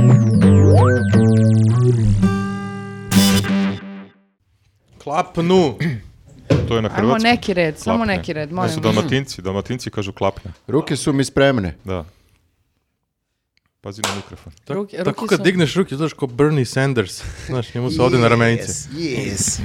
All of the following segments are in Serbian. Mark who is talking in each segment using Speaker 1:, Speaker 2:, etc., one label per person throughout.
Speaker 1: klapnu. To je na
Speaker 2: Ajmo
Speaker 1: hrvatskom.
Speaker 2: neki red, samo
Speaker 1: Klapne.
Speaker 2: neki red,
Speaker 1: Ne
Speaker 2: molim.
Speaker 1: su dalmatinci, dalmatinci kažu klapne.
Speaker 3: Ruke su mi spremne.
Speaker 1: Da. Pazi na mikrofon.
Speaker 4: Tak-
Speaker 2: Ruke- ruke
Speaker 4: tako kad
Speaker 2: su-
Speaker 4: digneš ruke, znaš, ko Bernie Sanders. Znaš, njemu se ode na ramenice.
Speaker 3: Yes.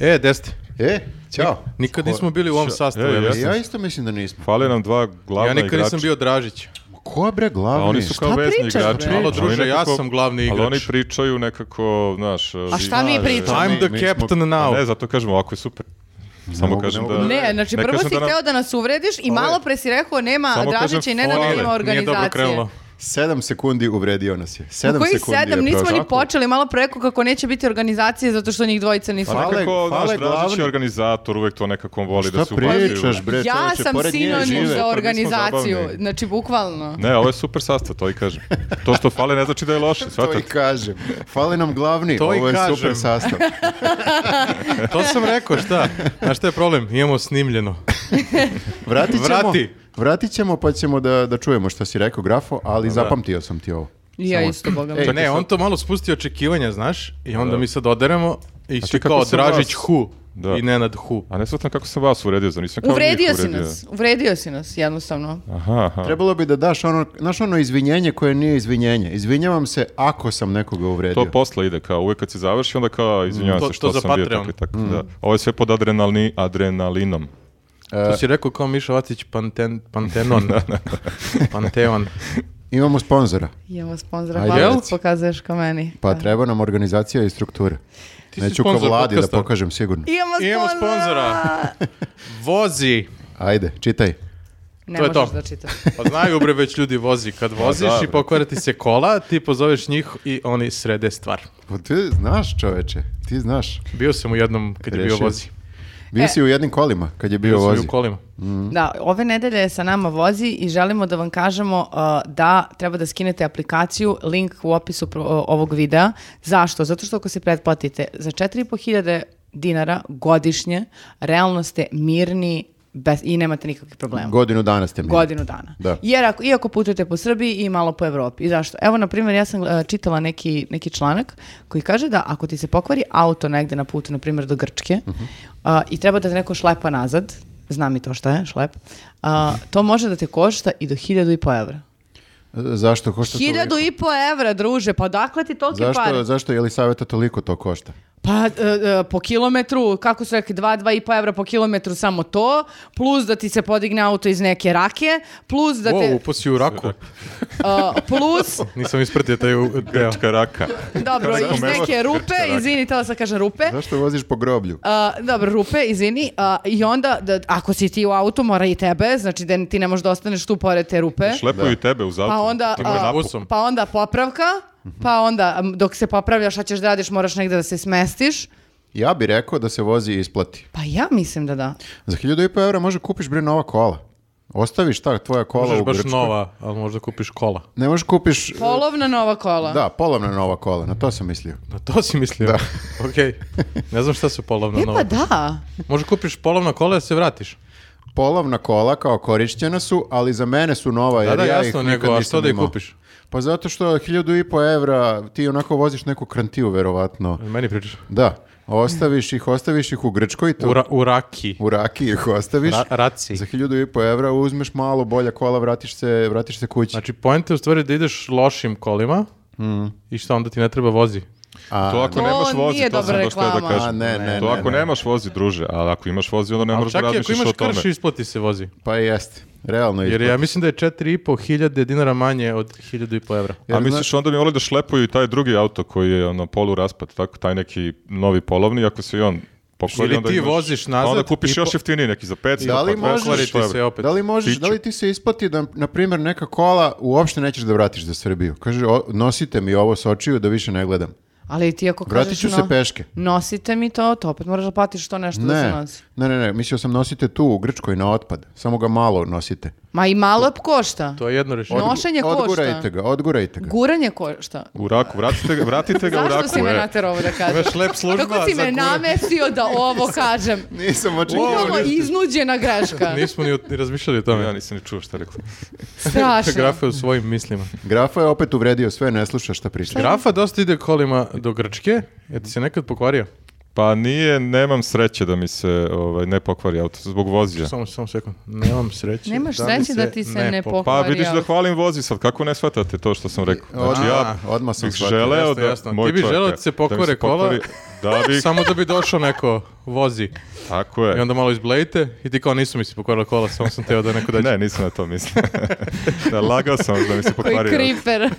Speaker 4: E, desti.
Speaker 3: E, čao.
Speaker 4: Nikad nismo bili u ovom sastavu.
Speaker 1: E,
Speaker 4: ja mislim.
Speaker 1: jesam.
Speaker 3: Ja isto mislim da nismo.
Speaker 1: Fale nam dva glavna
Speaker 4: Ja nikad
Speaker 1: igrača.
Speaker 4: nisam bio Dražić.
Speaker 3: Ma Ko bre
Speaker 1: A
Speaker 3: glavni?
Speaker 1: Pa oni su kao
Speaker 2: Šta
Speaker 1: vezni
Speaker 2: pričaš,
Speaker 1: igrači.
Speaker 2: bre?
Speaker 4: Malo,
Speaker 1: Ali
Speaker 4: druže, ja
Speaker 1: nekako-
Speaker 4: sam glavni igrač.
Speaker 1: Ali oni pričaju nekako, znaš...
Speaker 2: A šta mi pričamo?
Speaker 4: I'm
Speaker 3: Mi
Speaker 4: the
Speaker 3: smo-
Speaker 4: captain
Speaker 1: A Ne,
Speaker 4: now.
Speaker 1: zato kažem, ovako je super. Samo
Speaker 3: mogu,
Speaker 1: kažem
Speaker 3: ne
Speaker 1: da...
Speaker 3: mogu.
Speaker 2: Ne, znači prvo
Speaker 1: e, kažem
Speaker 2: si
Speaker 1: da nam-
Speaker 2: hteo da nas uvrediš i malo pre si rekao nema
Speaker 1: Samo
Speaker 2: Dražića
Speaker 1: kažem,
Speaker 2: i Nenada,
Speaker 1: fale.
Speaker 4: Nije
Speaker 2: nema
Speaker 4: dobro
Speaker 2: organizacije.
Speaker 4: krenulo.
Speaker 3: Sedam sekundi uvredio nas je.
Speaker 2: Ma
Speaker 3: Sedam
Speaker 2: koji
Speaker 3: sekundi
Speaker 2: sedam,
Speaker 3: je
Speaker 2: nismo
Speaker 3: prošlo.
Speaker 2: ni počeli, malo preko kako neće biti organizacije zato što njih dvojica nisu.
Speaker 3: Pa,
Speaker 1: Nekako,
Speaker 3: Fale-
Speaker 1: znaš,
Speaker 3: fale
Speaker 1: Dražić
Speaker 3: glavni.
Speaker 1: je organizator, uvek to nekako on voli da
Speaker 3: Šta
Speaker 1: se ubacuje.
Speaker 3: pričaš bre?
Speaker 2: ja
Speaker 3: čoveče,
Speaker 2: sam
Speaker 3: pored nje
Speaker 2: sinonim
Speaker 3: žive.
Speaker 1: Pa
Speaker 2: za
Speaker 1: mi smo
Speaker 2: organizaciju,
Speaker 1: zabavni.
Speaker 2: znači bukvalno.
Speaker 1: Ne, ovo je super sastav, to i kažem. To što fale ne znači da je loše,
Speaker 3: To i
Speaker 1: shvatate.
Speaker 3: kažem. Fali nam glavni,
Speaker 4: To i
Speaker 3: ovo je
Speaker 4: kažem.
Speaker 3: super sastav.
Speaker 4: To sam rekao, šta? Znaš šta je problem? Imamo snimljeno.
Speaker 3: Vratit ćemo,
Speaker 4: Vrati.
Speaker 3: vratit ćemo pa ćemo da, da čujemo šta si rekao grafo, ali zapamtio sam ti ovo.
Speaker 2: I Ja isto, boga mi.
Speaker 3: Ej,
Speaker 4: Ne, on to malo spusti očekivanja, znaš? I onda mi sad oderemo i svi
Speaker 1: kako
Speaker 4: kao
Speaker 1: sam
Speaker 4: Dražić
Speaker 1: vas-
Speaker 4: hu
Speaker 1: Da.
Speaker 4: i Nenad hu.
Speaker 1: A ne shvatam kako sam vas uredio, zar nisam kao njih
Speaker 2: Uvredio si
Speaker 1: uvredio?
Speaker 2: nas, uvredio si nas, jednostavno.
Speaker 1: Aha, aha.
Speaker 3: Trebalo bi da daš ono, znaš ono izvinjenje koje nije izvinjenje. Izvinjavam se ako sam nekoga uvredio.
Speaker 1: To posle ide, kao uvek kad se završi, onda kao, izvinjavam
Speaker 4: To-
Speaker 1: se
Speaker 4: to
Speaker 1: što
Speaker 4: za
Speaker 1: sam bio
Speaker 4: Patreon.
Speaker 1: tako i tako.
Speaker 3: Mm.
Speaker 1: Da. Ovo je sve pod adrenalni, adrenalinom.
Speaker 3: E,
Speaker 4: To si rekao kao Miša Vacić Panten, Pantenon. Panteon.
Speaker 3: Imamo sponzora.
Speaker 2: Imamo sponzora,
Speaker 3: Ajde,
Speaker 2: hvala
Speaker 4: reci.
Speaker 2: što pokazuješ ka meni.
Speaker 3: Pa
Speaker 2: Da.
Speaker 3: treba nam organizacija i struktura.
Speaker 4: Ti si
Speaker 3: Neću ko
Speaker 4: sponzor
Speaker 3: vladi da
Speaker 4: podcasta.
Speaker 3: pokažem sigurno.
Speaker 2: Imamo sponzora!
Speaker 4: Imamo sponzora. Vozi.
Speaker 3: Ajde, čitaj.
Speaker 2: ne
Speaker 4: To je to.
Speaker 2: možeš da čitaš.
Speaker 4: Pa znaju bre već ljudi vozi. Kad voziš
Speaker 1: da,
Speaker 4: i
Speaker 1: bre.
Speaker 4: pokvare ti se kola, ti pozoveš njih i oni srede stvar.
Speaker 3: Pa ti znaš čoveče, ti znaš.
Speaker 4: Bio sam u jednom kad je bio
Speaker 3: Rešio.
Speaker 4: vozi.
Speaker 3: Bio
Speaker 2: E.
Speaker 3: si u jednim kolima kad je bio
Speaker 4: Bio sam i
Speaker 3: vozi.
Speaker 4: u kolima.
Speaker 2: Da, ove nedelje je sa nama vozi i želimo da vam kažemo uh, da treba da skinete aplikaciju, link u opisu pro- o- ovog videa. Zašto? Zato što ako se pretplatite za 4500 dinara godišnje, realno ste mirni bez, i nemate nikakvih problema.
Speaker 3: Godinu dana ste mi.
Speaker 2: Godinu dana.
Speaker 3: Da.
Speaker 2: Jer ako, iako putujete po Srbiji i malo po Evropi. I zašto? Evo, na primjer, ja sam e, čitala neki, neki članak koji kaže da ako ti se pokvari auto negde na putu, na primjer do Grčke,
Speaker 3: Mhm.
Speaker 2: a, i treba da te neko šlepa nazad, znam i to šta je, šlep, a, to može da te košta i do hiljadu i po evra.
Speaker 3: E, Zašto košta toliko?
Speaker 2: Hiljadu i po evra, druže, pa dakle ti toliki
Speaker 3: Zašto,
Speaker 2: pare?
Speaker 3: zašto je li savjeta toliko to košta?
Speaker 2: Pa e, e, po kilometru, kako su rekli, 2, 2,5 evra po kilometru samo to, plus da ti se podigne auto iz neke rake, plus da te...
Speaker 4: Wow, upao si u raku.
Speaker 2: a, plus
Speaker 4: Nisam ispratio taj u- deo.
Speaker 1: Grčka raka.
Speaker 2: Dobro,
Speaker 1: Kako
Speaker 2: iz
Speaker 1: melo-
Speaker 2: neke rupe,
Speaker 1: Grčka raka.
Speaker 2: izvini, tela sam kažem rupe.
Speaker 3: Zašto voziš po groblju?
Speaker 2: A, dobro, rupe, izvini. A, I onda, da, ako si ti u autu, mora i tebe, znači da ti ne možeš da ostaneš tu pored te rupe.
Speaker 1: Šlepuju i tebe uz auto.
Speaker 2: Pa onda,
Speaker 4: Ti možeš
Speaker 2: a,
Speaker 4: busom.
Speaker 2: pa onda popravka,
Speaker 3: Mhm.
Speaker 2: pa onda m, dok se popravljaš, šta ćeš da radiš, moraš negde da se smestiš.
Speaker 3: Ja bih rekao da se vozi i isplati.
Speaker 2: Pa ja mislim da da.
Speaker 3: Za 1500 evra može kupiš bre nova kola. Ostaviš ta tvoja kola
Speaker 4: Možeš
Speaker 3: u
Speaker 4: baš
Speaker 3: Grčkoj.
Speaker 4: nova, ali možda kupiš kola.
Speaker 3: Ne možeš kupiš... e,
Speaker 2: Polovna nova kola.
Speaker 3: Da, polovna nova kola, na to sam mislio.
Speaker 4: Na to si mislio? Da. Okej. Ne znam šta su polovna
Speaker 2: E
Speaker 4: nova.
Speaker 2: pa da.
Speaker 4: Možda kupiš polovna kola da se vratiš.
Speaker 3: Polovna kola kao korišćena su, ali za mene su nova, jer
Speaker 4: da,
Speaker 3: ja
Speaker 4: jasno,
Speaker 3: ih
Speaker 4: nego,
Speaker 3: nikad
Speaker 4: a
Speaker 3: nisam
Speaker 4: što da ih
Speaker 3: imao.
Speaker 4: kupiš?
Speaker 3: Pa zato što 1500 evra ti onako voziš neku krantiju, verovatno.
Speaker 4: Meni pričaš.
Speaker 3: Da, ostaviš ih, ostaviš ih u Grčkoj, to,
Speaker 4: U, ra- u raki.
Speaker 3: u Raki ih ostaviš.
Speaker 4: Ra- raci.
Speaker 3: Za 1500 evra uzmeš malo bolja kola, vratiš se, vratiš se kući.
Speaker 4: Znači, poenta je u stvari da ideš lošim kolima i što onda ti ne treba vozi.
Speaker 3: A,
Speaker 1: To ako
Speaker 2: To
Speaker 1: nemaš vozi,
Speaker 2: nije
Speaker 1: to sam
Speaker 2: dobra
Speaker 1: baš teo da
Speaker 2: reklama.
Speaker 1: kažem.
Speaker 3: A, ne, ne,
Speaker 1: to
Speaker 3: ne,
Speaker 1: ako
Speaker 3: ne.
Speaker 1: nemaš vozi, druže, ali ako imaš vozi, onda ne
Speaker 4: Ali
Speaker 1: moraš da
Speaker 4: čak i ako
Speaker 1: razmišljaš
Speaker 4: imaš
Speaker 1: o tome.
Speaker 4: krš, isplati se vozi.
Speaker 3: Pa jeste, realno
Speaker 4: Jer
Speaker 3: je.
Speaker 4: ja mislim da je 4,5 hiljade dinara manje od 1.500 evra.
Speaker 1: A misliš onda bi volio da šlepuju i taj drugi auto koji je ono polu raspad, tako taj neki novi polovni, ako se i on pokvari,
Speaker 4: Ili
Speaker 1: onda
Speaker 4: ti
Speaker 1: imaš-
Speaker 4: voziš
Speaker 1: a onda
Speaker 4: nazad i
Speaker 1: kupiš
Speaker 4: po-
Speaker 1: još jeftiniji neki za 500,
Speaker 3: Da li
Speaker 1: pa 200,
Speaker 3: možeš-
Speaker 1: što je.
Speaker 4: Pokvari ti se opet.
Speaker 3: Da li možeš,
Speaker 1: Piću.
Speaker 3: da li ti se isplati da, na primjer, neka kola uopšte nećeš da vratiš za Srbiju? Kaže, o, nosite mi ovo s očiju da više ne gledam.
Speaker 2: Ali ti ako
Speaker 3: Vratit
Speaker 2: kažeš...
Speaker 3: ću se peške.
Speaker 2: Nosite mi to, to opet moraš da platiš to nešto da se
Speaker 3: Ne,
Speaker 2: nosi.
Speaker 3: ne, ne, ne, mislio sam nosite tu u Grčkoj na otpad, samo ga malo nosite.
Speaker 2: Ma i malo košta.
Speaker 4: To je jedno rešenje.
Speaker 2: No. Nošenje košta.
Speaker 3: Odgurajte ga, odgurajte ga.
Speaker 2: Guranje košta.
Speaker 1: U raku, vratite ga, vratite ga u raku.
Speaker 2: Zašto si me
Speaker 1: e.
Speaker 2: naterao ovo da kažem?
Speaker 4: Imaš lep služba
Speaker 2: Kako si
Speaker 4: za
Speaker 2: me
Speaker 4: guranje.
Speaker 2: namestio da ovo kažem?
Speaker 3: Nisam
Speaker 2: Bukvalno iznuđena greška.
Speaker 4: Nismo ni, ni razmišljali o
Speaker 1: Pa Ja
Speaker 4: tome.
Speaker 1: nisam ni čuo šta rekao.
Speaker 2: Strašno.
Speaker 4: Grafa je u svojim mislima.
Speaker 3: Grafa je opet
Speaker 1: Pa-
Speaker 3: uvredio sve, ne sluša šta priča.
Speaker 4: Grafa dosta ide kolima do Grčke. Je ti se E, nekad pokvario?
Speaker 1: Pa nije, nemam sreće da mi se ovaj, ne pokvari auto zbog vozija.
Speaker 4: Samo, samo sekund. Nemam sreće.
Speaker 2: Nemaš
Speaker 4: mi
Speaker 2: sreće da ti se ne
Speaker 4: pok-
Speaker 2: pok-
Speaker 1: Pa
Speaker 2: pokvari
Speaker 1: vidiš da
Speaker 2: auto.
Speaker 1: hvalim vozi sad, kako ne shvatate to što sam rekao? Znači
Speaker 3: Odmah-
Speaker 1: ja
Speaker 3: odmah sam
Speaker 1: bih
Speaker 3: shvatio.
Speaker 1: želeo
Speaker 4: Jasno,
Speaker 1: da...
Speaker 4: jasno.
Speaker 1: moj
Speaker 4: Ti bi
Speaker 1: čovjek,
Speaker 4: želeo da ti se
Speaker 1: da mi
Speaker 4: pokvare kola?
Speaker 1: pokvari- Da bi,
Speaker 4: Samo da bi došao neko vozi
Speaker 1: tako je.
Speaker 4: i onda malo izblejite i ti kao nisu mi se pokvarila kola, samo sam teo da neko dođe.
Speaker 1: Ne, nisam na to mislio. da, lagao sam da mi se
Speaker 2: Koji
Speaker 1: pokvario.
Speaker 2: kriper.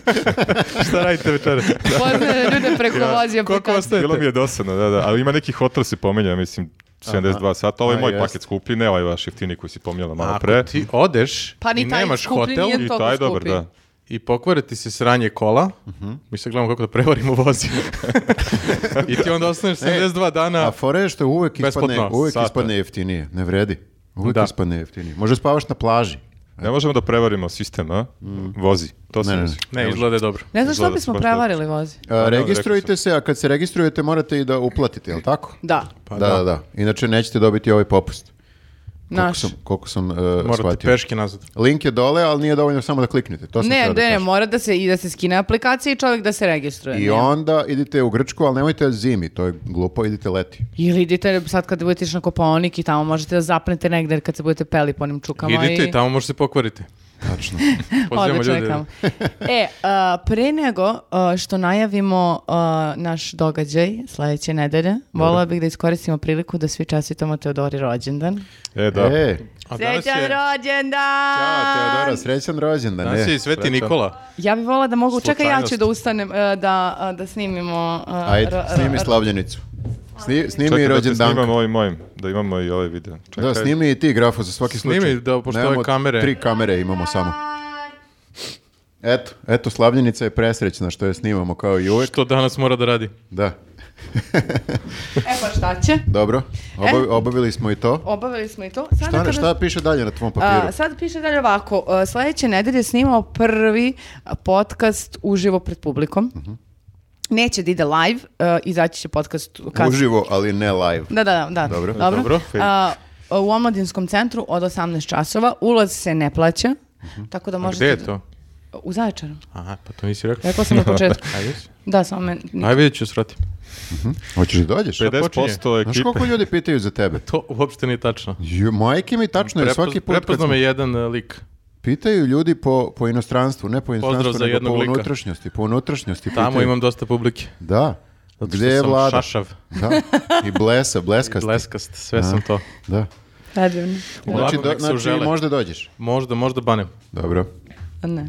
Speaker 4: Šta radite večeras?
Speaker 2: Poznaje ljude preko vozi
Speaker 4: Koliko
Speaker 2: aplikacije.
Speaker 4: vas ne-
Speaker 1: Bilo mi je dosadno, da, da. Ali ima nekih otrov se pominja, mislim, 72 sata. Ovaj
Speaker 3: A,
Speaker 1: moj
Speaker 3: jest.
Speaker 1: paket skuplji, ne ovaj vaš jeftini koji si pominjala malo
Speaker 4: Ako
Speaker 1: pre.
Speaker 4: ti odeš
Speaker 2: Pa ni
Speaker 4: i
Speaker 2: taj
Speaker 4: nemaš
Speaker 2: skuplji
Speaker 4: hotel
Speaker 2: nije
Speaker 1: I
Speaker 2: toliko
Speaker 1: taj je dobar,
Speaker 2: skupi.
Speaker 1: da.
Speaker 4: i pokvare ti se sranje kola,
Speaker 3: Mhm.
Speaker 4: mi se gledamo kako da prevarimo vozi. I ti onda ostaneš 72 dana.
Speaker 3: A fora je što uvek ispadne,
Speaker 4: Besplatno,
Speaker 3: uvek
Speaker 1: sata.
Speaker 3: ispadne jeftinije. Ne vredi. Uvek
Speaker 4: Da.
Speaker 3: ispadne jeftinije. Možda spavaš na plaži.
Speaker 1: Ne možemo da prevarimo sistem, a? Vozi. To
Speaker 3: Mm. Ne,
Speaker 1: se
Speaker 3: ne,
Speaker 1: vozi.
Speaker 4: Ne, izgleda je dobro.
Speaker 2: Ne znam što
Speaker 1: Izgleda
Speaker 2: bismo
Speaker 1: se baš tako.
Speaker 2: prevarili vozi.
Speaker 3: A,
Speaker 1: da,
Speaker 3: E, registrujte se, a kad se registrujete morate i da uplatite, je li tako?
Speaker 2: Da,
Speaker 4: Pa
Speaker 3: da,
Speaker 4: da.
Speaker 3: da, da. Inače nećete dobiti ovaj popust. Koliko
Speaker 2: naš.
Speaker 3: sam, koliko sam e,
Speaker 4: Morate
Speaker 3: shvatio.
Speaker 4: peške nazad.
Speaker 3: Link je dole, ali nije dovoljno samo da kliknete. To sam
Speaker 2: Ne,
Speaker 3: htio da
Speaker 2: ne, ne,
Speaker 3: kažem.
Speaker 2: mora da se i da se skine aplikacija i čovjek da se registruje.
Speaker 3: I
Speaker 2: Nema.
Speaker 3: onda idite u Grčku, ali nemojte zimi, to je glupo, idite leti.
Speaker 2: Ili idite sad kad budete išli na Kopaonik i tamo možete da zapnete negdje kad se budete peli po onim čukama.
Speaker 4: Idite
Speaker 2: i...
Speaker 4: i tamo možete se pokvariti.
Speaker 3: Tačno.
Speaker 4: Pozivamo
Speaker 2: Odlično
Speaker 4: ljude.
Speaker 2: je reklama. e, a, pre nego a, što najavimo a, naš događaj sledeće nedelje, volila bih da iskoristimo priliku da svi čestitamo Teodori rođendan.
Speaker 1: E, da.
Speaker 3: E,
Speaker 4: A danas
Speaker 2: Srećan
Speaker 4: je,
Speaker 2: rođendan!
Speaker 3: a, Teodora, srećan rođendan.
Speaker 4: danas
Speaker 3: e.
Speaker 4: je i Sveti Nikola.
Speaker 2: Ja bih volila da mogu, čekaj ja ću
Speaker 4: Slučajnost.
Speaker 2: da ustanem e, da, a, da snimimo. a,
Speaker 3: Ajde,
Speaker 2: ro- ro-
Speaker 3: snimi slavljenicu. Sni, snimi i
Speaker 1: Čekaj da te
Speaker 3: rođendan.
Speaker 1: snimam ovim mojim, da imamo i ovaj video. Čekaj.
Speaker 3: Da, snimi i ti grafu za svaki
Speaker 4: Snimi,
Speaker 3: slučaj.
Speaker 4: da, pošto
Speaker 3: Nemamo
Speaker 4: ove kamere-
Speaker 3: Tri kamere imamo samo. Eto, eto, slavljenica je presrećna što je snimamo kao i uvek.
Speaker 4: Što danas mora da radi.
Speaker 3: Da,
Speaker 2: E pa šta će?
Speaker 3: dobro,
Speaker 2: E.
Speaker 3: Obavi- obavili smo i to.
Speaker 2: Obavili smo i to. Sada
Speaker 3: Šta,
Speaker 2: kada-
Speaker 3: šta piše dalje na tvom
Speaker 2: A,
Speaker 3: papiru?
Speaker 2: sad piše dalje ovako, a, sledeće nedelje snimamo prvi a, podcast uživo pred publikom.
Speaker 4: Mhm.
Speaker 2: Neće da ide live, a, izaći će podcast kasnije.
Speaker 3: Uživo, ali ne live.
Speaker 2: Da, da, da.
Speaker 3: Dobro.
Speaker 1: Dobro.
Speaker 2: A, u Omladinskom centru od 18 časova. Ulaz se ne plaća. Tako da
Speaker 4: Mhm. A
Speaker 2: možete...
Speaker 4: gde je to?
Speaker 2: U Zaječaru.
Speaker 4: Aha, pa to nisi rekao.
Speaker 2: Rekla sam na početku.
Speaker 4: Ajde.
Speaker 2: Da, samo me...
Speaker 4: Ajde vidjet ću srati.
Speaker 3: Hoćeš da dođeš?
Speaker 1: 50%
Speaker 3: Znaš koliko
Speaker 1: ekipe.
Speaker 3: ljudi pitaju za tebe?
Speaker 4: To uopšte nije tačno.
Speaker 3: Ju, majke mi tačno je, svaki
Speaker 4: Prepoz,
Speaker 3: put kad
Speaker 4: prepoznao
Speaker 3: smo-
Speaker 4: me jedan e, lik.
Speaker 3: pitaju ljudi po, po inostranstvu, ne po
Speaker 4: Pozdrav
Speaker 3: inostranstvu,
Speaker 4: za
Speaker 3: nego
Speaker 4: jednog
Speaker 3: po
Speaker 4: lika.
Speaker 3: unutrašnjosti, po unutrašnjosti
Speaker 4: Tamo
Speaker 3: pitaju.
Speaker 4: imam dosta publike.
Speaker 3: Da,
Speaker 4: Zato
Speaker 3: gdje
Speaker 4: što
Speaker 3: je
Speaker 4: sam
Speaker 3: vlada?
Speaker 4: šašav.
Speaker 3: Da, i blesa, bleskasti.
Speaker 4: Leskast, sve sam to.
Speaker 3: Da.
Speaker 2: Predivno.
Speaker 3: Znači,
Speaker 4: Uglavnom,
Speaker 3: do,
Speaker 4: nek se
Speaker 3: znači
Speaker 4: užele.
Speaker 3: možda dođeš.
Speaker 4: Možda, možda banem.
Speaker 3: Dobro,
Speaker 2: Ne.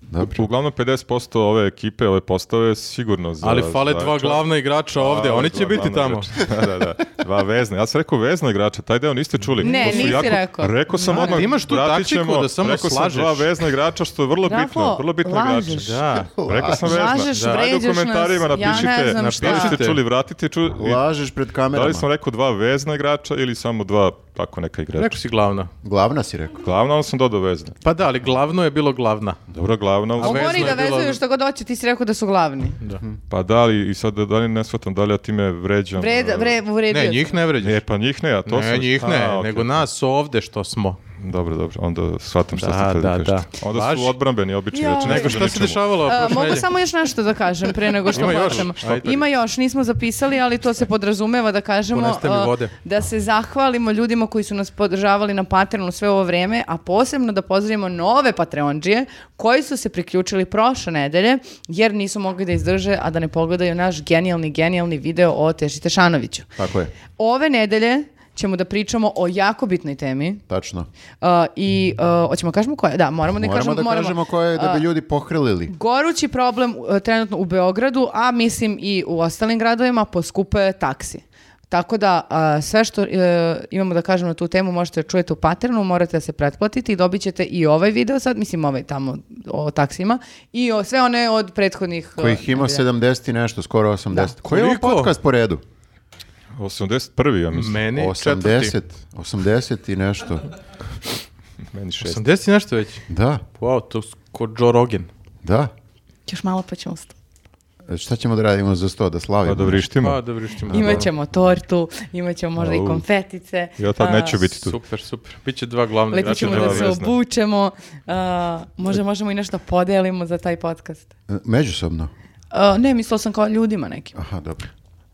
Speaker 3: dobro.
Speaker 1: Uglavnom 50% ove ekipe, ove postave sigurno za...
Speaker 4: Ali fale
Speaker 1: za-
Speaker 4: dva glavna igrača ovdje,
Speaker 1: Dva
Speaker 4: oni će
Speaker 1: glavna
Speaker 4: biti tamo.
Speaker 1: igrača. da, da, da. Dva vezna. Ja sam rekao vezna igrača, taj deo niste čuli.
Speaker 2: Ne,
Speaker 1: To su
Speaker 2: nisi rekao.
Speaker 1: Rekao sam odmah,
Speaker 4: Ti imaš tu
Speaker 1: vratit
Speaker 4: taktiku
Speaker 1: ćemo,
Speaker 4: da samo
Speaker 1: rekao
Speaker 4: slažeš.
Speaker 1: sam dva vezna igrača, što je vrlo
Speaker 2: Grafo,
Speaker 1: bitno, vrlo bitno igrača.
Speaker 2: lažeš.
Speaker 4: Da.
Speaker 1: Rekao sam vezna.
Speaker 2: Lažeš,
Speaker 1: Da. Ajde u
Speaker 2: vređaš nas.
Speaker 1: komentarima
Speaker 2: Ja ne
Speaker 1: napišite,
Speaker 2: znam šta.
Speaker 1: napišite, čuli, vratite, ču... i
Speaker 3: Lažeš pred
Speaker 1: Da
Speaker 3: kamerama.
Speaker 1: li sam rekao dva vezna igrača ili samo dva tako neka igrača?
Speaker 4: Rekao si glavna.
Speaker 3: Glavna si rekao.
Speaker 1: Glavno, onda sam dodao vezna.
Speaker 4: Pa da, ali glavno je bilo glavna.
Speaker 1: Dobro,
Speaker 4: A
Speaker 1: glavno.
Speaker 2: Ovo
Speaker 4: vezno
Speaker 2: oni da
Speaker 4: je bilo-
Speaker 2: vezuju što god hoće, ti si rekao da su glavni.
Speaker 4: Da.
Speaker 1: Pa da li, i sad da li ne shvatam, da li ja time vređam?
Speaker 2: Vred,
Speaker 1: e,
Speaker 2: vre, uvredio
Speaker 4: Ne,
Speaker 2: sam.
Speaker 4: njih ne vređa.
Speaker 1: E, pa njih ne, a to
Speaker 4: Ne,
Speaker 1: sam...
Speaker 4: njih ne,
Speaker 1: A, okej.
Speaker 4: nego nas ovdje što smo.
Speaker 1: Dobro, dobro, onda shvatam šta
Speaker 4: Da,
Speaker 1: ste htjeli
Speaker 4: da,
Speaker 1: kažete.
Speaker 4: da.
Speaker 1: Onda
Speaker 4: Važi.
Speaker 1: su odbrambeni obični
Speaker 2: Joj.
Speaker 1: već.
Speaker 2: Nego
Speaker 4: Nego
Speaker 1: nešto
Speaker 4: šta se dešavalo
Speaker 3: Pa
Speaker 2: A,
Speaker 4: prošle
Speaker 2: mogu
Speaker 4: nedelje?
Speaker 2: samo još nešto da kažem pre nego što
Speaker 4: Ima još?
Speaker 2: počnemo.
Speaker 4: Ajde.
Speaker 2: Ima još, nismo zapisali, ali to se podrazumeva da kažemo
Speaker 4: Poneste mi
Speaker 2: a,
Speaker 4: vode.
Speaker 2: da se zahvalimo ljudima koji su nas podržavali na Patreonu sve ovo vrijeme, a posebno da pozdravimo nove Patreondžije koji su se priključili prošle nedelje jer nisu mogli da izdrže, a da ne pogledaju naš genijalni, genijalni video o Teši Tešanoviću.
Speaker 3: Tako je,
Speaker 2: Ove nedelje ćemo da pričamo o jako bitnoj temi
Speaker 3: tačno.
Speaker 2: uh, i uh, hoćemo kažemo koja? Da, moramo da
Speaker 3: Moramo
Speaker 2: kažemo.
Speaker 3: da kažemo koje da bi ljudi pohrlili.
Speaker 2: Gorući problem e, trenutno u Beogradu, a mislim i u ostalim gradovima, poskupe taksi. Tako da a, sve što e, imamo da kažemo na tu temu možete da čujete u paternu, morate da se pretplatite i dobit ćete i ovaj video sad, mislim ovaj tamo o taksima i o, sve one od prethodnih... e,
Speaker 3: Kojih ima
Speaker 2: nedelja.
Speaker 3: 70 i nešto, skoro 80. Koji je ovo
Speaker 4: Koliko?
Speaker 3: podcast po redu?
Speaker 1: 81. ja mislim,
Speaker 4: Meni četvrti.
Speaker 3: 80, 80 i nešto.
Speaker 1: meni šest.
Speaker 4: 80 i nešto već.
Speaker 3: Da,
Speaker 4: Wow, to s- ko Joe Rogan.
Speaker 3: da.
Speaker 2: Još malo pa ćemo ustati.
Speaker 3: E, Šta ćemo da radimo za sto, da slavimo?
Speaker 1: Pa da vrištimo.
Speaker 4: Pa, dobro, što ima.
Speaker 2: Imaćemo tortu, imaćemo možda i
Speaker 1: Au.
Speaker 2: konfetice.
Speaker 1: Ja tad
Speaker 2: a,
Speaker 1: neću biti tu.
Speaker 4: Super, super. Biće dva glavna
Speaker 2: Lepo
Speaker 4: igrača.
Speaker 2: ćemo
Speaker 1: nema
Speaker 2: da se
Speaker 1: veze.
Speaker 2: obučemo, a, možda možemo i nešto podelimo za taj podcast.
Speaker 3: E, Međusobno.
Speaker 2: Uh, A, ne, mislila sam kao ljudima nekim.
Speaker 3: Aha, dobro.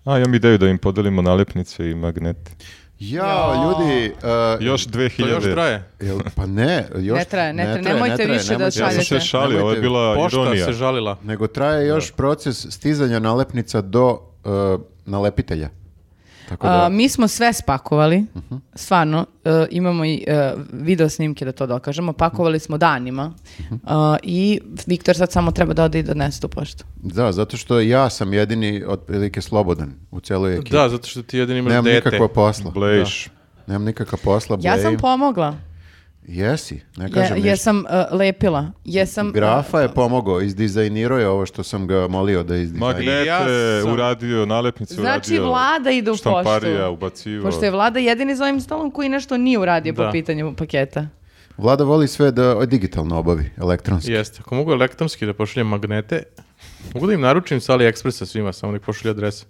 Speaker 1: A, imam ideju da im podelimo nalepnice i magnete.
Speaker 3: Jao, ljudi, uh,
Speaker 1: Još 2000.
Speaker 4: To još traje.
Speaker 3: jel- pa ne, još
Speaker 2: Ne traje, ne traje, nemojte više da
Speaker 1: Ja sam se
Speaker 2: Šaljete.
Speaker 1: šalio, ovo je bila
Speaker 4: Pošta
Speaker 1: ironija.
Speaker 4: se žalila.
Speaker 3: Nego traje još proces stizanja nalepnica do uh, nalepitelja. Tako da,
Speaker 2: A, mi smo sve spakovali,
Speaker 3: Mhm.
Speaker 2: stvarno, e, imamo i e, video snimke da to dokažemo, pakovali smo danima
Speaker 3: Mhm.
Speaker 2: A, i Viktor sad samo treba da ode i donese tu poštu.
Speaker 3: da, zato što ja sam jedini otprilike slobodan u celoj ekipi.
Speaker 4: Da, zato što ti jedini imaš
Speaker 3: Nemam
Speaker 4: dete.
Speaker 3: nikakva posla.
Speaker 1: Blejiš.
Speaker 3: Da. Nemam nikakva posla,
Speaker 2: Ja sam
Speaker 3: blejim.
Speaker 2: pomogla,
Speaker 3: Jesi, ne
Speaker 2: je,
Speaker 3: kažem ništa.
Speaker 2: jesam e, lepila, e, jesam...
Speaker 3: Grafa je pomogao, izdizajnirao je ovo što sam ga molio da izdizajnira.
Speaker 1: Magnete,
Speaker 4: Ja sam-
Speaker 1: uradio, nalepnice
Speaker 2: Znači,
Speaker 1: uradio.
Speaker 2: vlada ide u poštu.
Speaker 1: Štamparija, ubacivo.
Speaker 2: Pošto je vlada jedini za ovim stolom koji nešto nije uradio po
Speaker 4: Da.
Speaker 2: pitanju paketa.
Speaker 3: Vlada voli sve da digitalno obavi, elektronski.
Speaker 4: Jeste, ako mogu elektronski da pošaljem magnete, mogu da im naručim sa AliExpressa svima, samo nek pošalje adrese.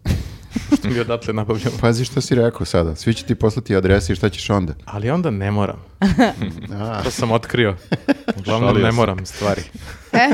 Speaker 4: što mi odatle nabavljamo.
Speaker 3: Pazi što si rekao sada, svi će ti poslati adrese i šta ćeš onda.
Speaker 4: Ali onda ne moram. to sam otkrio. Uglavnom
Speaker 1: Šalio
Speaker 4: ne
Speaker 1: se.
Speaker 4: moram stvari.
Speaker 2: E?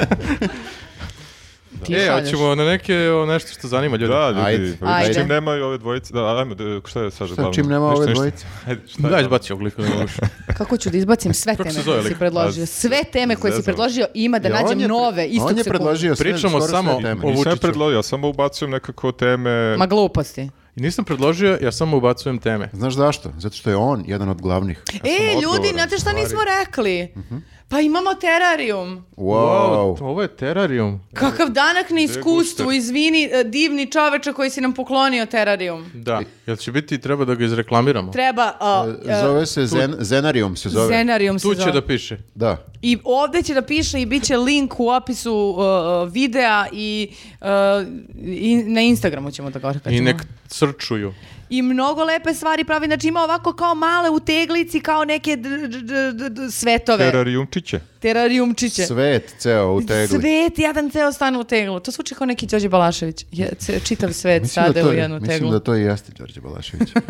Speaker 2: Ti
Speaker 4: E,
Speaker 2: šalješ.
Speaker 4: hoćemo na neke o, nešto što zanima ljudi.
Speaker 1: Da, ljudi,
Speaker 3: Ajde.
Speaker 1: vidite,
Speaker 2: Ajde.
Speaker 1: čim nemaju ove dvojice, da, ajmo, da, šta je sad
Speaker 3: Šta, čim nema ove dvojice?
Speaker 1: Ajde, šta
Speaker 4: Da,
Speaker 1: Pa je glavno?
Speaker 4: izbaci ogliku da moguš.
Speaker 2: Kako ću da izbacim sve
Speaker 4: Kako se
Speaker 2: teme
Speaker 4: zove
Speaker 2: koje si
Speaker 4: lik?
Speaker 1: A,
Speaker 2: predložio? Sve teme koje si
Speaker 1: zezamo.
Speaker 2: predložio ima da
Speaker 3: Ja, on
Speaker 2: nađem
Speaker 3: je pre-
Speaker 2: nove, istog
Speaker 3: On je
Speaker 2: sekunde.
Speaker 3: predložio sve,
Speaker 4: Pričamo
Speaker 3: skoro sve
Speaker 4: samo
Speaker 3: teme.
Speaker 4: o-
Speaker 1: Nisam ja
Speaker 4: Vučiću.
Speaker 1: predložio, ja samo ubacujem nekako teme.
Speaker 2: Ma gluposti.
Speaker 4: I nisam predložio, ja samo ubacujem teme.
Speaker 3: Znaš zašto? Zato što je on jedan od glavnih.
Speaker 2: e, ljudi,
Speaker 4: odgovoran,
Speaker 2: znate šta
Speaker 4: stvari. Mhm.
Speaker 2: nismo rekli? Pa imamo terarijum.
Speaker 3: Wow.
Speaker 4: ovo je terarium.
Speaker 2: Kakav danak na iskustvu,
Speaker 1: guster.
Speaker 2: izvini, e, divni čoveče koji si nam poklonio terarijum.
Speaker 4: Da. Jel će biti, treba da ga izreklamiramo.
Speaker 2: Treba... a, e,
Speaker 3: Zove se Zen- Zenarium se zove.
Speaker 2: Scenarijum se
Speaker 4: Tu će
Speaker 2: zove.
Speaker 4: da piše.
Speaker 3: Da.
Speaker 2: I ovdje će da piše i bit će link u opisu uh, videa i, uh, i na Instagramu ćemo da gore
Speaker 4: I
Speaker 2: kačemo.
Speaker 4: nek srčuju.
Speaker 2: I mnogo lepe stvari pravi, znači ima ovako kao male u teglici, kao neke d- d- d- d- d- svetove,
Speaker 1: Terarijumčiće.
Speaker 2: terarijumčiće.
Speaker 3: Svet ceo u tegli.
Speaker 2: Svet, jedan ceo stan u teglu. To zvuči kao neki Đorđe Balašević. Je, ce- čitav svet
Speaker 3: Mislim
Speaker 2: sada
Speaker 3: da, to,
Speaker 2: u
Speaker 3: je-
Speaker 2: jednu
Speaker 3: mislim
Speaker 2: teglu.
Speaker 3: da to i jeste Đorđe Balašević.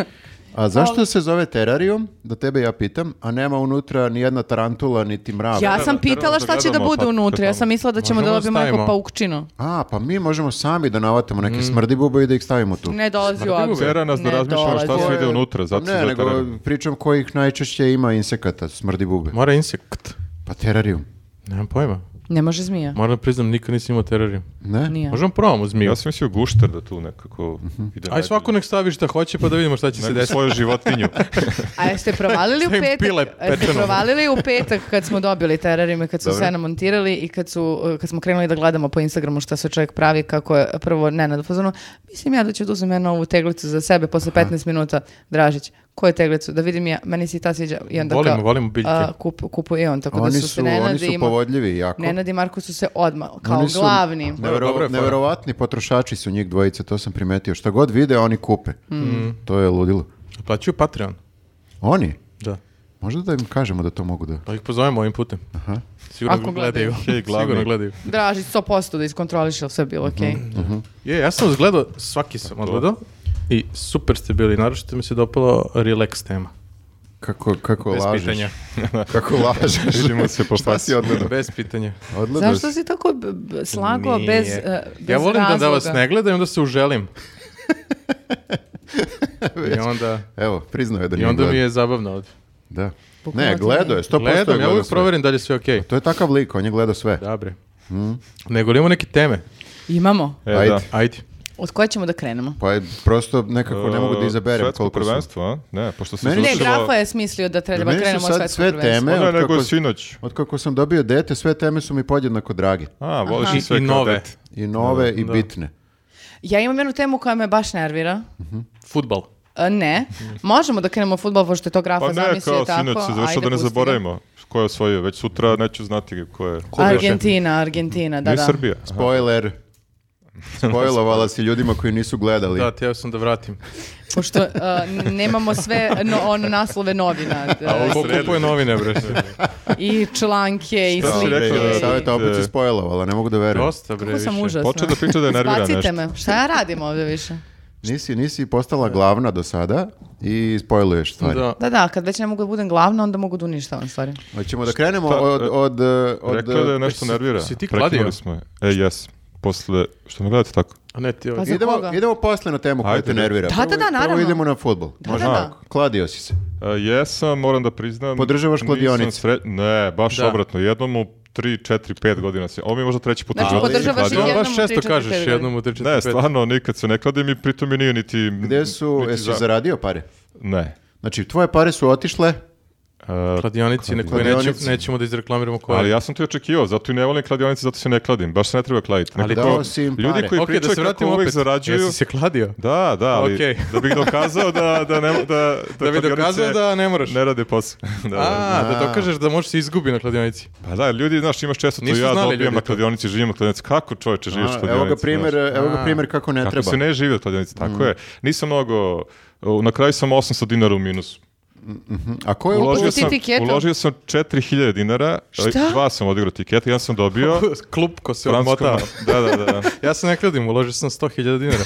Speaker 3: A zašto se zove terarium, da tebe ja pitam, a nema unutra ni jedna tarantula, niti mrava?
Speaker 2: Ja sam
Speaker 1: Treba- treba
Speaker 2: pitala
Speaker 1: da
Speaker 2: šta će da
Speaker 1: gledamo,
Speaker 2: bude
Speaker 1: pa-
Speaker 2: unutra. Ja
Speaker 1: tamo.
Speaker 2: sam mislila da ćemo
Speaker 4: Možemo
Speaker 2: da
Speaker 4: da
Speaker 2: dobijemo neku
Speaker 4: stavimo.
Speaker 2: paukčinu.
Speaker 3: A, pa mi možemo sami da navatamo
Speaker 4: Mm.
Speaker 3: neke smrdi bube i da ih stavimo tu.
Speaker 2: Ne dolazi u
Speaker 4: Smrdljivo
Speaker 2: obzir.
Speaker 1: Tera nas da
Speaker 2: Ne
Speaker 1: razmišljamo šta
Speaker 2: dolazi.
Speaker 1: sve ide unutra, zato se
Speaker 3: ne,
Speaker 1: zove
Speaker 3: nego
Speaker 1: terarijum.
Speaker 3: pričam kojih najčešće ima insekata, smrdi bube.
Speaker 4: Mora insekt.
Speaker 3: Pa terarium,
Speaker 4: Nemam pojma.
Speaker 2: Ne može zmija.
Speaker 4: Moram da priznam, nikad nisam imao terarium.
Speaker 3: ne?
Speaker 2: Nije.
Speaker 4: Možemo probamo zmiju.
Speaker 1: Ja sam mislio gušter da tu nekako
Speaker 3: Mhm.
Speaker 1: ide.
Speaker 4: Aj svako nek stavi šta hoće pa da vidimo šta će se
Speaker 1: najbolje. Neku
Speaker 4: desiti.
Speaker 1: svoju životinju.
Speaker 2: A jeste provalili u
Speaker 4: Sve im
Speaker 2: petak?
Speaker 4: pile
Speaker 2: Jeste
Speaker 4: pečeno.
Speaker 2: provalili u petak kad smo dobili terarium i kad su sve namontirali i kad, su, uh, kad smo krenuli da gledamo po Instagramu šta sve čovjek pravi, kako je prvo Nenad u fazonu, Mislim ja da ću da uzmem jednu ovu teglicu za sebe posle 15 minuta. Dražić, koju teglicu? Da vidim ja, meni se i ta sviđa. I onda
Speaker 4: Volimo,
Speaker 2: kao,
Speaker 4: volimo biljke.
Speaker 2: a, kup, kupuje on, tako
Speaker 3: Oni
Speaker 2: da
Speaker 3: su,
Speaker 2: su, se Nenad
Speaker 3: oni su
Speaker 2: i Mar-
Speaker 3: povodljivi jako.
Speaker 2: Nenad i Marko su se odmah, kao
Speaker 3: Oni su
Speaker 2: glavni.
Speaker 3: nevero-
Speaker 4: Dobro je fora.
Speaker 3: neverovatni potrošači su njih dvojice, to sam primetio. Šta god vide, oni kupe.
Speaker 2: Hmm.
Speaker 4: Hmm.
Speaker 3: To je ludilo.
Speaker 4: Plaćaju Patreon.
Speaker 3: Oni?
Speaker 4: Da.
Speaker 3: Možda da im kažemo da to mogu da...
Speaker 4: Pa ih pozovemo ovim putem. Sigurno
Speaker 2: Ako
Speaker 4: ga gledaju.
Speaker 1: Hej, glavni.
Speaker 4: Sigurno gledaju.
Speaker 2: Dražić 100% da iskontroliše, jel sve bilo okej.
Speaker 4: Mhm, Je, ja sam vas gledao, svaki sam odgledao. I super ste bili, naročito mi se dopalo relax tema.
Speaker 3: Kako, kako
Speaker 4: Bez
Speaker 3: lažeš.
Speaker 4: pitanja.
Speaker 3: Kako lažeš.
Speaker 1: Vidimo se po
Speaker 3: Šta si
Speaker 1: faci.
Speaker 3: odgledao?
Speaker 4: Bez pitanja.
Speaker 3: Odgledao
Speaker 2: Zašto
Speaker 3: si?
Speaker 2: si tako b- b- slagao
Speaker 4: Nije.
Speaker 2: bez, e, bez
Speaker 4: Ja volim da, da vas
Speaker 2: razloga?
Speaker 4: ne gledam i onda se uželim. I onda,
Speaker 3: Evo, priznao je da
Speaker 4: i
Speaker 3: nije
Speaker 4: onda mi
Speaker 3: gledao.
Speaker 4: je zabavno ovdje.
Speaker 3: Da.
Speaker 2: Bukvalno
Speaker 3: Ne,
Speaker 2: ti
Speaker 3: gledao
Speaker 2: nije.
Speaker 3: je, 100% je
Speaker 4: Gledam, ja
Speaker 3: gledao
Speaker 4: uvijek
Speaker 3: sve.
Speaker 4: proverim da li je sve okej.
Speaker 3: To je takav lik, on je gledao sve.
Speaker 4: Dobre.
Speaker 3: Hmm?
Speaker 4: Nego li imamo neke teme?
Speaker 2: Imamo.
Speaker 1: E,
Speaker 3: Ajde.
Speaker 1: da.
Speaker 4: Ajde.
Speaker 2: Od koje ćemo da krenemo?
Speaker 3: Pa je prosto nekako ne mogu da izaberem
Speaker 1: E, Svetsko
Speaker 3: koliko su.
Speaker 1: prvenstvo, a? Ne, pošto se
Speaker 3: Meni-
Speaker 2: Ne,
Speaker 1: završilo...
Speaker 2: Grafa je smislio da treba
Speaker 3: Meni su
Speaker 2: krenemo
Speaker 3: sad
Speaker 2: od
Speaker 3: sve
Speaker 2: svetskog prvenstva.
Speaker 3: teme-
Speaker 1: Ne,
Speaker 3: Od
Speaker 1: nego
Speaker 3: kako-
Speaker 1: sinoć.
Speaker 3: Od kako sam dobio dete, sve teme su mi podjednako drage.
Speaker 1: A, voliš
Speaker 4: I-
Speaker 1: i sve
Speaker 4: i
Speaker 1: kao
Speaker 4: nove.
Speaker 1: dete.
Speaker 3: I nove i
Speaker 4: Da.
Speaker 3: bitne.
Speaker 2: Ja imam jednu temu koja me baš nervira.
Speaker 4: Futbal.
Speaker 2: E, Ne. Možemo da krenemo u futbol, pošto je to Grafa
Speaker 1: Pa ne,
Speaker 2: zamislio
Speaker 1: kao
Speaker 2: i tako.
Speaker 1: sinoć se
Speaker 2: ajde,
Speaker 1: završilo da ne
Speaker 2: pusti ga.
Speaker 1: zaboravimo. Ko je osvojio? Već sutra neću znati ko je.
Speaker 4: je još?
Speaker 2: Argentina, Argentina, da,
Speaker 1: Nije
Speaker 2: da.
Speaker 1: Srbija. Aha.
Speaker 3: Spoiler. Spoilovala si ljudima koji nisu gledali.
Speaker 4: Da, teo sam da vratim.
Speaker 2: Pošto e, n- nemamo sve no, ono, naslove novina e,
Speaker 4: Ko kupuje novine, bre?
Speaker 2: i članke i
Speaker 1: Šta si
Speaker 2: slike.
Speaker 1: rekla da-
Speaker 2: i-
Speaker 1: Savjet-
Speaker 3: Saveta opet si spoilovala, ne mogu da verujem.
Speaker 4: Dosta, bre,
Speaker 2: Kako sam
Speaker 4: više.
Speaker 2: užasna.
Speaker 1: Počeo da priča da je nervira
Speaker 2: Izbacite
Speaker 1: nešto.
Speaker 2: me. Šta ja radim ovdje više?
Speaker 3: Nisi, nisi postala glavna do sada i spoiluješ stvari.
Speaker 4: Da.
Speaker 2: Da, da, kad već ne mogu da budem glavna, onda mogu da uništavam stvari.
Speaker 3: Hoćemo da krenemo
Speaker 1: Šta,
Speaker 3: od... e, od, od,
Speaker 1: Rekla je da je nešto
Speaker 4: si-
Speaker 1: nervira.
Speaker 4: si ti
Speaker 1: Prekinuli
Speaker 4: kladio?
Speaker 1: smo je. E, jes. posle... Što me gledate tako?
Speaker 4: A ne, ti ovaj.
Speaker 2: Pa za
Speaker 3: idemo,
Speaker 2: koga?
Speaker 3: idemo posle na temu koja
Speaker 1: Ajde,
Speaker 3: te
Speaker 1: da.
Speaker 3: nervira.
Speaker 2: Da,
Speaker 3: Prvo-
Speaker 2: da, da, naravno.
Speaker 3: Prvo idemo na futbol.
Speaker 2: Da, da, da.
Speaker 3: Kladio si se.
Speaker 1: E, jesam, moram da priznam.
Speaker 3: Podržavaš
Speaker 1: nisam
Speaker 3: kladionice?
Speaker 1: sre- Ne, baš
Speaker 4: Da.
Speaker 1: obratno. Jednom u 3, 4, 5 godina se. Ovo mi je možda treći put. u
Speaker 2: Znači,
Speaker 1: životu se
Speaker 2: podržavaš
Speaker 1: kladim.
Speaker 2: ih
Speaker 4: Ono
Speaker 2: jednom
Speaker 4: baš
Speaker 2: u
Speaker 4: često
Speaker 2: tri, četiri,
Speaker 4: kažeš
Speaker 2: pet
Speaker 4: jednom u 3, 4,
Speaker 1: Ne,
Speaker 4: 5.
Speaker 1: stvarno, nikad se ne kladim i pritom mi nije niti...
Speaker 3: Gde su,
Speaker 1: niti
Speaker 3: jesi
Speaker 1: za-
Speaker 3: zaradio pare?
Speaker 1: Ne.
Speaker 3: Znači, tvoje pare su otišle,
Speaker 1: E,
Speaker 4: Kladionici na koje nećemo,
Speaker 3: Kladionici.
Speaker 4: nećemo da izreklamiramo koje.
Speaker 1: ali ja sam to i očekivao, zato i ne volim kladionice, zato se ne kladim. Baš se ne treba kladiti.
Speaker 4: Ali
Speaker 1: Nekako,
Speaker 3: dao si im
Speaker 1: Ljudi
Speaker 3: pare.
Speaker 1: koji
Speaker 4: Ok,
Speaker 1: pričaju
Speaker 4: da se
Speaker 1: kako
Speaker 4: vratimo
Speaker 1: uvek
Speaker 4: opet.
Speaker 1: zarađuju...
Speaker 4: Jesi se kladio?
Speaker 1: Da, da, ali
Speaker 4: Okej.
Speaker 1: da bih dokazao da, da, ne, da, da,
Speaker 4: Da bi dokazao
Speaker 1: kladionice
Speaker 4: da ne moraš.
Speaker 1: ne rade posao. da, da.
Speaker 4: A, da
Speaker 3: A.
Speaker 4: dokažeš da možeš se izgubi na kladionici.
Speaker 1: Pa da, ljudi, znaš, imaš često to
Speaker 4: Nisu
Speaker 1: ja
Speaker 4: znali ljudi
Speaker 1: dobijam na
Speaker 4: to.
Speaker 1: kladionici, živim na kladionici. Kako čovječe živiš na
Speaker 3: A,
Speaker 1: kladionici?
Speaker 3: evo ga
Speaker 1: znaš?
Speaker 3: primjer, evo ga
Speaker 4: A.
Speaker 3: primjer kako ne
Speaker 1: Kako
Speaker 3: treba.
Speaker 1: se ne živi od kladionici,
Speaker 4: Mhm.
Speaker 1: tako je. Nisam mnogo, u- na kraju sam 800 dinara u minusu.
Speaker 3: A ko je
Speaker 2: Uloži-
Speaker 1: Uložio
Speaker 2: ti
Speaker 1: sam,
Speaker 2: tiketu?
Speaker 1: uložio sam 4000 dinara, e,
Speaker 2: Šta?
Speaker 1: dva sam odigrao tiketa, jedan sam dobio.
Speaker 4: Klupko se
Speaker 1: Francuskom-
Speaker 4: odmotao.
Speaker 1: Da, da, da.
Speaker 4: Ja se ne kladim, uložio sam 100.000 dinara.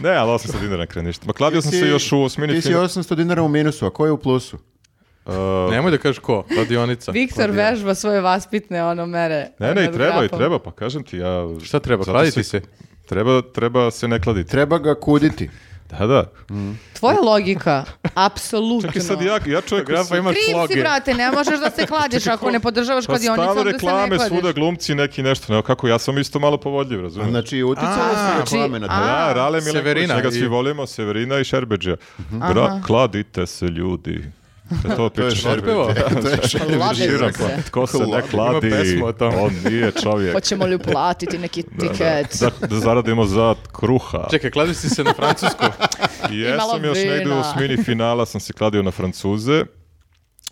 Speaker 1: Ne, ali 800 dinara kraj ništa. Ma kladio sam se još u osmini.
Speaker 3: Ti si
Speaker 1: fina-
Speaker 3: 800 dinara u minusu, a ko je u plusu?
Speaker 1: Uh,
Speaker 4: Nemoj da kažeš ko, kladionica.
Speaker 2: Viktor vežba svoje vaspitne ono mere.
Speaker 1: Pa Ne, ne, i
Speaker 2: nad
Speaker 1: treba, i
Speaker 2: grafom.
Speaker 1: treba, pa kažem ti, ja...
Speaker 4: Šta treba,
Speaker 1: Zato
Speaker 4: kladiti se?
Speaker 1: Treba, treba se ne kladiti.
Speaker 3: Treba ga kuditi.
Speaker 1: Da, da.
Speaker 4: Mm.
Speaker 2: Tvoja logika, apsolutno.
Speaker 1: Čekaj sad, ja, ja čovjek...
Speaker 4: Grafa
Speaker 1: koji se-
Speaker 4: imaš
Speaker 2: Kriv si,
Speaker 4: sloge.
Speaker 2: brate, ne možeš da se kladiš ako ne podržavaš
Speaker 1: Pa
Speaker 2: kladionicu,
Speaker 1: stalno
Speaker 2: onda se ne
Speaker 1: reklame,
Speaker 2: kladiš.
Speaker 1: svuda glumci neki nešto, nego kako, ja sam isto malo povodljiv, razumiješ?
Speaker 3: Znači, uticalo
Speaker 4: A,
Speaker 3: su reklame
Speaker 2: znači-
Speaker 3: na
Speaker 2: a.
Speaker 1: Da,
Speaker 3: tebe.
Speaker 1: Rale Milenković,
Speaker 4: Severina
Speaker 1: njega
Speaker 4: i-
Speaker 1: svi volimo, Severina i Šerbeđa. Bra, kladite se ljudi. E to
Speaker 3: To je
Speaker 1: pričaš
Speaker 4: Šerbevo.
Speaker 3: To
Speaker 1: Znači,
Speaker 3: je
Speaker 2: Ladežu
Speaker 1: Široko.
Speaker 2: se.
Speaker 1: Tko se ne
Speaker 4: Ima
Speaker 1: kladi,
Speaker 4: pesmu o tome.
Speaker 1: on nije čovjek.
Speaker 2: Hoćemo li uplatiti neki tiket?
Speaker 1: Da, da zaradimo za kruha.
Speaker 4: Čekaj, kladiš si se na francusku.
Speaker 1: I
Speaker 2: malo
Speaker 1: jesam još
Speaker 2: vina.
Speaker 1: negdje u smini finala sam se kladio na Francuze.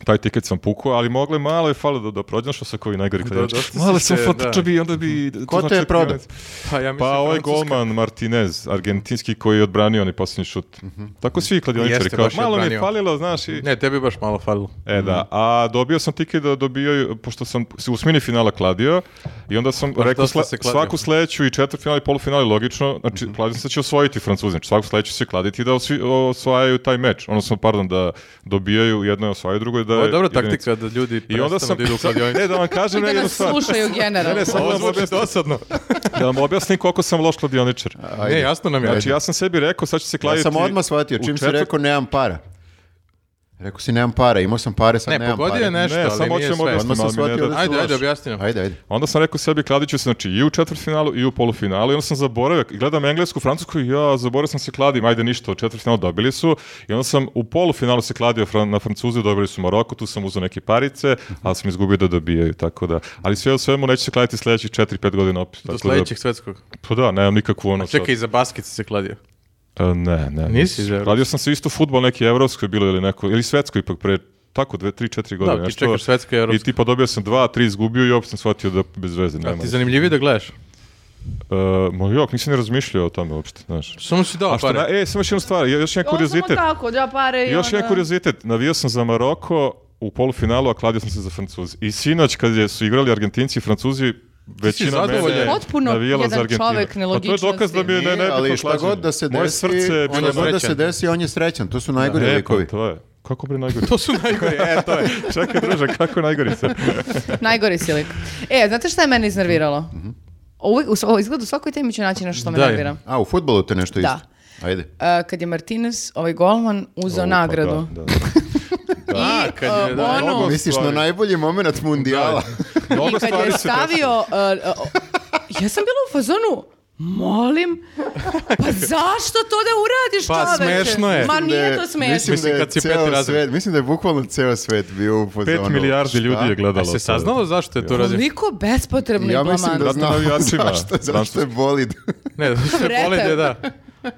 Speaker 1: Taj tiket sam pukao, ali mogle malo je falo da, da prođem što sa koji najgori kladionič.
Speaker 4: dosta si
Speaker 1: Malo sam
Speaker 4: se, da. Mhm.
Speaker 1: fotočabi i onda bi... to
Speaker 3: Ko te
Speaker 1: znači
Speaker 3: je prodao?
Speaker 1: kladionic.
Speaker 4: Pa ja mislim
Speaker 1: Pa ovaj
Speaker 4: Francuska.
Speaker 1: golman Martinez, argentinski koji je odbranio onaj posljednji šut. Tako svi kladioničari
Speaker 4: Mhm. Jeste,
Speaker 1: kao,
Speaker 4: baš je
Speaker 1: malo mi je
Speaker 4: odbranio.
Speaker 1: falilo, znaš i...
Speaker 4: Ne, tebi baš malo falilo.
Speaker 1: E
Speaker 4: Mhm.
Speaker 1: da, a dobio sam tiket da dobio, pošto sam se u smini finala kladio i onda sam
Speaker 4: Baš
Speaker 1: rekao
Speaker 4: dosta
Speaker 1: sla-
Speaker 4: se kladio. Mhm.
Speaker 1: svaku sledeću i četvrtfinal i polufinal je logično, znači kladim se da će osvojiti Francuzi, znači svaku sledeću će se kladiti da osvi, osvajaju taj meč, odnosno pardon da dobijaju jedno je osvajaju drugo je da
Speaker 4: Ovo je dobra
Speaker 1: jedinica.
Speaker 4: taktika da ljudi
Speaker 1: E, I onda sam,
Speaker 4: da idu u kladionicu.
Speaker 1: ne da vam
Speaker 2: I
Speaker 1: kažem ne
Speaker 2: da
Speaker 1: jednu
Speaker 2: nas
Speaker 1: stvar,
Speaker 2: slušaju generalno.
Speaker 1: Ne, ne, samo da
Speaker 4: Ovo
Speaker 1: vam
Speaker 4: zvuči
Speaker 1: objasnim-
Speaker 4: dosadno.
Speaker 1: da vam objasnim koliko sam loš kladioničar.
Speaker 4: Ne, jasno nam je.
Speaker 1: Znači ja sam sebi rekao sad će se
Speaker 3: Ja
Speaker 1: kladiti.
Speaker 3: sam odmah shvatio,
Speaker 1: u
Speaker 3: čim si
Speaker 1: četvrt-
Speaker 3: rekao nemam para. Rekao si nemam para, imao sam pare, sad
Speaker 4: Ne,
Speaker 3: nemam
Speaker 4: pogodio
Speaker 3: pare.
Speaker 4: je nešto,
Speaker 1: Ne,
Speaker 4: ali
Speaker 1: samo
Speaker 4: nije
Speaker 1: hoćemo
Speaker 4: sve.
Speaker 1: objasniti.
Speaker 3: Odmah sam
Speaker 1: malo mi ne
Speaker 3: shvatio
Speaker 1: da-
Speaker 3: da
Speaker 4: Ajde,
Speaker 3: si
Speaker 4: ajde,
Speaker 3: loš.
Speaker 4: objasni nam.
Speaker 3: Ajde, ajde.
Speaker 1: Onda sam rekao sebi kladit ću se znači i u četvrtfinalu i u polufinalu i onda sam zaboravio i gledam englesku, francusku i ja zaboravio sam se kladim, ajde ništa, u četvrtfinalu dobili su i onda sam u polufinalu se kladio fran- na Francuze, dobili su Maroko, tu sam uzeo neke parice,
Speaker 4: Mhm.
Speaker 1: ali sam izgubio da dobijaju, tako da. Ali sve u svemu neću se kladiti sledećih 4-5 godina opet.
Speaker 4: Do
Speaker 1: tako da-
Speaker 4: sledećeg svetskog.
Speaker 1: Pa da, nemam nikakvu ono. sad-
Speaker 4: Čekaj, i za basket si se kladio.
Speaker 1: E, Ne, ne.
Speaker 4: Nisi za
Speaker 1: Kladio sam se isto futbol neki evropskoj bilo ili neko, ili svetsko ipak pre tako 2 3 4 godine
Speaker 4: ti
Speaker 1: nešto.
Speaker 4: čekaš svetsko i evropsko.
Speaker 1: I tipa dobio sam 2 3 izgubio i opet sam shvatio da bez veze nema.
Speaker 4: Ti je zanimljiviji da gledaš.
Speaker 1: Uh, ma jok, nisam ni razmišljao o tome uopšte, znaš.
Speaker 4: Samo si dao
Speaker 1: A što,
Speaker 4: pare.
Speaker 1: na, e, samo još jedna stvar, jo- još jedan
Speaker 2: On samo
Speaker 1: kuriozitet.
Speaker 2: tako, da pare i
Speaker 1: Još jedan
Speaker 2: onda-
Speaker 1: kuriozitet, navio sam za Maroko u polufinalu, a kladio sam se za Francuzi. I sinoć kad je, su igrali Argentinci i Francuzi, većina
Speaker 4: zadovoljan?
Speaker 1: mene
Speaker 2: Potpuno
Speaker 1: navijala za
Speaker 2: jedan
Speaker 1: Argentinu.
Speaker 2: čovek
Speaker 1: Pa to je dokaz da bi ne,
Speaker 2: nelogičnosti.
Speaker 1: ne,
Speaker 3: Nije,
Speaker 1: ne
Speaker 3: ali šta god da se
Speaker 1: Moje
Speaker 3: desi,
Speaker 1: srce je
Speaker 3: šta
Speaker 1: bilo
Speaker 4: je
Speaker 3: god da se
Speaker 4: srećan.
Speaker 3: desi, on je srećan. To su najgori
Speaker 1: E, pa
Speaker 3: likovi.
Speaker 1: to je. Kako bre najgori?
Speaker 4: To su najgore. E, to je.
Speaker 1: Čekaj, druže, kako najgori sam?
Speaker 2: Najgori si lik. E, znate šta je mene iznerviralo?
Speaker 1: Mhm.
Speaker 2: Uvijek, u, sva- izgleda u svakoj temi ću naći nešto što me
Speaker 4: Daj.
Speaker 2: nervira.
Speaker 3: A, u futbolu te nešto isto.
Speaker 2: Da.
Speaker 3: Ajde.
Speaker 2: E, kad je Martinez, ovaj golman, uzeo
Speaker 1: O, pa
Speaker 2: nagradu.
Speaker 1: Da, da.
Speaker 4: A, kad je,
Speaker 2: e,
Speaker 4: da.
Speaker 2: ono-
Speaker 1: Mnogo
Speaker 3: Misliš na
Speaker 1: stvari.
Speaker 3: najbolji moment mundijala.
Speaker 1: Mnogo
Speaker 2: I kad
Speaker 1: stvari se
Speaker 2: je
Speaker 1: desilo.
Speaker 2: stavio... e, e, o- ja sam bila u fazonu, molim, pa zašto to da uradiš
Speaker 4: Pa,
Speaker 2: čoveče?
Speaker 4: smešno je.
Speaker 2: Ma
Speaker 3: Da
Speaker 2: nije
Speaker 3: je-
Speaker 2: to smešno.
Speaker 3: Mislim da je,
Speaker 4: Mislim, kad si
Speaker 3: ceo
Speaker 4: peti razred.
Speaker 3: svet, mislim da je bukvalno ceo svet bio u fazonu.
Speaker 1: 5 milijardi
Speaker 3: šta?
Speaker 1: ljudi je gledalo.
Speaker 4: A se
Speaker 1: to.
Speaker 4: saznalo zašto je to radio?
Speaker 2: Koliko bespotrebno
Speaker 3: Ja
Speaker 2: i
Speaker 3: mislim da
Speaker 2: blamantno.
Speaker 1: Zato
Speaker 3: znam
Speaker 1: navijačima,
Speaker 3: zašto, zašto
Speaker 1: Francuska.
Speaker 3: je bolid.
Speaker 4: Ne, zašto je
Speaker 2: Vreter.
Speaker 4: bolid je, da.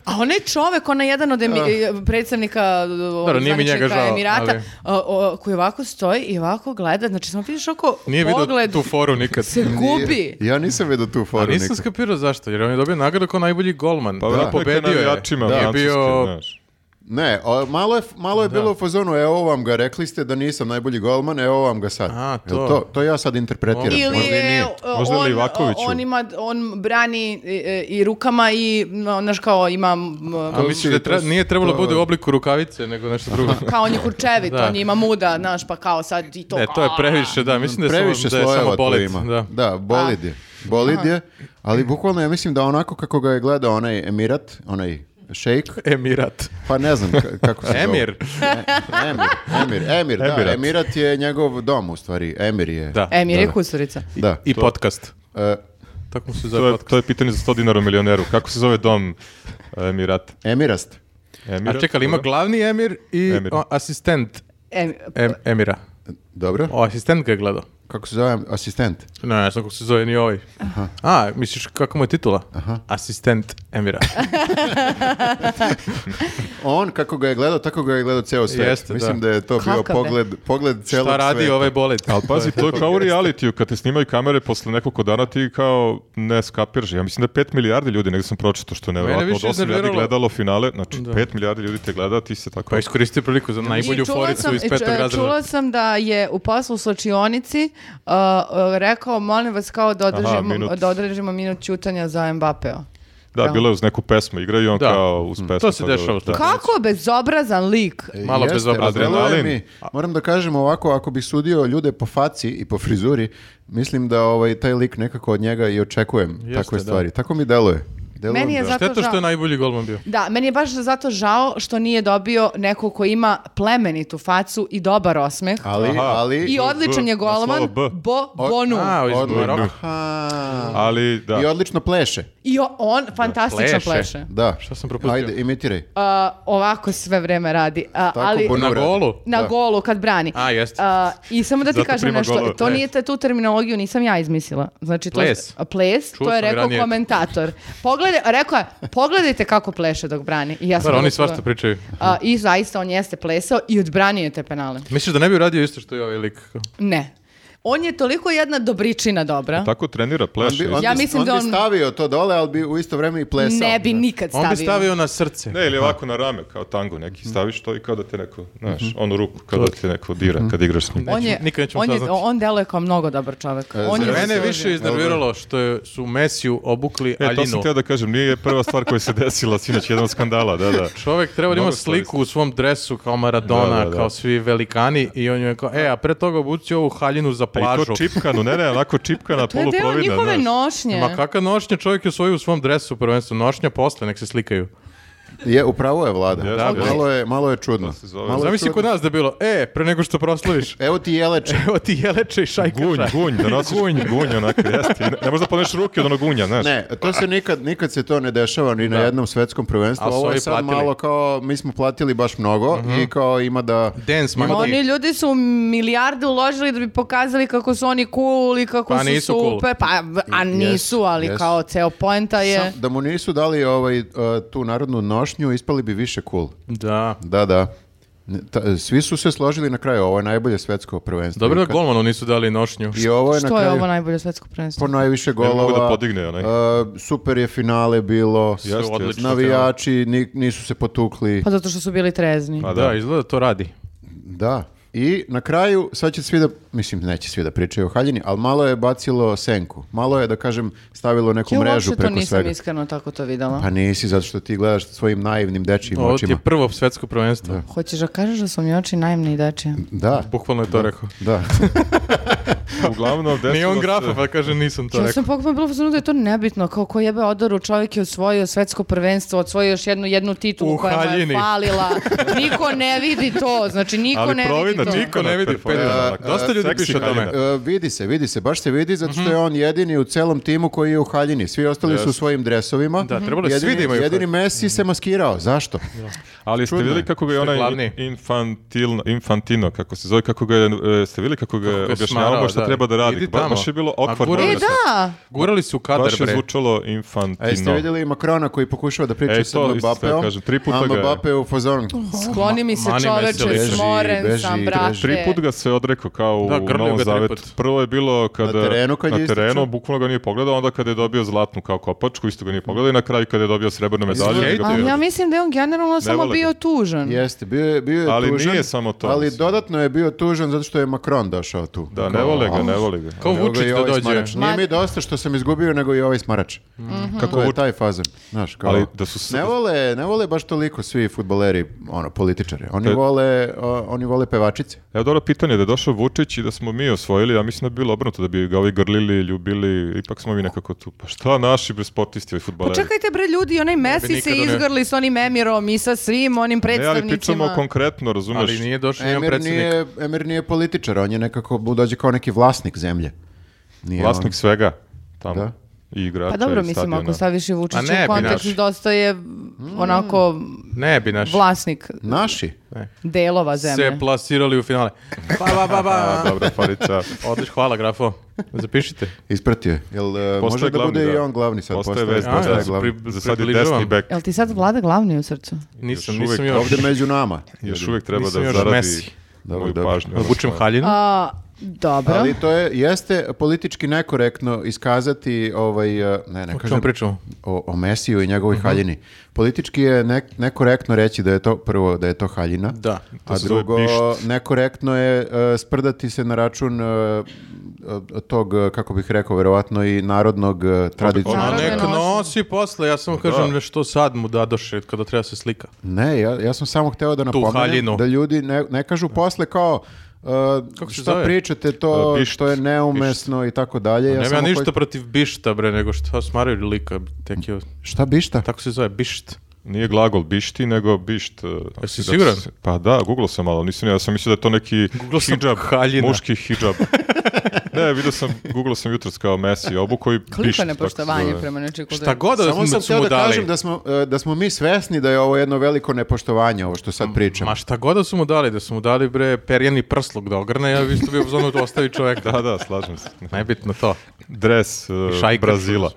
Speaker 2: A onaj čovek, onaj jedan od emi, e, predstavnika Dobro,
Speaker 4: nije mi njega žao,
Speaker 2: Emirata,
Speaker 4: ali-
Speaker 2: a, o, koji ovako stoji i ovako gleda, znači samo vidiš oko
Speaker 4: Nije vidio
Speaker 2: pogled
Speaker 4: tu foru nikad.
Speaker 2: se gubi.
Speaker 3: Ja nisam vidio tu
Speaker 4: A
Speaker 3: foru
Speaker 4: nisam
Speaker 3: nikad.
Speaker 4: skapirao zašto, jer on je dobio nagradu kao najbolji golman.
Speaker 1: Pa
Speaker 4: Pa da,
Speaker 1: da,
Speaker 4: pobedio je.
Speaker 1: navijačima,
Speaker 4: Nije
Speaker 1: da,
Speaker 4: bio...
Speaker 1: znaš.
Speaker 3: Ne, o, malo je, malo je bilo u fazonu, evo vam ga, rekli ste da nisam najbolji golman, evo vam ga sad.
Speaker 4: A,
Speaker 3: Jel
Speaker 4: to.
Speaker 3: to, to ja sad interpretiram.
Speaker 2: Ili
Speaker 3: možda i
Speaker 2: je,
Speaker 3: nije.
Speaker 2: o,
Speaker 1: Možda
Speaker 2: on,
Speaker 1: Livakoviću.
Speaker 2: on, ima, on brani e, e, i rukama i, no, znaš kao, ima, m,
Speaker 4: A misliš da
Speaker 3: to
Speaker 4: tre-
Speaker 3: su-
Speaker 4: nije trebalo
Speaker 3: to-
Speaker 4: bude u obliku rukavice, nego nešto drugo.
Speaker 2: kao on je kurčevit,
Speaker 4: Da.
Speaker 2: on je ima muda, znaš, pa kao sad i to.
Speaker 4: Ne, to je previše, da, mislim da je samo,
Speaker 3: Previše
Speaker 4: da je
Speaker 3: slojeva
Speaker 4: samo
Speaker 3: tu
Speaker 4: bolet.
Speaker 3: ima.
Speaker 4: Da.
Speaker 3: bolid je. bolid je, ali bukvalno ja mislim da onako kako ga je gledao onaj Emirat, onaj šejk,
Speaker 4: Emirat.
Speaker 3: pa ne znam ka- kako se zove.
Speaker 4: Emir.
Speaker 3: E- Emir, Emir, Emir, da,
Speaker 1: Emirat.
Speaker 3: Emirat je njegov dom u stvari, Emir je.
Speaker 4: Da.
Speaker 2: E, mir
Speaker 3: Da,
Speaker 2: je
Speaker 3: da.
Speaker 2: kusurica.
Speaker 3: Da.
Speaker 4: I podcast.
Speaker 3: E,
Speaker 4: Tako mu se
Speaker 1: To
Speaker 4: zove
Speaker 1: je,
Speaker 4: podcast.
Speaker 1: to je pitanje za 100 dinara milioneru. Kako se zove dom Emirata?
Speaker 3: Emirast.
Speaker 1: Emirat?
Speaker 4: A čekaj, ali ima glavni Emir i
Speaker 1: Emir.
Speaker 4: o, asistent
Speaker 2: E,
Speaker 4: em, Emira.
Speaker 3: Dobro.
Speaker 4: O, asistent ga je gledao.
Speaker 3: Kako se zove asistent?
Speaker 4: Ne, ne znam kako se zove ni ovaj. A, misliš kako mu je titula? Asistent Emira.
Speaker 3: On kako ga je gledao, tako ga je gledao ceo svet.
Speaker 4: Jeste, da.
Speaker 3: Mislim da je to bio
Speaker 2: Kakav je?
Speaker 3: pogled, pogled celog
Speaker 4: Šta radi
Speaker 3: sveta.
Speaker 4: ovaj bolet?
Speaker 1: Ali pazi, to je kao u realitiju, kad te snimaju kamere posle nekoliko dana ti kao ne skapiraš. Ja mislim da je 5 milijardi ljudi, negdje sam pročito što je nevjerojatno, od
Speaker 4: više
Speaker 1: 8 milijardi
Speaker 4: iznerviralo-
Speaker 1: gledalo finale, znači 5 milijardi ljudi te gleda, ti se tako...
Speaker 4: Pa iskoristi priliku za najbolju
Speaker 2: I čula
Speaker 4: foricu
Speaker 2: sam-
Speaker 4: iz petog
Speaker 2: ču-
Speaker 4: razreda.
Speaker 2: Čula sam da je u poslu u slačionici uh, uh, rekao, molim vas kao da
Speaker 1: Aha,
Speaker 2: održimo,
Speaker 1: minut.
Speaker 2: da odrežimo minut ćutanja za Mbappeo.
Speaker 1: Da, bilo je uz neku pesmu, igraju i on
Speaker 4: Da. Mm.
Speaker 1: kao uz pesmu.
Speaker 4: to se
Speaker 1: pa
Speaker 4: dešava,
Speaker 1: dobro, da.
Speaker 2: Kako bezobrazan lik.
Speaker 3: E,
Speaker 4: Malo
Speaker 3: jeste,
Speaker 4: bezobrazno.
Speaker 3: ali deluje
Speaker 1: Adrenalin.
Speaker 3: mi- Moram da kažem ovako, ako bi sudio ljude po faci i po frizuri, mislim da ovaj, taj lik nekako od njega i očekujem takve
Speaker 4: da.
Speaker 3: stvari. Tako mi deluje. Deluje
Speaker 2: Meni je
Speaker 3: mi da-
Speaker 2: zato
Speaker 4: Šteta što
Speaker 2: žao.
Speaker 4: je najbolji golman bio.
Speaker 2: Da, meni je baš zato žao što nije dobio neko ko ima plemenitu facu i dobar osmeh.
Speaker 3: Ali,
Speaker 1: Aha.
Speaker 3: ali...
Speaker 2: I odličan je
Speaker 1: B, na slovo
Speaker 2: goloman,
Speaker 1: B.
Speaker 2: bo, bonu.
Speaker 4: A, iz
Speaker 3: Odlično.
Speaker 4: Maroka.
Speaker 3: Aha.
Speaker 1: Ali da,
Speaker 3: I odlično pleše.
Speaker 2: I o- on fantastično
Speaker 4: pleše.
Speaker 2: pleše.
Speaker 3: Da.
Speaker 4: Šta sam propustio?
Speaker 3: Ajde, imitiraj.
Speaker 2: A, ovako sve vreme radi. A,
Speaker 3: Tako
Speaker 2: ali,
Speaker 3: bonu-
Speaker 4: Na
Speaker 3: Dobro.
Speaker 4: golu?
Speaker 2: na
Speaker 3: Da.
Speaker 2: golu kad brani.
Speaker 4: A, jeste.
Speaker 2: A, I samo da ti
Speaker 1: Zato
Speaker 2: kažem
Speaker 1: prima
Speaker 2: nešto,
Speaker 1: golove.
Speaker 2: to
Speaker 4: Ne.
Speaker 2: nije te- tu terminologiju nisam ja izmislila. Znači, to
Speaker 4: Ples.
Speaker 2: a, ples,
Speaker 4: Čuo
Speaker 2: to je
Speaker 4: sam i
Speaker 2: rekao
Speaker 4: ranije.
Speaker 2: komentator. Pogledaj, a rekao je, pogledajte kako pleše dok brani. I ja sam
Speaker 4: Stvar, oni
Speaker 2: odlučila-
Speaker 4: svašta pričaju.
Speaker 2: A, I zaista on jeste plesao i odbranio je te penale.
Speaker 4: Misliš da ne bi uradio isto što je ovaj lik?
Speaker 2: Ne. On je toliko jedna dobričina dobra.
Speaker 1: tako trenira,
Speaker 3: On
Speaker 1: pleše.
Speaker 3: bi, on
Speaker 2: Ja
Speaker 3: bi-
Speaker 2: mislim
Speaker 3: on
Speaker 2: da
Speaker 3: bi
Speaker 2: on-
Speaker 3: stavio to dole, ali bi u isto vreme i plesao.
Speaker 2: ne bi nikad stavio.
Speaker 4: On bi stavio na srce.
Speaker 1: Ne, ili ovako na rame, kao tango
Speaker 4: Mm.
Speaker 1: neki, staviš to i kao da te neko, znaš,
Speaker 4: Mhm.
Speaker 1: onu ruku, kao da te neko dira kad igraš s njim.
Speaker 2: On je,
Speaker 4: Nećemo- nikad nećemo
Speaker 2: on, je,
Speaker 4: saznati.
Speaker 2: on deluje kao mnogo dobar čovjek. on
Speaker 3: za
Speaker 2: je
Speaker 4: Mene je
Speaker 2: zaslužio.
Speaker 4: više iznerviralo što je, su Mesiju obukli
Speaker 1: E, to sam
Speaker 4: aljinu.
Speaker 1: htio da kažem, nije prva stvar koja se desila sinoć, jedan od skandala, da, da.
Speaker 4: Čovjek treba da ima
Speaker 1: Mnogo stvari
Speaker 4: sliku u svom dresu kao Maradona,
Speaker 1: Da, da, da.
Speaker 4: kao svi velikani i on je kao, e, a pre toga obuci ovu haljinu za
Speaker 1: Pa i
Speaker 4: plažu.
Speaker 1: to čipkanu, ne, ne, onako čipkana,
Speaker 2: To je deo
Speaker 1: poluplovidna,
Speaker 2: Pa njihove
Speaker 1: znaš.
Speaker 2: nošnje.
Speaker 4: Ma kakva nošnja čovjek je osvojio u svom dresu prvenstvo, nošnja posle, nek se slikaju.
Speaker 3: Je, upravo je vlada.
Speaker 1: Da,
Speaker 2: da.
Speaker 3: Malo, je, malo je čudno.
Speaker 1: se zove.
Speaker 3: Malo je
Speaker 4: Zamisli
Speaker 3: čudno.
Speaker 4: kod nas da je bilo, e, pre nego što proslaviš,
Speaker 3: Evo ti jeleče.
Speaker 4: evo ti jeleče i šajkaša.
Speaker 1: Gunj, gunj, da nosiš gunj, gunj, onako, jeste. Ne, ne možeš da poneš ruke od onog gunja, znaš.
Speaker 3: Ne, to se nikad, nikad se to ne dešava ni na jednom svetskom prvenstvu.
Speaker 4: Ali su
Speaker 3: Ovo je
Speaker 4: ovi
Speaker 3: sad
Speaker 4: platili. Mhm.
Speaker 3: malo kao, mi smo platili baš mnogo i kao ima da...
Speaker 4: Dance monkey.
Speaker 2: Oni ljudi su milijarde uložili da bi pokazali kako su oni cool i kako
Speaker 4: Pa
Speaker 2: su
Speaker 4: nisu cool.
Speaker 2: super. Pa, v- a nisu, ali
Speaker 3: yes.
Speaker 2: kao ceo poenta je...
Speaker 3: Da mu nisu dali ovaj, uh, tu narodnu nošnju, ispali bi više cool.
Speaker 4: Da.
Speaker 3: Da, da. Ne, ta- svi su se složili na kraju, ovo je najbolje svetsko prvenstvo.
Speaker 4: Dobro
Speaker 3: I
Speaker 4: da
Speaker 3: ka-
Speaker 4: golmanu nisu dali nošnju.
Speaker 3: I ovo je na
Speaker 2: Što je
Speaker 3: kraju
Speaker 2: ovo najbolje svetsko prvenstvo?
Speaker 3: po Pa najviše
Speaker 1: mogu da
Speaker 3: golova.
Speaker 1: podigne onaj.
Speaker 3: uh, super je finale bilo.
Speaker 1: Jeste, jeste.
Speaker 4: odlično.
Speaker 3: Navijači ni- nisu se potukli.
Speaker 2: Pa zato što su bili trezni.
Speaker 1: Pa
Speaker 4: Da,
Speaker 1: da,
Speaker 4: izgleda to radi.
Speaker 3: Da. I na kraju, sad će svi da, mislim, neće svi da pričaju o haljini, ali malo je bacilo senku. Malo je, da kažem, stavilo neku
Speaker 2: Ja
Speaker 3: mrežu
Speaker 2: uopšte to
Speaker 3: preko
Speaker 2: nisam
Speaker 3: svega.
Speaker 2: iskreno tako to videla.
Speaker 3: Pa nisi, zato što ti gledaš svojim naivnim dečijim
Speaker 4: Ovo ti
Speaker 3: očima.
Speaker 4: je prvo svjetsko prvenstvo.
Speaker 2: Hoćeš da kažeš da su mi oči najmni i dečije?
Speaker 3: Da,
Speaker 4: Bukvalno je to rekao.
Speaker 3: da.
Speaker 1: uglavnom desilo
Speaker 4: Nije on
Speaker 1: se-
Speaker 4: grafa, pa kaže nisam to
Speaker 2: Ja
Speaker 4: rekao.
Speaker 2: sam pokupila bilo fazonu da je to nebitno, kao ko jebe odoru, čovjek je osvojio svetsko prvenstvo, osvojio još jednu, jednu titulu
Speaker 4: U
Speaker 2: koja mu je
Speaker 4: haljini.
Speaker 2: falila. Niko ne vidi to, znači niko
Speaker 1: Ali
Speaker 2: ne vidi
Speaker 1: providna
Speaker 2: to.
Speaker 1: čika.
Speaker 4: Niko ne vidi,
Speaker 1: Performera,
Speaker 4: Pedro.
Speaker 1: onako.
Speaker 4: Dosta ljudi
Speaker 1: Seksi
Speaker 4: piše o tome.
Speaker 1: haljina.
Speaker 3: E, vidi se, vidi se, baš se vidi, zato
Speaker 4: Mhm.
Speaker 3: što je on jedini u celom timu koji je u haljini. Svi ostali su u svojim dresovima.
Speaker 4: Da, trebalo je
Speaker 3: jedini,
Speaker 4: svi da imaju
Speaker 3: Jedini
Speaker 4: halj-
Speaker 3: Messi se maskirao. Zašto?
Speaker 1: Ali ste
Speaker 3: Čudno je.
Speaker 1: vidjeli kako ga je
Speaker 4: Što je
Speaker 1: onaj
Speaker 4: glavni.
Speaker 1: infantilno, infantino, kako se zove, kako ga je, e, ste vidjeli kako ga je
Speaker 4: Kako ga je
Speaker 1: objašnjavamo
Speaker 4: smarao,
Speaker 1: šta
Speaker 4: da.
Speaker 1: treba da radi.
Speaker 4: Idi
Speaker 1: Ba,
Speaker 4: tamo.
Speaker 1: baš je bilo
Speaker 4: A
Speaker 1: okvarno.
Speaker 4: gurali
Speaker 2: E
Speaker 4: Dobro, sad.
Speaker 2: da,
Speaker 4: Gurali su u kadar,
Speaker 1: Baš je
Speaker 4: bre.
Speaker 1: zvučalo
Speaker 3: A jeste
Speaker 1: infantino.
Speaker 3: vidjeli i Makrona koji pokušava da priča
Speaker 1: E,
Speaker 3: sa
Speaker 1: to isto sam
Speaker 3: Mbappéom,
Speaker 1: kažem, tri puta
Speaker 3: a
Speaker 1: ga je-
Speaker 3: Mbappé u fazonu.
Speaker 2: skloni mi se
Speaker 4: Mani
Speaker 2: čoveče,
Speaker 4: Meselić.
Speaker 2: smoren
Speaker 3: Beži,
Speaker 2: sam,
Speaker 3: beži.
Speaker 2: brate.
Speaker 1: Tri put ga se odrekao kao
Speaker 4: Da,
Speaker 1: u
Speaker 4: grlio
Speaker 1: Novom
Speaker 4: ga tri
Speaker 1: Zavetu.
Speaker 4: put.
Speaker 1: Prvo je bilo kada
Speaker 3: terenu kad
Speaker 1: na
Speaker 3: je istrčao?
Speaker 1: terenu, bukvalno ga nije pogledao, onda kada je dobio zlatnu kao kopačku, isto ga nije pogledao i na kraju kada je dobio srebrnu medalju. nije ga
Speaker 4: Izgleda.
Speaker 2: Ali
Speaker 1: pogledao.
Speaker 2: ja mislim da je on generalno samo
Speaker 1: vole ga.
Speaker 2: bio tužan.
Speaker 3: Jeste, bio je, bio je
Speaker 1: Ali
Speaker 3: tužan,
Speaker 1: nije samo to,
Speaker 3: Ali
Speaker 1: mislim.
Speaker 3: dodatno je bio tužan zato što je Macron došao tu.
Speaker 1: Da, ne vole ga, ne vole ga.
Speaker 4: Kao
Speaker 3: Evo ga
Speaker 4: Vučić
Speaker 3: i
Speaker 4: da
Speaker 3: ovaj
Speaker 4: dođe.
Speaker 3: smarač. Nije
Speaker 2: Ma-
Speaker 3: mi dosta što sam izgubio, nego i ovaj smarač.
Speaker 2: Mhm.
Speaker 3: Kako je taj fazen, znaš, kao...
Speaker 1: Ali da su s-
Speaker 3: Ne vole, ne vole baš toliko svi futboleri, ono, političari. Oni
Speaker 1: To je-
Speaker 3: vole, o, oni vole pevačice.
Speaker 1: Evo dobro pitanje, da je došao Vučić i da smo mi osvojili, ja mislim da bi bilo obrnuto, da bi ga ovi grlili, ljubili, ipak smo mi nekako tu. Pa šta naši bre sportisti, ovi
Speaker 2: Pa
Speaker 1: futbaleri?
Speaker 2: čekajte bre ljudi, onaj Messi
Speaker 4: nikad
Speaker 2: se
Speaker 4: ne-
Speaker 2: izgrli s onim Emirom i sa svim onim
Speaker 1: Ne, ali pričamo
Speaker 2: predstavnicima.
Speaker 1: konkretno, razumeš?
Speaker 4: Ali nije došao nijedan
Speaker 3: Emir
Speaker 4: predsjednik.
Speaker 3: nije, Emir nije političar, on je nekako, bu- dođe kao neki vlasnik zemlje. Nije
Speaker 1: Vlasnik
Speaker 3: on-
Speaker 1: svega tamo.
Speaker 3: Da.
Speaker 1: I igrača
Speaker 2: Pa dobro,
Speaker 1: i
Speaker 2: mislim,
Speaker 1: stadiona.
Speaker 2: ako staviš i Vučića
Speaker 4: Pa ne
Speaker 2: u
Speaker 4: bi
Speaker 2: kontekst,
Speaker 4: naš.
Speaker 2: dosta je onako
Speaker 4: Ne bi naš
Speaker 2: vlasnik
Speaker 3: Naši?
Speaker 2: delova zemlje.
Speaker 4: se plasirali u finale. Pa, ba, ba, ba.
Speaker 1: A, dobro, Farica.
Speaker 4: Odliš, hvala grafo. Zapišite.
Speaker 3: Ispratio je. Jel,
Speaker 1: Postaje
Speaker 3: e, može da
Speaker 1: glavni,
Speaker 3: bude
Speaker 1: da.
Speaker 3: i on glavni sad.
Speaker 1: Postaje
Speaker 3: postaje-
Speaker 1: vezda,
Speaker 3: postaje
Speaker 1: da.
Speaker 3: glavni.
Speaker 1: Za sad je
Speaker 4: Približavam.
Speaker 1: desni bek.
Speaker 2: Jel ti sad vlada glavni u srcu?
Speaker 4: Nisam,
Speaker 1: Još
Speaker 4: nisam
Speaker 1: uvijek
Speaker 4: još.
Speaker 3: Ovde među nama.
Speaker 1: Još uvijek treba
Speaker 4: Nisam
Speaker 1: da
Speaker 4: još
Speaker 1: zaradi
Speaker 4: Messi.
Speaker 3: Dobro,
Speaker 1: moju
Speaker 3: dobro.
Speaker 1: pažnju.
Speaker 4: Vučem haljinu.
Speaker 2: A, dobro.
Speaker 3: Ali to je, jeste politički nekorektno iskazati ovaj, e, ne, ne
Speaker 4: O čemu
Speaker 3: kažem,
Speaker 4: pričamo?
Speaker 3: o, o Mesiju i njegovoj
Speaker 1: Mhm.
Speaker 3: haljini. Politički je ne- nekorektno reći da je to, prvo, da je to haljina,
Speaker 4: Da.
Speaker 1: To
Speaker 3: a
Speaker 1: se zove
Speaker 3: drugo,
Speaker 1: bišt.
Speaker 3: nekorektno je e, sprdati se na račun e, e, tog, e, kako bih rekao, verovatno i narodnog e,
Speaker 4: Ona
Speaker 2: Narodne
Speaker 3: tradicionalnog.
Speaker 4: nek
Speaker 2: nosi.
Speaker 4: nosi posle, ja samo kažem nešto sad mu dadoše kada treba se slika.
Speaker 3: Ne, ja, ja sam samo hteo da
Speaker 4: haljinu.
Speaker 3: napomenem da ljudi ne, ne kažu posle kao e,
Speaker 4: Kako se
Speaker 3: šta
Speaker 4: zove?
Speaker 3: pričate, to,
Speaker 1: E, bišt.
Speaker 3: to je neumesno i tako dalje. Ja
Speaker 4: Nema ja
Speaker 3: samo
Speaker 4: Pa ništa
Speaker 3: hoću-
Speaker 4: protiv bišta, bre, nego što smaraju lika. Tek je,
Speaker 3: Šta bišta?
Speaker 4: tako se zove, bišt.
Speaker 1: Nije glagol bišti, nego bišt. e,
Speaker 4: Jesi
Speaker 1: da se-
Speaker 4: siguran?
Speaker 1: Pa da, googlao sam malo, nisam, ja sam mislio da je to neki
Speaker 4: Googlao sam
Speaker 1: hijab,
Speaker 4: haljina.
Speaker 1: muški hijab. ne, vidio sam, googlao sam jutros kao Messi obuko i bišt.
Speaker 2: Kliko
Speaker 1: tako se
Speaker 2: nepoštovanje
Speaker 1: zove.
Speaker 2: prema nečiju kulturi.
Speaker 4: Šta god Pa da
Speaker 3: Samo sam
Speaker 4: su
Speaker 3: htio
Speaker 4: mu
Speaker 3: da
Speaker 4: dali.
Speaker 3: kažem da smo, e, da smo mi svesni da je ovo jedno veliko nepoštovanje, ovo što sad pričam.
Speaker 4: Ma šta god da su mu dali, da su mu dali bre perjani prsluk da ogrne, ja bi isto bio u zonu da ostavi čovjek.
Speaker 1: Da, da, slažem se.
Speaker 4: Najbitno to.
Speaker 1: Dres e,
Speaker 4: šajkaču.
Speaker 1: Brazila,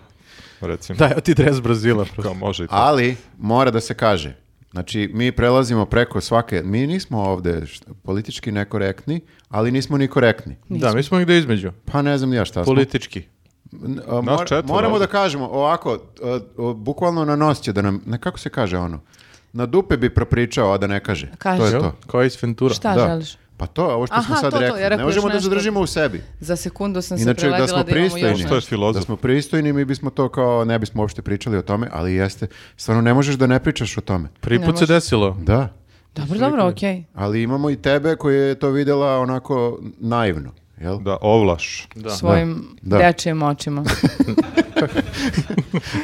Speaker 1: recimo.
Speaker 4: Da, evo ti dres Brazila.
Speaker 1: Kao može i to.
Speaker 3: Ali mora da se kaže. Znači, mi prelazimo preko svake, mi nismo ovde št- politički nekorektni, ali nismo ni korektni.
Speaker 4: Da, mi smo gdje između.
Speaker 3: Pa ne znam ni ja šta smo.
Speaker 4: Politički.
Speaker 3: N- a, mor-
Speaker 1: Nas četvoro
Speaker 3: moramo
Speaker 1: ovde.
Speaker 3: da kažemo, ovako, a, a, bukvalno na nos će da nam, ne, kako se kaže ono, na dupe bi propričao, a da ne kaže.
Speaker 2: Kaže.
Speaker 3: To je
Speaker 4: Jel?
Speaker 3: to.
Speaker 4: Kao iz Fentura.
Speaker 2: Šta
Speaker 3: Da.
Speaker 2: želiš?
Speaker 3: Pa to, ovo što smo
Speaker 2: Aha,
Speaker 3: sad
Speaker 2: to, to,
Speaker 3: rekli.
Speaker 2: jer ako još
Speaker 3: ne možemo da
Speaker 2: nešto-
Speaker 3: zadržimo u sebi.
Speaker 2: Za sekundu sam se
Speaker 3: Inače, da
Speaker 2: preladila
Speaker 3: smo
Speaker 2: da imamo još
Speaker 3: pristojni.
Speaker 1: Što je
Speaker 2: nešto.
Speaker 1: filozof?
Speaker 3: Da smo pristojni, mi bismo to kao, ne bismo uopšte pričali o tome, ali jeste, stvarno ne možeš da ne pričaš o tome.
Speaker 4: Prvi
Speaker 2: Ne
Speaker 4: put se
Speaker 2: može.
Speaker 4: desilo.
Speaker 3: Da,
Speaker 2: Dobro, dobro, okej.
Speaker 3: ali imamo i tebe koja je to videla onako naivno, jel?
Speaker 1: Da, ovlaš.
Speaker 2: Svojim
Speaker 3: Da.
Speaker 2: dečijim očima.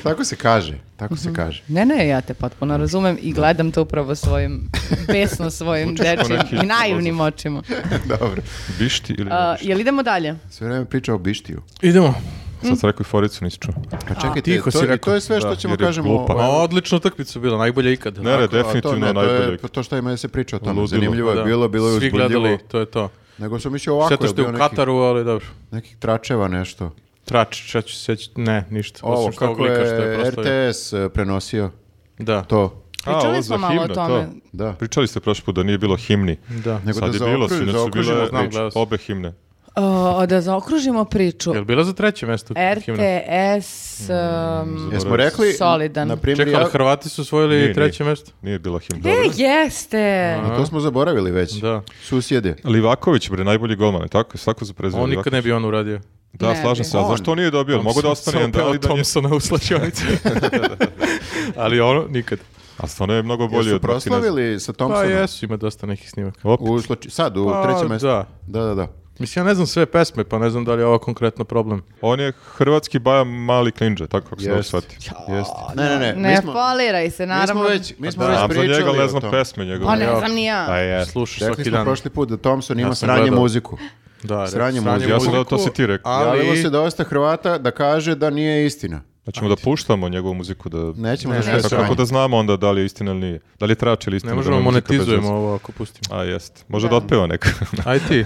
Speaker 3: Tako se kaže, tako
Speaker 2: Mhm.
Speaker 3: se kaže.
Speaker 2: Ne, ne, ja te potpuno razumem i gledam to upravo svojim, besno svojim dečijim
Speaker 1: neki
Speaker 2: i naivnim očima.
Speaker 3: Dobro.
Speaker 1: Bišti ili ne
Speaker 2: A,
Speaker 1: bišti?
Speaker 2: jel idemo dalje?
Speaker 3: Sve vreme priča o bištiju.
Speaker 4: Idemo.
Speaker 1: Sad sam rekao i Foricu, nisi čuo.
Speaker 3: A čekajte,
Speaker 4: tiho
Speaker 3: to,
Speaker 4: si
Speaker 3: i
Speaker 4: rekao.
Speaker 3: to je sve što
Speaker 1: Da,
Speaker 3: ćemo
Speaker 1: jer je
Speaker 3: kažemo.
Speaker 1: glupa.
Speaker 3: o-
Speaker 4: Ma, odlična utakmica bila, najbolja ikada.
Speaker 1: Ne, ne,
Speaker 3: Tako, a to
Speaker 1: definitivno
Speaker 3: ne, to je-
Speaker 1: najbolje.
Speaker 3: To šta ima da se priča o tome.
Speaker 1: Ludilo.
Speaker 3: Zanimljivo je
Speaker 4: Da.
Speaker 3: bilo, bilo je
Speaker 4: Svi
Speaker 3: uzbudljivo.
Speaker 4: gledali, to je to.
Speaker 3: Nego sam mislio ovako,
Speaker 4: Sjetiš
Speaker 3: je
Speaker 4: te
Speaker 3: bio
Speaker 4: u
Speaker 3: neki,
Speaker 4: Kataru, ali dobro.
Speaker 3: nekih tračeva nešto.
Speaker 4: Trač, šta ću seći, ne, ništa.
Speaker 3: Ovo,
Speaker 4: Osim što
Speaker 3: kako
Speaker 4: oglika što je
Speaker 3: je
Speaker 4: prosto.
Speaker 3: RTS e, prenosio
Speaker 4: Da.
Speaker 3: to.
Speaker 1: A, ovo
Speaker 2: Pričali
Speaker 1: za
Speaker 2: E, smo malo o
Speaker 1: himnu, to.
Speaker 2: tome.
Speaker 3: Da.
Speaker 1: Pričali ste prošli put da nije bilo himni.
Speaker 4: Da.
Speaker 3: Nego
Speaker 1: Sad
Speaker 3: da
Speaker 1: je bilo,
Speaker 3: zaokruži-
Speaker 1: sinoć su
Speaker 3: zaokružimo,
Speaker 1: bile
Speaker 4: znam, gledao sam.
Speaker 1: obe himne.
Speaker 2: O, da zaokružimo priču.
Speaker 4: Jel bila za treće mjesto? himna?
Speaker 2: RTS... Um,
Speaker 1: Zaboravio
Speaker 3: Jesmo rekli,
Speaker 2: Solidan.
Speaker 3: na primjer,
Speaker 4: Čekaj,
Speaker 3: ja,
Speaker 4: ali Hrvati su osvojili
Speaker 1: Nije,
Speaker 4: treće mjesto?
Speaker 1: Nije bila himna.
Speaker 2: e, jeste!
Speaker 3: a to smo zaboravili već.
Speaker 4: Da.
Speaker 3: Susjede.
Speaker 1: Pa Livaković, bre, najbolji golman, je tako? Svako za prezivio
Speaker 4: On nikad ne bi on uradio.
Speaker 1: Da,
Speaker 2: Ne
Speaker 1: slažem
Speaker 2: bi.
Speaker 1: se, a zašto on nije dobio? Mogu da ostane jedan dan i da nije...
Speaker 4: Thompsona u slačionici. Ali ono, nikad.
Speaker 1: A stvarno je mnogo bolji
Speaker 3: Jesu
Speaker 1: od Martineza.
Speaker 3: proslavili sa
Speaker 4: Pa
Speaker 3: Thompsonom?
Speaker 4: jesu, ima dosta nekih snimaka.
Speaker 1: Op,
Speaker 3: U Sloči- sad, u
Speaker 4: Pa,
Speaker 3: trećem mjestu.
Speaker 4: da.
Speaker 3: Da, da, da.
Speaker 4: Mislim, ja ne znam sve pesme, pa ne znam da li je ovo konkretno problem.
Speaker 1: on je hrvatski baja mali klinđa, tako kako se dobro
Speaker 3: Jest.
Speaker 1: shvati.
Speaker 3: Jeste. Ne, ne, ne.
Speaker 2: Ne
Speaker 3: mi smo,
Speaker 2: foliraj se,
Speaker 3: mi smo
Speaker 2: naravno.
Speaker 3: već,
Speaker 4: Pa
Speaker 3: mi smo
Speaker 1: Da,
Speaker 3: već
Speaker 1: a za
Speaker 3: pričali
Speaker 1: njega ne
Speaker 3: o
Speaker 1: znam
Speaker 3: tome.
Speaker 1: pesme njegove.
Speaker 2: Pa ne znam ni
Speaker 1: A
Speaker 2: ja.
Speaker 1: je.
Speaker 4: Slušaš
Speaker 3: Rekli
Speaker 4: svaki
Speaker 3: smo
Speaker 4: dan.
Speaker 3: prošli put da Thompson ima
Speaker 4: sam
Speaker 3: sranje
Speaker 4: gledao.
Speaker 3: muziku.
Speaker 4: Da, re-
Speaker 3: Sranje muziku.
Speaker 1: Ja sam gledao, to si ti rekao.
Speaker 4: Ali,
Speaker 3: Javilo se dosta Hrvata da kaže da nije istina.
Speaker 1: Znači da puštamo njegovu muziku da...
Speaker 3: Nećemo
Speaker 4: Ne,
Speaker 3: da
Speaker 4: ne,
Speaker 3: sve
Speaker 1: Kako, kako da znamo onda da li je istina ili nije? Da li je trač ili istina?
Speaker 4: ne možemo
Speaker 1: da mu je muzika bez
Speaker 4: monetizujemo
Speaker 1: veze?
Speaker 4: ovo ako pustimo.
Speaker 1: A jest. Može da,
Speaker 2: Da.
Speaker 1: otpeva neka.
Speaker 4: Aj ti.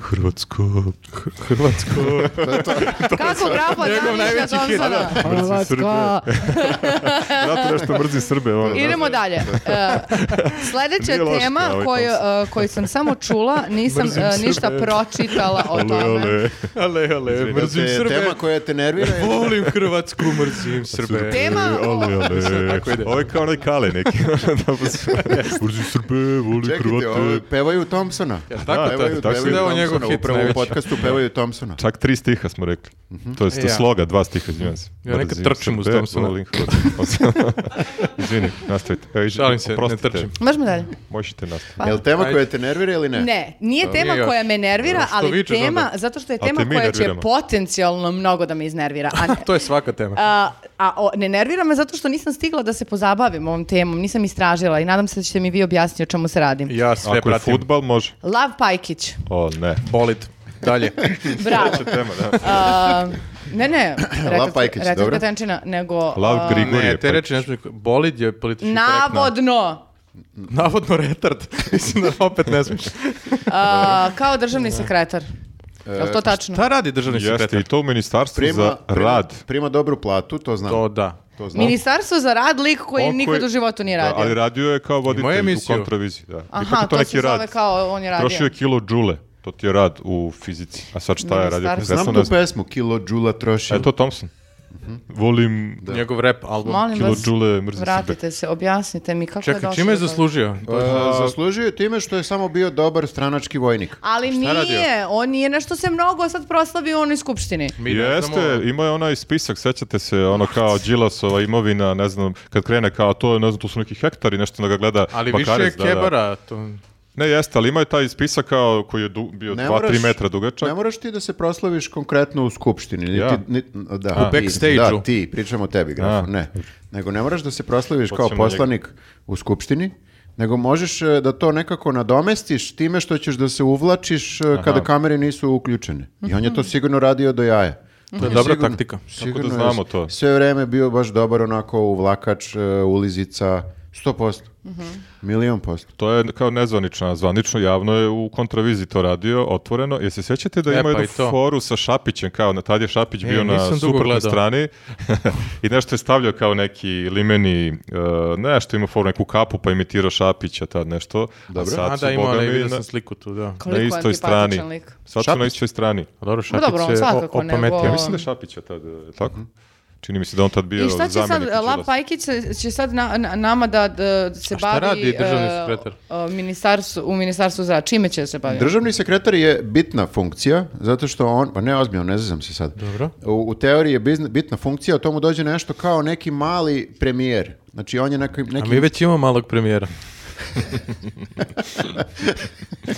Speaker 1: Hrvatsko.
Speaker 4: Hrvatsko.
Speaker 2: Kako grafo zamišlja Thompsona? Hrvatska.
Speaker 1: Zato nešto mrzim Srbe. Ono,
Speaker 2: Idemo dalje. E, Sljedeća
Speaker 1: Nije loše,
Speaker 2: tema
Speaker 1: ali
Speaker 2: koju,
Speaker 1: Thompson.
Speaker 2: e, koju sam samo čula, nisam
Speaker 4: Mrzim
Speaker 2: e, ništa
Speaker 4: Srbe.
Speaker 2: pročitala o
Speaker 1: Ale,
Speaker 2: tome.
Speaker 1: ale.
Speaker 4: ale, ale, mrzim
Speaker 3: Te-
Speaker 4: Srbe.
Speaker 3: Tema koja te nervira je
Speaker 4: Volim Hrvatsku. Kako mrzim Srbe.
Speaker 2: Tema-
Speaker 1: Ali, ali,
Speaker 4: Tako ide.
Speaker 1: Ovo je kao onaj kale neki. da, pa sve. Urzi Srbe, voli
Speaker 3: Čekajte, ovo
Speaker 1: Hrvate.
Speaker 3: pevaju Thompsona.
Speaker 4: Jel tako?
Speaker 1: Da,
Speaker 4: tako,
Speaker 1: evo, tako
Speaker 4: tako
Speaker 1: je
Speaker 4: da je ovo
Speaker 1: Thompsona
Speaker 4: njegov hit
Speaker 3: Upravo u
Speaker 4: najveći.
Speaker 3: podcastu pevaju Thompsona.
Speaker 1: Čak tri stiha smo rekli. To je
Speaker 4: Ja.
Speaker 1: sloga, dva stiha, izvinjam se.
Speaker 4: Ja nekad
Speaker 1: Mrzim
Speaker 4: trčim uz
Speaker 1: Srbe,
Speaker 4: Thompsona.
Speaker 1: volim Hrvate. Izvini, nastavite. Evo, iz-
Speaker 4: Šalim se, ne
Speaker 1: oprostite.
Speaker 4: trčim.
Speaker 2: Možemo dalje.
Speaker 1: Možete nastaviti.
Speaker 2: Pa-
Speaker 3: Je li tema
Speaker 4: Ajde.
Speaker 3: koja te nervira ili ne?
Speaker 2: Ne, nije tema
Speaker 4: Nije ga.
Speaker 2: koja me nervira,
Speaker 4: Što
Speaker 2: ali
Speaker 4: vičeš
Speaker 2: tema,
Speaker 4: onda?
Speaker 2: zato što je
Speaker 1: A te
Speaker 2: tema
Speaker 1: mi
Speaker 2: koja će
Speaker 1: nerviramo.
Speaker 2: potencijalno mnogo da me iznervira. A ne,
Speaker 4: To je svaka tema.
Speaker 2: A, a o, ne nervira me zato što nisam stigla da se pozabavim ovom temom, nisam istražila i nadam se da ćete mi vi objasniti o čemu se radi.
Speaker 4: Ja sve
Speaker 1: Ako je
Speaker 4: pratim.
Speaker 1: futbal, može.
Speaker 2: Lav Pajkić,
Speaker 1: O, ne.
Speaker 4: Bolid. Dalje.
Speaker 2: bravo.
Speaker 1: Tema, da.
Speaker 2: A, ne, ne,
Speaker 3: Lav Pajkić,
Speaker 2: retorska
Speaker 3: dobro.
Speaker 2: tenčina, nego...
Speaker 1: Lav
Speaker 2: a,
Speaker 1: Grigorije.
Speaker 4: Ne, te reči nešto... Bolid je politički korektno.
Speaker 2: Navodno,
Speaker 4: Navodno retard. Mislim da opet ne smiješ.
Speaker 2: a, kao državni sekretar.
Speaker 1: E,
Speaker 2: Je li to tačno?
Speaker 4: Šta radi državni
Speaker 1: Jeste,
Speaker 4: sekretar?
Speaker 1: i to u ministarstvu
Speaker 3: Prima,
Speaker 1: za
Speaker 3: prima-
Speaker 1: rad.
Speaker 3: Prima dobru platu, to znam.
Speaker 4: To da.
Speaker 3: To znam.
Speaker 2: Ministarstvo za rad, lik koji
Speaker 1: On
Speaker 2: nikad
Speaker 1: koji-
Speaker 2: u životu nije
Speaker 1: Da,
Speaker 2: radio.
Speaker 1: ali radio je kao
Speaker 4: Imao je
Speaker 1: voditelj u
Speaker 4: emisiju.
Speaker 1: kontraviziji. Da. Ipak
Speaker 2: Aha,
Speaker 1: je
Speaker 2: to,
Speaker 1: neki
Speaker 2: se zove
Speaker 1: rad.
Speaker 2: kao on je radio.
Speaker 1: Trošio je kilo džule. To ti je rad u fizici. A sad šta je radio?
Speaker 2: Ministarstvo.
Speaker 1: konkretno,
Speaker 3: Znam
Speaker 1: ne
Speaker 3: tu pesmu, kilo džula troši.
Speaker 1: E, to Thompson.
Speaker 4: Mhm.
Speaker 1: Volim
Speaker 4: Njegov rap album.
Speaker 2: Molim
Speaker 1: kilo
Speaker 2: vas,
Speaker 1: džule, mrzim sebe.
Speaker 2: vratite se, objasnite mi kako je
Speaker 4: Čekaj,
Speaker 2: došlo
Speaker 4: čime je
Speaker 2: do toga.
Speaker 4: zaslužio?
Speaker 1: Pa,
Speaker 3: E, zaslužio je time što je samo bio dobar stranački vojnik.
Speaker 2: Ali
Speaker 4: Šta je radio?
Speaker 2: nije, on nije nešto se mnogo sad proslavio u onoj skupštini.
Speaker 4: Mi ne
Speaker 1: Jeste,
Speaker 4: znamo-
Speaker 1: imao je onaj spisak, sećate se, ono kao Đilasova imovina, ne znam, kad krene kao to, je, ne znam, to su neki hektari, nešto da ga gleda.
Speaker 4: Ali više
Speaker 1: Bakarec,
Speaker 4: je
Speaker 1: da, da.
Speaker 4: kebara. To...
Speaker 1: Ne, jeste, ali imao je taj spisak kao koji je du- bio
Speaker 3: Ne
Speaker 1: 2-3
Speaker 3: moraš-
Speaker 1: metra
Speaker 3: Ne
Speaker 1: dugačak.
Speaker 3: moraš ti da se proslaviš konkretno u skupštini. Niti,
Speaker 1: Ja?
Speaker 3: ni- da,
Speaker 4: U
Speaker 3: ti,
Speaker 4: backstage-u.
Speaker 3: Da, ti, pričamo o tebi, Grafo,
Speaker 1: A.
Speaker 3: ne. Nego ne moraš da se proslaviš kao
Speaker 1: Hoćemo
Speaker 3: poslanik u skupštini, nego možeš e, da to nekako nadomestiš time što ćeš da se uvlačiš e, kada kamere nisu uključene. I on je to sigurno radio do jaja.
Speaker 4: To je dobra taktika.
Speaker 1: Kako
Speaker 3: Sigurno
Speaker 1: da
Speaker 3: je
Speaker 1: znamo to?
Speaker 3: Sve vreme bio baš dobar onako uvlakač, e, ulizica, 100%. Milion posto.
Speaker 1: To je kao nezvanično, a zvanično javno je u kontraviziji to radio, otvoreno. Jel se sjećate da
Speaker 4: E,
Speaker 1: ima
Speaker 4: pa
Speaker 1: jednu
Speaker 4: i to. E,
Speaker 1: foru sa Šapićem, kao na tad je Šapić bio na
Speaker 4: nisam dugo
Speaker 1: suprotnoj
Speaker 4: gledao.
Speaker 1: strani i nešto je stavljao kao neki limeni, e, nešto ima foru, neku kapu pa imitirao Šapića tad nešto. A sad
Speaker 4: A
Speaker 1: su,
Speaker 4: da, ima,
Speaker 1: boga
Speaker 4: ali
Speaker 1: mi,
Speaker 4: vidio
Speaker 1: na-
Speaker 4: sam sliku tu, da.
Speaker 1: na
Speaker 2: Koliko je
Speaker 1: istoj
Speaker 2: antipatičan
Speaker 1: strani.
Speaker 2: lik.
Speaker 1: Sad su na istoj strani.
Speaker 4: A Dobro, Šapić
Speaker 2: Pa dobro, on
Speaker 4: se o-
Speaker 2: svakako, nego-
Speaker 4: opametio.
Speaker 1: Ja mislim da je Šapića tad, e, tako? Čini mi se da on tad bio
Speaker 2: I šta će sad,
Speaker 1: zamjenik Đilasa.
Speaker 2: Lav Pajkić se- će sad na- na- nama da, da se
Speaker 4: A šta
Speaker 2: bavi
Speaker 4: radi državni
Speaker 2: e,
Speaker 4: sekretar?
Speaker 2: o, ministarstvu, u ministarstvu za čime će se baviti?
Speaker 3: Državni sekretar je bitna funkcija, zato što on, pa ne ozbiljno, ne znam se sad.
Speaker 4: Dobro.
Speaker 3: U, u teoriji je bizn- bitna funkcija, o tomu dođe nešto kao neki mali premijer. Znači on je neki...
Speaker 4: A
Speaker 3: neki
Speaker 4: mi već imamo malog premijera.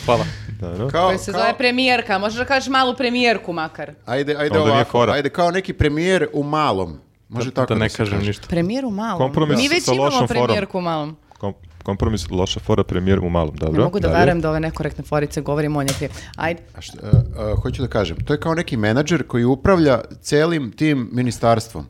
Speaker 4: Hvala.
Speaker 1: Da, da.
Speaker 3: kao,
Speaker 2: Koji se
Speaker 3: kao-
Speaker 2: zove premijerka, možeš da kažeš malu premijerku makar.
Speaker 3: Ajde,
Speaker 1: Onda
Speaker 3: ajde
Speaker 1: nije
Speaker 3: ovako,
Speaker 1: fora.
Speaker 3: ajde kao neki premijer u malom. Može tako
Speaker 4: da ne
Speaker 3: se
Speaker 4: kažem
Speaker 3: kaže.
Speaker 4: ništa.
Speaker 2: Premijeru malom?
Speaker 1: Kompromis
Speaker 2: Mi već
Speaker 1: sa
Speaker 2: imamo
Speaker 1: lošom forom.
Speaker 2: premijerku malom.
Speaker 1: Kom- kompromis, loša fora, premijer u malom, dobro?
Speaker 2: Ne mogu da
Speaker 1: dalje.
Speaker 2: verujem da ove nekorektne forice govorimo o njoj prije. Ajde.
Speaker 3: A šta- a, a, hoću da kažem, to je kao neki menadžer koji upravlja celim tim ministarstvom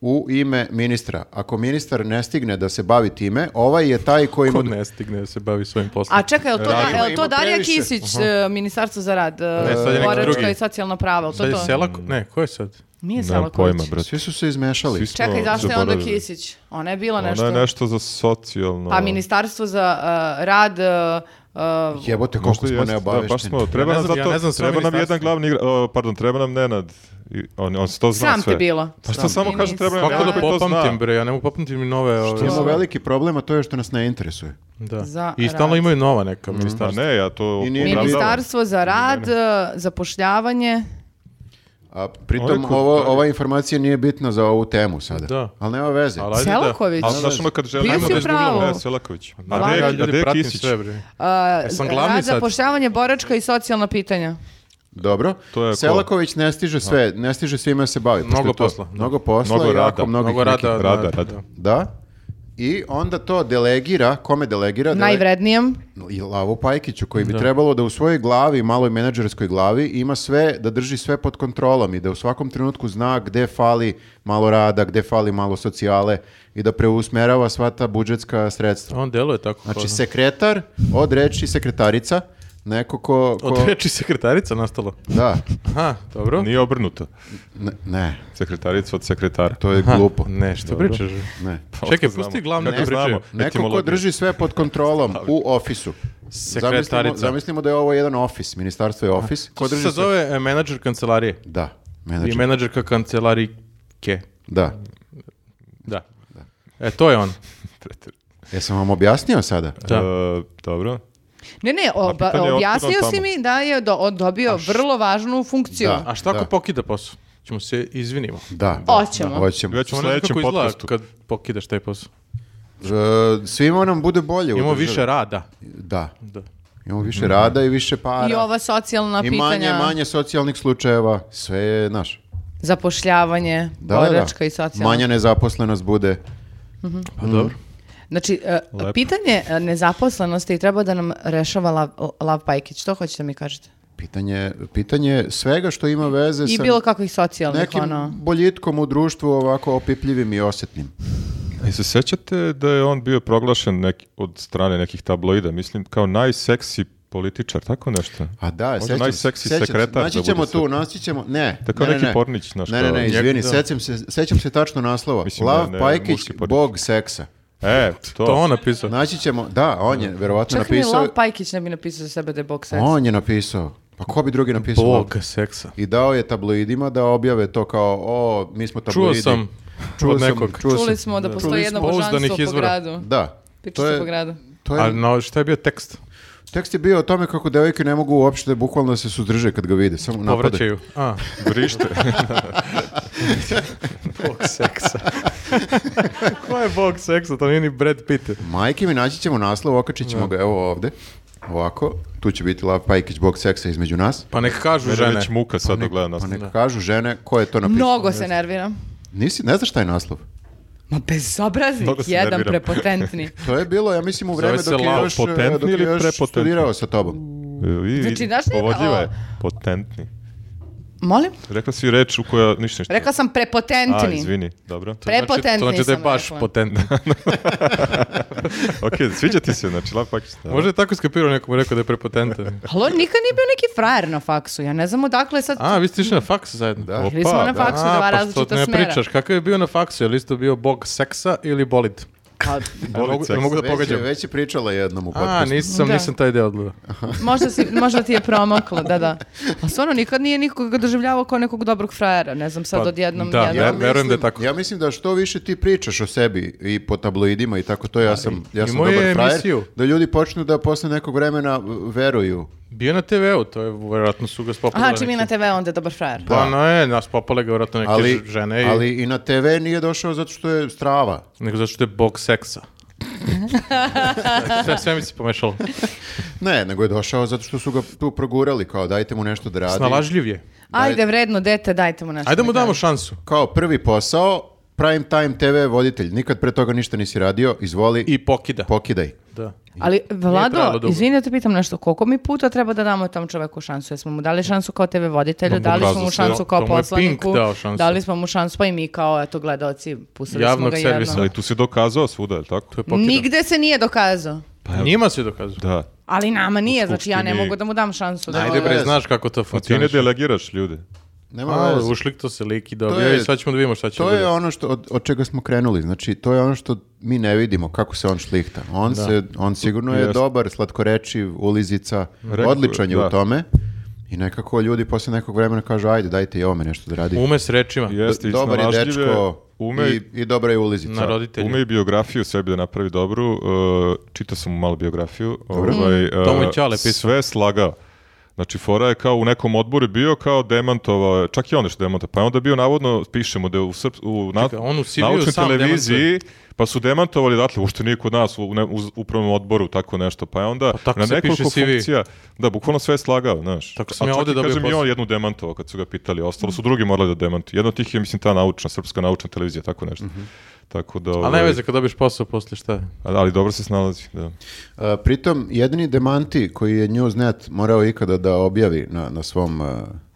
Speaker 3: u ime ministra. Ako ministar ne stigne da se bavi time, ovaj je taj koji mu...
Speaker 4: Ko ne stigne da se bavi svojim poslom?
Speaker 2: A čekaj, je li to, da,
Speaker 3: Radimo.
Speaker 2: je li to
Speaker 3: Ima
Speaker 2: Darija
Speaker 3: previše.
Speaker 2: Kisić, e, Ministarstvo za rad, e,
Speaker 4: Ne, sad je neki
Speaker 2: boračka
Speaker 4: drugi.
Speaker 2: i socijalna prava, je li to
Speaker 4: Sad je
Speaker 2: to?
Speaker 4: Selak? Ne, ko je sad?
Speaker 2: Nije
Speaker 1: Nemam
Speaker 2: Selaković.
Speaker 1: pojma, brate.
Speaker 3: Svi su se izmešali.
Speaker 1: Svi smo
Speaker 2: Čekaj, zašto je onda
Speaker 1: zaboravili.
Speaker 2: Kisić? Ona je bila nešto.
Speaker 1: Ona Ono je nešto za socijalno...
Speaker 2: Ono Pa ministarstvo za e, rad... e, e,
Speaker 3: Jebote,
Speaker 1: Možda
Speaker 3: koliko smo
Speaker 1: jeste, da, baš
Speaker 3: neobavešteni.
Speaker 1: smo, treba
Speaker 4: Ja ne
Speaker 1: nam
Speaker 4: znam, ja
Speaker 1: zato,
Speaker 4: ne znam sva
Speaker 1: treba nam
Speaker 4: ministarstva.
Speaker 1: jedan glavni igra, o, pardon, treba nam Nenad, I on, on se to zna
Speaker 2: Sram te
Speaker 1: sve.
Speaker 2: bilo.
Speaker 1: Pa što
Speaker 2: Sram
Speaker 1: samo
Speaker 2: te.
Speaker 1: kažem, treba nam
Speaker 4: Kako
Speaker 1: Nenad
Speaker 4: da
Speaker 1: koji to zna.
Speaker 4: popamtim, bre? Ja ne mogu popamtim ni nove... Ove,
Speaker 3: Imamo veliki problem, a to je što nas ne interesuje.
Speaker 4: da.
Speaker 2: Za
Speaker 4: I stalno
Speaker 2: rad.
Speaker 4: imaju nova neka
Speaker 1: Pa
Speaker 4: ministarstva.
Speaker 1: ne, ja to
Speaker 3: I nije ni
Speaker 1: opravdavam.
Speaker 2: Ministarstvo za rad, e, zapošljavanje.
Speaker 3: A
Speaker 1: Ovo je
Speaker 3: pritom
Speaker 1: kod-
Speaker 3: ovo, ova informacija nije bitna za ovu temu sada.
Speaker 4: Da.
Speaker 3: Ali nema veze.
Speaker 4: Ali ajde da-
Speaker 2: Selaković.
Speaker 1: Ali znaš ono kad želim...
Speaker 2: Bio si
Speaker 1: Ajmo da
Speaker 2: u pravu.
Speaker 1: izgooglamo, E, Selaković. A
Speaker 4: Ja
Speaker 1: gde je- a
Speaker 4: ljudi
Speaker 1: gde je
Speaker 4: pratim
Speaker 1: Kisić?
Speaker 4: sve, bre.
Speaker 2: E,
Speaker 4: Jesam glavni
Speaker 2: rad,
Speaker 4: sad?
Speaker 2: zapošljavanje, boračka i socijalna pitanja.
Speaker 3: Dobro.
Speaker 1: To je ko?
Speaker 3: Selaković ne stiže sve, ne stiže svime se bavi. pošto
Speaker 4: Mnogo
Speaker 3: je to-
Speaker 4: posla, da.
Speaker 3: Mnogo posla,
Speaker 1: Mnogo
Speaker 3: mnogo jako
Speaker 1: rada,
Speaker 3: mnogih
Speaker 4: Mnogo
Speaker 3: nekih-
Speaker 4: rada.
Speaker 1: Rada,
Speaker 4: da,
Speaker 1: rada.
Speaker 4: da.
Speaker 3: Da. I onda to delegira, kome delegira? Dele-
Speaker 2: Najvrednijem.
Speaker 3: I Lavu Pajkiću, koji bi trebalo da u svojoj glavi, maloj menadžerskoj glavi, ima sve, da drži sve pod kontrolom i da u svakom trenutku zna gde fali malo rada, gde fali malo socijale i da preusmerava sva ta budžetska sredstva.
Speaker 4: On deluje tako.
Speaker 3: Znači,
Speaker 4: kao-
Speaker 3: sekretar, od reči sekretarica, neko ko... ko-
Speaker 4: Od reči sekretarica nastalo.
Speaker 3: Da,
Speaker 4: Aha, dobro.
Speaker 1: Nije obrnuto.
Speaker 3: ne, ne,
Speaker 1: Sekretarica od sekretara.
Speaker 3: to je glupo.
Speaker 4: Ne, što pričaš?
Speaker 3: Ne.
Speaker 4: Čekaj,
Speaker 1: znamo.
Speaker 4: pusti glavne
Speaker 1: Kako
Speaker 4: da pričaju.
Speaker 1: znamo?
Speaker 3: Neko ko
Speaker 1: Etimologija.
Speaker 3: drži sve pod kontrolom u ofisu. Zamislimo,
Speaker 4: Sekretarica.
Speaker 3: zamislimo da je ovo jedan ofis, ministarstvo je ofis. Ko
Speaker 4: Ko
Speaker 3: drži Znači-
Speaker 4: se
Speaker 3: sve-
Speaker 4: zove e, menadžer kancelarije?
Speaker 3: Da,
Speaker 4: I
Speaker 3: menadžer.
Speaker 4: menadžerka kancelarike.
Speaker 3: Da.
Speaker 4: Da. E, to je on.
Speaker 1: Preter-
Speaker 3: Jesam vam objasnio sada?
Speaker 4: Da.
Speaker 1: E, dobro.
Speaker 2: Ne, ne, oba-
Speaker 1: A pitanje je
Speaker 2: objasnio
Speaker 1: otkud on
Speaker 2: si
Speaker 1: tamo?
Speaker 2: mi da je do, on dobio vrlo važnu funkciju.
Speaker 3: Da.
Speaker 4: A šta ako
Speaker 3: Da.
Speaker 4: pokida posao? Ćemo se izvinimo.
Speaker 3: Da.
Speaker 2: Hoćemo.
Speaker 3: Hoćemo.
Speaker 1: Već u
Speaker 4: Ono
Speaker 1: sledećem
Speaker 4: kako izgleda
Speaker 1: podcastu.
Speaker 4: Kad pokidaš taj posao.
Speaker 3: E, svima nam bude bolje. u
Speaker 4: Imamo
Speaker 3: državi.
Speaker 4: više rada.
Speaker 3: Da.
Speaker 4: Da.
Speaker 3: Imamo više rada i više para.
Speaker 2: I ova socijalna
Speaker 3: I
Speaker 2: pitanja,
Speaker 3: manje, manje socijalnih slučajeva. Sve je naš.
Speaker 2: zapošljavanje,
Speaker 3: Da, da, da.
Speaker 2: boračka i socijalna.
Speaker 3: Manja nezaposlenost bude.
Speaker 4: Pa dobro.
Speaker 2: Znači, e,
Speaker 1: Lepo.
Speaker 2: pitanje e, nezaposlenosti treba da nam rešava Lav, Lav Pajkić. To hoćete da mi kažete?
Speaker 3: Pitanje, pitanje svega što ima veze
Speaker 2: I
Speaker 3: sa
Speaker 2: bilo kakvih socijalnih,
Speaker 3: E, nekim
Speaker 2: ono...
Speaker 3: boljitkom u društvu ovako opipljivim i osetnim.
Speaker 1: I se sećate da je on bio proglašen neki, od strane nekih tabloida, mislim, kao najseksi političar, tako nešto?
Speaker 3: A da,
Speaker 1: Možda
Speaker 3: sećam se.
Speaker 1: najseksi
Speaker 3: sećam se.
Speaker 1: sekretar da
Speaker 3: Naći
Speaker 1: bude
Speaker 3: ćemo
Speaker 1: sve-
Speaker 3: tu, naći ćemo, ne.
Speaker 1: Tako
Speaker 3: ne, ne,
Speaker 1: neki
Speaker 3: ne.
Speaker 1: pornić, znaš,
Speaker 3: Ne, ne,
Speaker 1: kao-
Speaker 3: ne, izvini,
Speaker 4: Da.
Speaker 3: sećam se, sećam se tačno naslova.
Speaker 1: Mislim,
Speaker 3: Lav
Speaker 1: ne, ne,
Speaker 3: Pajkić,
Speaker 1: muški pornić.
Speaker 3: bog seksa.
Speaker 1: E, to.
Speaker 4: To ono. Mm. on napisao.
Speaker 3: Naći ćemo, da, on je verovatno
Speaker 2: Čak ni
Speaker 3: napisao,
Speaker 2: Lav Pajkić ne bi napisao za sebe da je bog seks.
Speaker 3: on je napisao, pa ko bi drugi napisao?
Speaker 4: Bog
Speaker 3: Lav-
Speaker 4: seksa.
Speaker 3: I dao je tabloidima da objave to kao, o, mi smo
Speaker 4: Čuo
Speaker 3: tabloidi.
Speaker 4: sam
Speaker 3: Čuo
Speaker 4: od
Speaker 3: sam,
Speaker 4: nekog.
Speaker 3: čuo
Speaker 2: Čuli
Speaker 3: sam.
Speaker 2: smo da postoji
Speaker 4: Čuli
Speaker 2: jedno
Speaker 4: smo. Pouzdanih
Speaker 2: božanstvo po
Speaker 4: izvora.
Speaker 2: gradu.
Speaker 3: Da.
Speaker 2: Priča
Speaker 3: To je,
Speaker 2: po gradu.
Speaker 3: to je,
Speaker 4: A no, šta je bio tekst?
Speaker 3: tekst je bio o tome kako devojke ne mogu uopšte bukvalno da se suzdrže kad ga vide, samo napadaju.
Speaker 4: Povraćaju. A,
Speaker 1: Brište.
Speaker 4: bog seksa. Ko je bog seksa? To nije ni Brad Pitt.
Speaker 3: Majke mi naći ćemo naslov, okačit ćemo ga evo ovde. Ovako, tu će biti Lav Pajkić bog seksa između nas.
Speaker 4: Pa nek kažu
Speaker 1: Mene
Speaker 4: žene.
Speaker 1: već muka sad da gleda nas.
Speaker 3: Pa neka kažu žene ko je to napisao.
Speaker 2: Mnogo se nerviram.
Speaker 3: Nisi, ne znaš šta je naslov?
Speaker 2: Ma bezobraznik,
Speaker 1: Mnogo se
Speaker 2: jedan
Speaker 1: nerviram.
Speaker 2: prepotentni.
Speaker 3: To je bilo, ja mislim, u vreme
Speaker 4: Zove se
Speaker 3: dok je
Speaker 4: Lao.
Speaker 3: još,
Speaker 1: Potentni
Speaker 3: dok je
Speaker 1: ili
Speaker 3: još
Speaker 1: prepotentni?
Speaker 3: studirao sa tobom.
Speaker 1: I,
Speaker 2: Znači, znaš li-
Speaker 1: povodljiva je.
Speaker 2: o-
Speaker 1: Potentni.
Speaker 2: Molim?
Speaker 1: Rekla si reč u koja ništa ništa.
Speaker 2: Rekla sam
Speaker 1: A,
Speaker 2: prepotentni.
Speaker 1: izvini, dobro.
Speaker 4: Znači, to
Speaker 2: Prepotentni
Speaker 4: znači da je
Speaker 2: sam
Speaker 4: baš
Speaker 2: rekla.
Speaker 4: potentni.
Speaker 1: Ok, sviđa ti se, znači, Lav Pakić. da.
Speaker 4: Možda je tako skapirao nekom rekao da je prepotentan.
Speaker 2: Ali on nikad nije bio neki frajer na faksu. Ja ne znam odakle sad...
Speaker 4: A, vi ste išli na faks zajedno?
Speaker 3: Da.
Speaker 2: Bili smo na
Speaker 4: A,
Speaker 2: faksu, dva
Speaker 4: pa
Speaker 2: različita
Speaker 4: što ne
Speaker 2: smera.
Speaker 4: pričaš, kakav je bio na faksu? Je li isto bio bog seksa ili bolid?
Speaker 2: Pa,
Speaker 1: Bolid
Speaker 4: Ne mogu-
Speaker 1: seksa.
Speaker 4: Ne mogu da
Speaker 3: Već je-
Speaker 4: pogađam.
Speaker 3: Već je pričala jednom u
Speaker 4: A,
Speaker 3: podcastu.
Speaker 4: nisam,
Speaker 2: Da.
Speaker 4: nisam taj deo odgledao.
Speaker 2: možda, si, možda ti je promaklo, da, da. A stvarno, nikad nije nikoga doživljavao kao nekog dobrog frajera. Ne znam sad
Speaker 4: Pa,
Speaker 2: odjednom...
Speaker 4: da,
Speaker 2: jedan-
Speaker 4: ja- verujem da je tako.
Speaker 3: Ja mislim da što više ti pričaš o sebi i po tabloidima i tako to, ja sam, ja sam
Speaker 4: imao
Speaker 3: dobar
Speaker 4: je
Speaker 3: frajer,
Speaker 4: emisiju.
Speaker 3: da ljudi počnu da posle nekog vremena v- veruju.
Speaker 4: Bio je na TV-u, to je vjerojatno su ga spopali.
Speaker 2: Aha, čim je na TV, onda je dobar frajer.
Speaker 4: Pa no je, nas popale ga vjerojatno neke
Speaker 3: Ali,
Speaker 4: ž- žene, i,
Speaker 3: ali i na TV nije došao zato što je strava.
Speaker 4: nego zato što je bog seksa. sve, sve mi se pomešalo.
Speaker 3: Pa Ne, nego je došao zato što su ga tu progurali, kao dajte mu nešto da radi.
Speaker 4: Snalažljiv je.
Speaker 2: Ajde, vredno dete, dajte mu nešto.
Speaker 4: Ajde
Speaker 2: da
Speaker 4: mu
Speaker 2: kaže.
Speaker 4: damo šansu.
Speaker 3: Kao prvi posao, prime time TV voditelj, nikad pre toga ništa nisi radio, izvoli,
Speaker 4: I pokida.
Speaker 3: pokidaj.
Speaker 4: Da.
Speaker 2: Ali,
Speaker 4: trajalo
Speaker 2: Vlado,
Speaker 4: dugo.
Speaker 2: izvini da te pitam nešto, koliko mi puta treba da damo tom čoveku šansu? Jesmo mu dali šansu kao TV voditelju, dali smo mu
Speaker 1: pokazao se,
Speaker 2: šansu
Speaker 4: to-
Speaker 2: kao
Speaker 4: to mu je Pink
Speaker 2: poslaniku,
Speaker 4: dao šansu.
Speaker 2: dali smo mu šansu, pa i mi kao, eto, gledalci, pustili smo
Speaker 4: Javnog
Speaker 2: ga
Speaker 4: servisa.
Speaker 2: jedno.
Speaker 1: Ali tu si dokazao svuda, je li tako?
Speaker 4: To je pokida. Pa
Speaker 2: Nigde se nije dokazao.
Speaker 4: Njima se dokazuje.
Speaker 1: Da.
Speaker 2: Ali nama nije, znači ja ne
Speaker 1: skupštini-
Speaker 2: mogu da mu dam šansu. Da
Speaker 3: Ajde,
Speaker 4: Ajde bre,
Speaker 3: veze.
Speaker 4: znaš kako to
Speaker 1: Pa ti ne
Speaker 4: funkcioniš.
Speaker 1: delegiraš ljude.
Speaker 3: Nema
Speaker 4: A,
Speaker 3: veze.
Speaker 4: ušlik to se lik i
Speaker 3: To
Speaker 4: dobio
Speaker 3: je-
Speaker 4: i sad ćemo da vidimo šta će
Speaker 3: To
Speaker 4: bude.
Speaker 3: je ono što, od, od čega smo krenuli, znači to je ono što mi ne vidimo, kako se on šlihta. On, se, on sigurno je
Speaker 1: Jeste.
Speaker 3: dobar, slatkorečiv, ulizica,
Speaker 1: Rekao-
Speaker 3: odličan je
Speaker 1: da.
Speaker 3: u tome i nekako ljudi posle nekog vremena kažu ajde dajte i ovome nešto da radi.
Speaker 4: Ume s rečima.
Speaker 1: Jeste, i
Speaker 3: dobar je
Speaker 1: snalažljiv je,
Speaker 3: dečko
Speaker 1: ume i
Speaker 3: i, i dobra je ulizica.
Speaker 4: Na roditelju.
Speaker 1: Ume i biografiju sebi da napravi dobru. Uh, čitao sam mu malo biografiju. Ovaj, uh,
Speaker 4: To mu je Mm. Ćale pisao.
Speaker 1: Sve slagao. Znači, Fora je kao u nekom odboru bio kao demantovao, je, čak i on nešto demantao. Pa je onda bio navodno, pišemo da je u, Srp, u na,
Speaker 4: Čekaj, on u Siriju
Speaker 1: naučnoj
Speaker 4: sam
Speaker 1: televiziji, pa su demantovali odatle, ušte nije kod nas u, ne, u upravnom odboru, tako nešto. Pa je onda
Speaker 4: tako
Speaker 1: na
Speaker 4: se
Speaker 1: nekoliko
Speaker 4: piše CV.
Speaker 1: funkcija, da, bukvalno sve je slagao, znaš.
Speaker 4: Tako sam
Speaker 1: A
Speaker 4: ja
Speaker 1: čak
Speaker 4: ovde
Speaker 1: i
Speaker 4: dobio
Speaker 1: kažem, i
Speaker 4: posao.
Speaker 1: on jednu demantovao kad su ga pitali, ostalo su drugi morali da demantuju. Jedna od tih je, mislim, ta naučna, srpska naučna televizija, tako nešto. Tako da...
Speaker 4: Ali
Speaker 1: ovaj,
Speaker 4: ne veze, kad dobiješ posao posle šta je?
Speaker 1: a- Ali dobro se snalazi, da.
Speaker 3: E, pritom, jedini demanti koji je Newsnet morao ikada da objavi na, na, svom, e,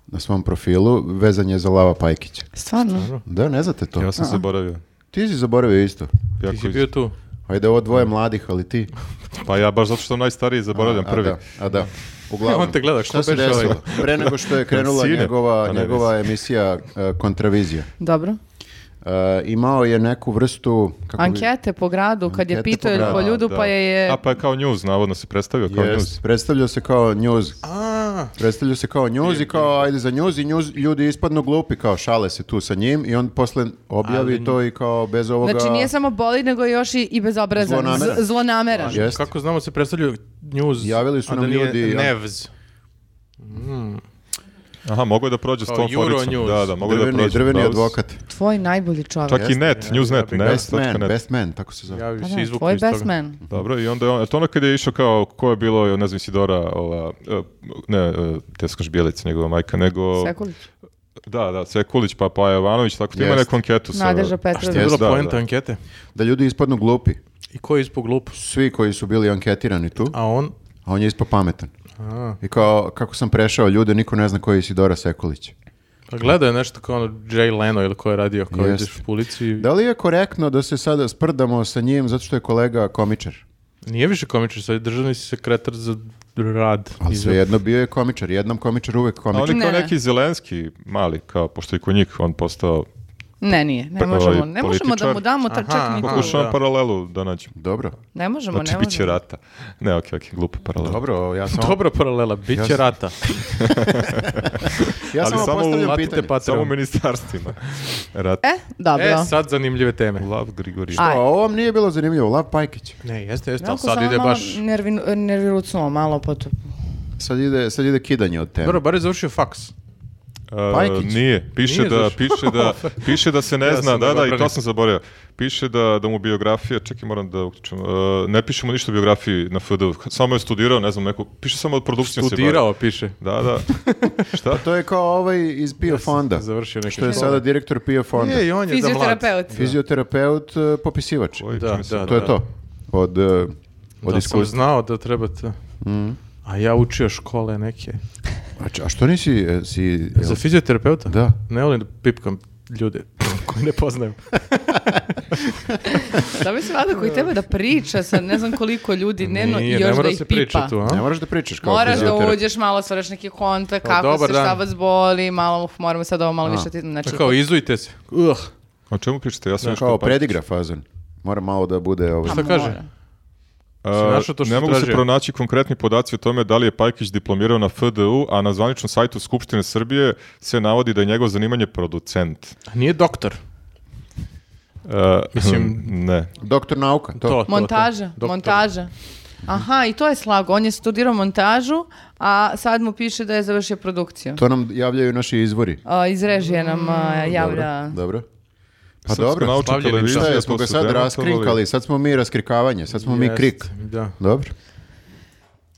Speaker 3: na svom profilu, vezan je za Lava Pajkića.
Speaker 2: Stvarno?
Speaker 3: Da, ne znate to?
Speaker 1: Ja sam zaboravio.
Speaker 3: Ti si zaboravio isto.
Speaker 1: Jako
Speaker 4: Ti si
Speaker 1: iz-
Speaker 4: bio tu.
Speaker 3: Ajde, ovo dvoje mladih, ali ti.
Speaker 1: Pa ja baš zato što sam najstariji zaboravljam
Speaker 3: A,
Speaker 1: prvi.
Speaker 3: A da, a da. Uglavnom,
Speaker 4: On te gleda,
Speaker 3: šta
Speaker 4: ko
Speaker 3: se
Speaker 4: beše
Speaker 3: desilo?
Speaker 4: ovaj?
Speaker 3: Pre nego što je krenula
Speaker 1: Sine.
Speaker 3: njegova,
Speaker 1: A ne,
Speaker 3: njegova emisija e, Kontravizija.
Speaker 2: Dobro.
Speaker 3: E, imao je neku vrstu... Kako bi-
Speaker 2: Ankete po gradu, kad je
Speaker 3: Ankete
Speaker 2: pitao
Speaker 3: po
Speaker 2: po,
Speaker 3: gradu,
Speaker 2: ljudu,
Speaker 1: Da.
Speaker 2: pa je... je...
Speaker 1: A pa je kao news, navodno se predstavio kao
Speaker 3: Jest,
Speaker 1: news.
Speaker 3: predstavljao se kao news.
Speaker 4: A,
Speaker 3: Predstavlja se kao njuz i kao ajde za njuz i njuz ljudi ispadnu glupi kao šale se tu sa njim i on posle objavi
Speaker 4: Ali-
Speaker 3: to i kao bez ovoga...
Speaker 2: Znači nije samo boli, nego još i, i bezobrazan.
Speaker 3: Zlonameran.
Speaker 2: Z- Zlonameran.
Speaker 3: Laže. Jest.
Speaker 4: Kako znamo se predstavljaju news,
Speaker 3: Javili su
Speaker 4: a da
Speaker 3: nam
Speaker 4: nije
Speaker 3: ljudi, ja.
Speaker 4: Nevz.
Speaker 1: Aha, mogu da prođe s
Speaker 4: Kao
Speaker 1: tom foricom.
Speaker 4: Euronews.
Speaker 1: Da, da, mogu da
Speaker 3: drveni,
Speaker 1: prođe.
Speaker 3: drveni
Speaker 1: Da,
Speaker 3: advokat.
Speaker 2: Tvoj najbolji čovjek.
Speaker 1: Čak i net, Newsnet,
Speaker 4: ja
Speaker 1: ne?
Speaker 4: bih-
Speaker 3: Best man,
Speaker 1: net.
Speaker 3: best man, tako se zove.
Speaker 4: Javi
Speaker 2: Pa
Speaker 4: se
Speaker 2: da,
Speaker 4: izvukli
Speaker 2: tvoj
Speaker 4: iz toga.
Speaker 2: best man.
Speaker 1: Dobro, i onda je on, to ono kada je išao kao, ko je bilo, ne znam, Sidora, ova, e, ne, e, Teska Žbjelic, njegova majka, nego...
Speaker 2: Sekulić.
Speaker 1: Da, da, Sekulić, pa pa Jovanović, tako ti ima
Speaker 3: Jest.
Speaker 1: neku anketu sa...
Speaker 2: Nadeža
Speaker 4: Što je
Speaker 2: Petrović.
Speaker 1: Jest,
Speaker 4: bila
Speaker 1: da,
Speaker 4: poenta
Speaker 1: da.
Speaker 4: ankete?
Speaker 3: Da ljudi ispadnu glupi.
Speaker 4: I ko je ispog glup?
Speaker 3: Svi koji su bili anketirani tu,
Speaker 4: A on?
Speaker 3: a on je ispao pametan. I kao, kako sam prešao ljude, niko ne zna koji je Isidora Sekulić.
Speaker 4: Pa gledao je nešto kao ono Jay Leno ili ko je radio kao
Speaker 3: Jeste.
Speaker 4: ideš u ulici.
Speaker 3: Da li je korektno da se sada sprdamo sa njim zato što je kolega komičar?
Speaker 4: Nije više komičar, sad je državni sekretar za rad.
Speaker 3: Ali
Speaker 4: I za-
Speaker 3: svejedno bio je komičar, jednom komičar uvek
Speaker 1: A on
Speaker 3: komičar.
Speaker 1: je Pa kao
Speaker 2: Ne, ne.
Speaker 1: neki Zelenski, mali, kao, pošto je kod njih on postao...
Speaker 2: Ne, nije. Ne
Speaker 1: Pa,
Speaker 2: možemo,
Speaker 1: ovaj
Speaker 2: ne možemo da
Speaker 1: političar.
Speaker 2: mu damo ta, čak
Speaker 4: Aha,
Speaker 2: ni tu.
Speaker 1: Pokušavam
Speaker 4: Da.
Speaker 1: paralelu da nađem.
Speaker 3: Dobro,
Speaker 2: Ne možemo,
Speaker 1: Znači,
Speaker 2: ne
Speaker 1: bit će
Speaker 2: možemo.
Speaker 1: rata. Ne, okej, okej, glupa paralela.
Speaker 3: dobro, ja samo,
Speaker 4: Dobra paralela, bit će
Speaker 3: Jasno.
Speaker 4: rata.
Speaker 3: ja
Speaker 1: ali
Speaker 3: samo,
Speaker 1: samo
Speaker 3: postavljam
Speaker 1: u-
Speaker 4: Platite
Speaker 3: pitanje.
Speaker 1: Samo u
Speaker 4: Patreon.
Speaker 1: ministarstvima. Rat.
Speaker 2: E, dobro.
Speaker 4: E, sad zanimljive teme.
Speaker 1: Lav Grigorija.
Speaker 2: A,
Speaker 3: O, ovo vam nije bilo zanimljivo, Lav Pajkić.
Speaker 4: Ne, jeste, jeste, ali
Speaker 2: Onako
Speaker 4: sad
Speaker 2: samo
Speaker 4: ide
Speaker 2: malo
Speaker 4: baš...
Speaker 2: nervinu- nervirucnuo malo po to.
Speaker 3: Sad ide, sad ide kidanje od teme.
Speaker 4: Dobro, bar je završio faks.
Speaker 1: E,
Speaker 3: Pajkić?
Speaker 1: Nije, piše
Speaker 4: Nije,
Speaker 1: da
Speaker 4: zašto?
Speaker 1: piše da piše da se ne
Speaker 4: Ja
Speaker 1: zna,
Speaker 4: sam
Speaker 1: da da i to
Speaker 4: zaboravio.
Speaker 1: sam zaboravio. Piše da da mu biografija, čekaj moram da uključim. e, ne piše mu ništa o biografiji na FD, samo je studirao, ne znam, neku, piše samo od produkcije
Speaker 4: Studirao, piše.
Speaker 1: se bavi. Da, da. Šta?
Speaker 3: To je kao ovaj iz PIO fonda,
Speaker 4: Završio neke
Speaker 3: što je sada direktor PIO fonda.
Speaker 4: Je, i on je za mlad.
Speaker 2: Fizioterapeut.
Speaker 3: Fizioterapeut, e, popisivač.
Speaker 1: Koji,
Speaker 4: Da,
Speaker 1: čini mi se.
Speaker 4: da,
Speaker 3: To je to. Od, e, od
Speaker 4: Da sam
Speaker 3: iskustva. Mm.
Speaker 4: znao da treba to. A ja učio škole neke.
Speaker 3: A, č- a što nisi... e, si, jel-
Speaker 4: Za fizioterapeuta?
Speaker 3: Da.
Speaker 4: Ne volim da pipkam ljude koji ne poznajem.
Speaker 2: Da bi se vada koji treba da priča sa ne znam koliko ljudi dnevno i
Speaker 4: Nije, ne
Speaker 2: još
Speaker 4: mora
Speaker 2: da
Speaker 4: da
Speaker 2: ih
Speaker 4: se
Speaker 2: pipa.
Speaker 4: priča tu, a?
Speaker 3: Ne moraš da pričaš kao
Speaker 2: Moraš da
Speaker 3: fizioterapeut.
Speaker 2: uđeš, malo stvaraš neki kontakt,
Speaker 4: Kao,
Speaker 2: kako
Speaker 4: Pa, dobar
Speaker 2: se, šta
Speaker 4: dan.
Speaker 2: vas boli, malo, uh, moramo sad ovo malo više ti, znači,
Speaker 4: Kao, izujte se. Uh,
Speaker 1: O čemu pričate? Ja sam još
Speaker 3: Kao
Speaker 1: kopao.
Speaker 3: predigra fazon. Mora malo da bude... Ovaj,
Speaker 4: šta kaže?
Speaker 2: pa mora.
Speaker 1: E,
Speaker 4: si našao to što si
Speaker 1: ne mogu se
Speaker 4: tražio?
Speaker 1: pronaći konkretni podaci o tome da li je Pajkić diplomirao na FDU, a na zvaničnom sajtu Skupštine Srbije se navodi da je njegovo zanimanje producent.
Speaker 4: nije doktor.
Speaker 1: E,
Speaker 4: Mislim-
Speaker 1: ne.
Speaker 3: Doktor nauka. To.
Speaker 4: To, to, to.
Speaker 2: Montaža,
Speaker 4: Doktor.
Speaker 2: montaža. Aha, i to je slago. On je studirao montažu, a sad mu piše da je završio produkciju.
Speaker 3: To nam javljaju naši izvori.
Speaker 2: A, iz režije nam a, javlja...
Speaker 3: Dobro. Pa
Speaker 1: Srpska
Speaker 3: dobro.
Speaker 1: naučna
Speaker 4: Slavljeni
Speaker 1: televizija,
Speaker 3: Šta je,
Speaker 1: to
Speaker 3: smo ga
Speaker 1: su
Speaker 3: sad
Speaker 1: demantovali.
Speaker 3: raskrinkali, sad smo mi raskrikavanje, sad smo mi
Speaker 4: Jest,
Speaker 3: krik.
Speaker 4: Da.
Speaker 3: Dobro,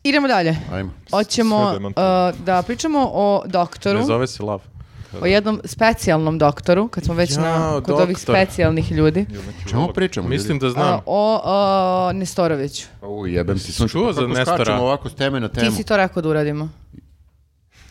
Speaker 2: Idemo dalje.
Speaker 3: ajmo.
Speaker 1: Sve
Speaker 2: Hoćemo
Speaker 1: demantovano.
Speaker 2: a, da pričamo o doktoru,
Speaker 4: Ne zove se Lav.
Speaker 2: o jednom specijalnom doktoru, kad smo već na,
Speaker 4: Jao,
Speaker 2: kod
Speaker 4: doktor.
Speaker 2: ovih specijalnih ljudi.
Speaker 3: O Čemu pričamo?
Speaker 4: Mislim da
Speaker 2: A,
Speaker 4: znam.
Speaker 2: o a, Nestoroviću.
Speaker 3: Pa, U, jebem ti sunce.
Speaker 4: Čuo za
Speaker 3: Kako
Speaker 4: Nestora?
Speaker 3: skačemo ovako s teme na
Speaker 2: Ti
Speaker 3: temu.
Speaker 2: si to rekao da uradimo.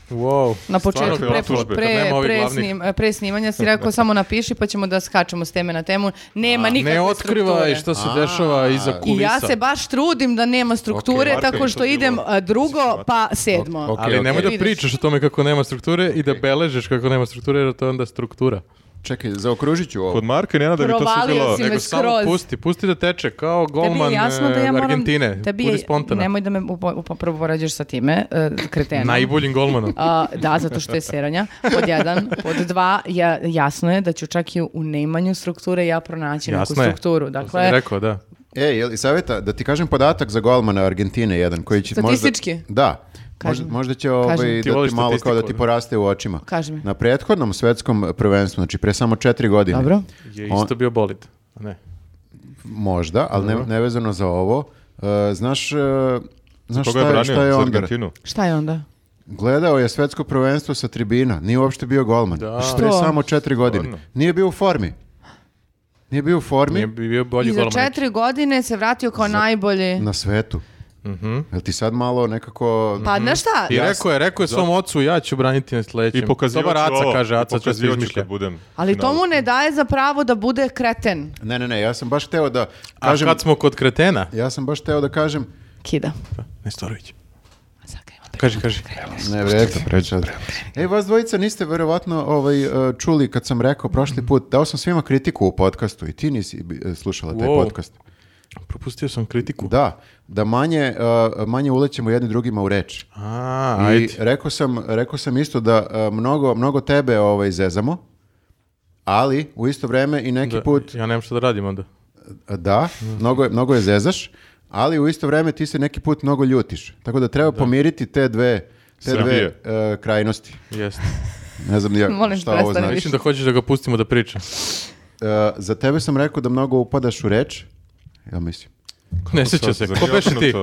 Speaker 4: Wow.
Speaker 2: Na početku,
Speaker 1: Stvarno
Speaker 2: pre,
Speaker 1: je optužbe,
Speaker 2: pre-
Speaker 4: kad nema ovih
Speaker 2: pre
Speaker 4: glavnih.
Speaker 2: snim- pre snimanja si rekao samo napiši pa ćemo da skačemo s teme na temu. Nema nikakve
Speaker 4: Ne otkrivaj
Speaker 2: strukture.
Speaker 4: šta se
Speaker 3: A,
Speaker 4: dešava iza
Speaker 2: I
Speaker 4: kulisa.
Speaker 2: ja se baš trudim da nema strukture,
Speaker 1: Marko,
Speaker 2: tako
Speaker 1: je
Speaker 2: što
Speaker 1: to bilo
Speaker 2: idem a, drugo pa sedmo.
Speaker 3: Ok,
Speaker 4: Ali
Speaker 3: ok.
Speaker 4: nemoj da
Speaker 2: Vidiš.
Speaker 4: pričaš o tome kako nema strukture i da beležiš kako nema strukture, jer to je onda struktura.
Speaker 3: Čekaj, zaokružit ću ovo.
Speaker 1: Kod Marka i Nenada bi to sve
Speaker 2: Provalio
Speaker 1: bilo...
Speaker 2: si me.
Speaker 4: Nego samo
Speaker 2: skroz.
Speaker 4: pusti, pusti da teče, kao
Speaker 2: Tebi
Speaker 4: golman
Speaker 2: je jasno da ja
Speaker 4: eh,
Speaker 2: moram...
Speaker 4: Argentine,
Speaker 2: tebi je-
Speaker 4: budi spontana.
Speaker 2: Nemoj da me upo- upo- poređaš sa time, uh, kretenom.
Speaker 4: Najboljim golmanom.
Speaker 2: A, da, zato što je seranja, pod jedan. Pod dva, ja, jasno je da ću čak i u neimanju strukture ja pronaći
Speaker 4: Jasno je.
Speaker 2: neku strukturu.
Speaker 4: To sam i
Speaker 2: Dakle,
Speaker 4: rekao, da.
Speaker 3: E, je li savjeta, da ti kažem podatak za golmana Argentine jedan, koji će
Speaker 2: Statistički?
Speaker 3: možda... Da. Možda,
Speaker 2: Kažem.
Speaker 3: možda će ovaj,
Speaker 2: Kažem.
Speaker 4: Ti
Speaker 3: da
Speaker 4: voliš
Speaker 3: ti malo kao da ti
Speaker 4: statistiku, ne?
Speaker 3: poraste u očima.
Speaker 2: Kaži mi.
Speaker 3: Na prethodnom svetskom prvenstvu, znači pre samo četiri godine.
Speaker 2: dobro.
Speaker 4: Je
Speaker 3: On-
Speaker 4: isto bio bolid. A Ne.
Speaker 3: Možda, ali ne, nevezano za ovo. Uh, znaš, uh, znaš
Speaker 1: Koga je
Speaker 3: šta, je,
Speaker 1: branio?
Speaker 3: šta je
Speaker 1: Za
Speaker 3: Ondar?
Speaker 1: Argentinu?
Speaker 2: Šta je onda?
Speaker 3: Gledao je svetsko prvenstvo sa tribina, nije uopšte bio golman. Znači,
Speaker 4: Da.
Speaker 3: Pre
Speaker 2: Što?
Speaker 3: samo četiri godine.
Speaker 1: Stvarno?
Speaker 3: Nije bio u formi. Nije bio u formi
Speaker 4: Nije bi bio bolji
Speaker 2: I za
Speaker 4: golman.
Speaker 2: četiri godine se vratio kao najbolji.
Speaker 3: na svetu.
Speaker 1: Mhm.
Speaker 3: Jel ti sad malo nekako...
Speaker 4: Mhm.
Speaker 2: Pa znaš šta?
Speaker 4: I rekao je, rekao je svom ocu, ja ću braniti na sledećem.
Speaker 1: I pokazivaću
Speaker 4: Dobar aca,
Speaker 1: ovo,
Speaker 4: kaže,
Speaker 1: i
Speaker 4: aca, to se
Speaker 1: pokazivaću
Speaker 4: izmišlja.
Speaker 1: kad budem u
Speaker 2: Ali to
Speaker 1: finalu.
Speaker 2: mu ne daje za pravo da bude kreten.
Speaker 3: Ne, ne, ne, ja sam baš hteo da
Speaker 4: A
Speaker 3: kažem...
Speaker 4: kad smo kod kretena?
Speaker 3: Ja sam baš hteo da kažem...
Speaker 2: Kida.
Speaker 4: Nestorović.
Speaker 2: Sad ga imam.
Speaker 4: Kaži, kaži.
Speaker 3: Ne, vredo. Ej, vas dvojica niste verovatno ovaj, e, čuli kad sam rekao prošli put, dao sam svima kritiku u podcastu i ti nisi e, slušala taj
Speaker 4: Wow.
Speaker 3: podcast.
Speaker 4: Propustio sam kritiku.
Speaker 3: Da, da manje, uh, manje ulećemo jedni drugima u reč.
Speaker 4: A,
Speaker 3: I
Speaker 4: ajde.
Speaker 3: rekao sam, rekao sam isto da uh, mnogo, mnogo tebe ovaj, zezamo, ali u isto vreme i neki
Speaker 4: Da,
Speaker 3: put,
Speaker 4: Ja nemam šta da radim onda.
Speaker 3: da, mnogo, je- mnogo je zezaš, ali u isto vreme ti se neki put mnogo ljutiš. Tako da treba pomiriti te dve, te dve uh, krajnosti.
Speaker 4: Jeste.
Speaker 3: Ne znam ni ja
Speaker 2: Molim,
Speaker 3: šta ovo
Speaker 2: prestani
Speaker 3: znači.
Speaker 4: Mislim da hoćeš da ga pustimo da priča.
Speaker 3: Uh, za tebe sam rekao da mnogo upadaš u reč. Ja mislim.
Speaker 4: Ne sjeća se. Ko beše ti?